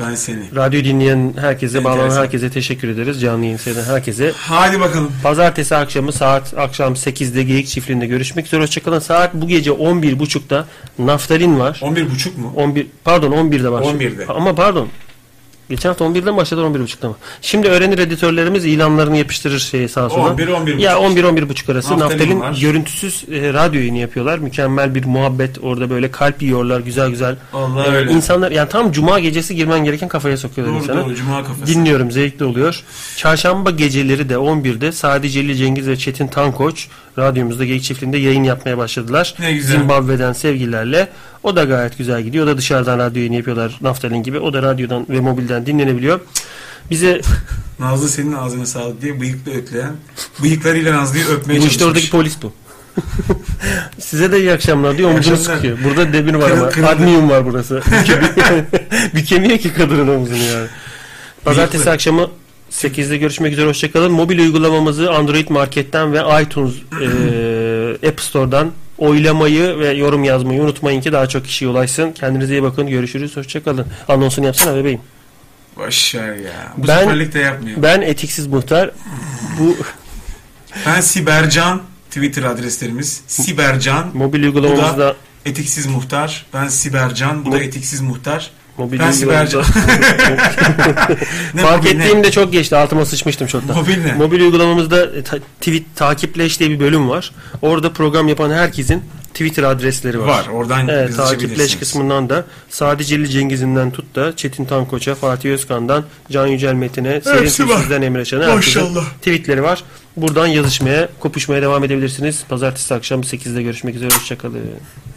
Ben seni.
Radyo dinleyen herkese, bağlanan
Enteresan.
herkese teşekkür ederiz. Canlı yayın seyreden herkese.
Hadi bakalım.
Pazartesi akşamı saat akşam 8'de Geyik Çiftliği'nde görüşmek üzere. Hoşçakalın. Saat bu gece 11.30'da Naftalin var.
11.30 mu?
11 pardon 11'de başladı.
11'de.
Ama pardon. Geçen hafta 11'de mi başladı 11.30'da mı? Şimdi öğrenir editörlerimiz ilanlarını yapıştırır şeye sağa sola.
11, 11.30.
Ya 11 11.30 arası
Naftalin
Naftalin
var.
görüntüsüz e, radyo yayını yapıyorlar. Mükemmel bir muhabbet orada böyle kalp yiyorlar güzel güzel.
Allah
E,
öyle.
İnsanlar yani tam cuma gecesi girmen gereken kafaya sokuyorlar
Doğru
insanı.
doğru cuma kafası.
Dinliyorum zevkli oluyor. Çarşamba geceleri de 11'de sadece Ali Cengiz ve Çetin Tankoç radyomuzda Geyik Çiftliği'nde yayın yapmaya başladılar.
Ne güzel.
Zimbabwe'den sevgilerle. O da gayet güzel gidiyor. O da dışarıdan radyo yayını yapıyorlar Naftalin gibi. O da radyodan ve mobilden dinlenebiliyor. Bize
Nazlı senin ağzına sağlık diye bıyıkla ökleyen. Bıyıklarıyla Nazlı'yı öpmeye
bu işte
çalışmış.
oradaki polis bu. Size de iyi akşamlar diyor omzunu
akşamlar.
sıkıyor. Burada demir var
Kırıl-
ama.
kırıldı.
Admiyum var burası. Bükemiyor ki kadının omzunu yani. Pazartesi
Bıyıklı.
akşamı 8'de görüşmek üzere hoşçakalın. Mobil uygulamamızı Android Market'ten ve iTunes eee, App Store'dan oylamayı ve yorum yazmayı unutmayın ki daha çok kişiye ulaşsın. Kendinize iyi bakın. Görüşürüz. Hoşçakalın. Anonsunu yapsana bebeğim.
Başar ya. Bu
Ben-
seferlik de yapmıyor.
Ben etiksiz muhtar. Bu
Ben Sibercan. Twitter adreslerimiz. Sibercan.
mobil uygulamamızda
Etiksiz Muhtar. Ben Sibercan. Bu da
Bu-
Etiksiz Muhtar.
mobil
Ben
uygulamamızda
Sibercan. Ne
Fark
mobil ne?
ettiğimde çok geçti. Altıma sıçmıştım çoktan.
Mobil ne?
Mobil uygulamamızda e, ta- tweet takipleş diye bir bölüm var. Orada program yapan herkesin Twitter adresleri var.
Var. Oradan
Evet,
bizi
takipleş
açabilirsiniz.
kısmından da Sadece Ali Cengiz'inden tut da Çetin Tankoç'a, Fatih Özkan'dan Can Yücel Metin'e, Selin
Hepsi var.
Sizden Emre Şen'e herkesin
Maşallah.
tweetleri var. Buradan yazışmaya, kopuşmaya devam edebilirsiniz. Pazartesi akşam 8'de görüşmek üzere. Hoşçakalın.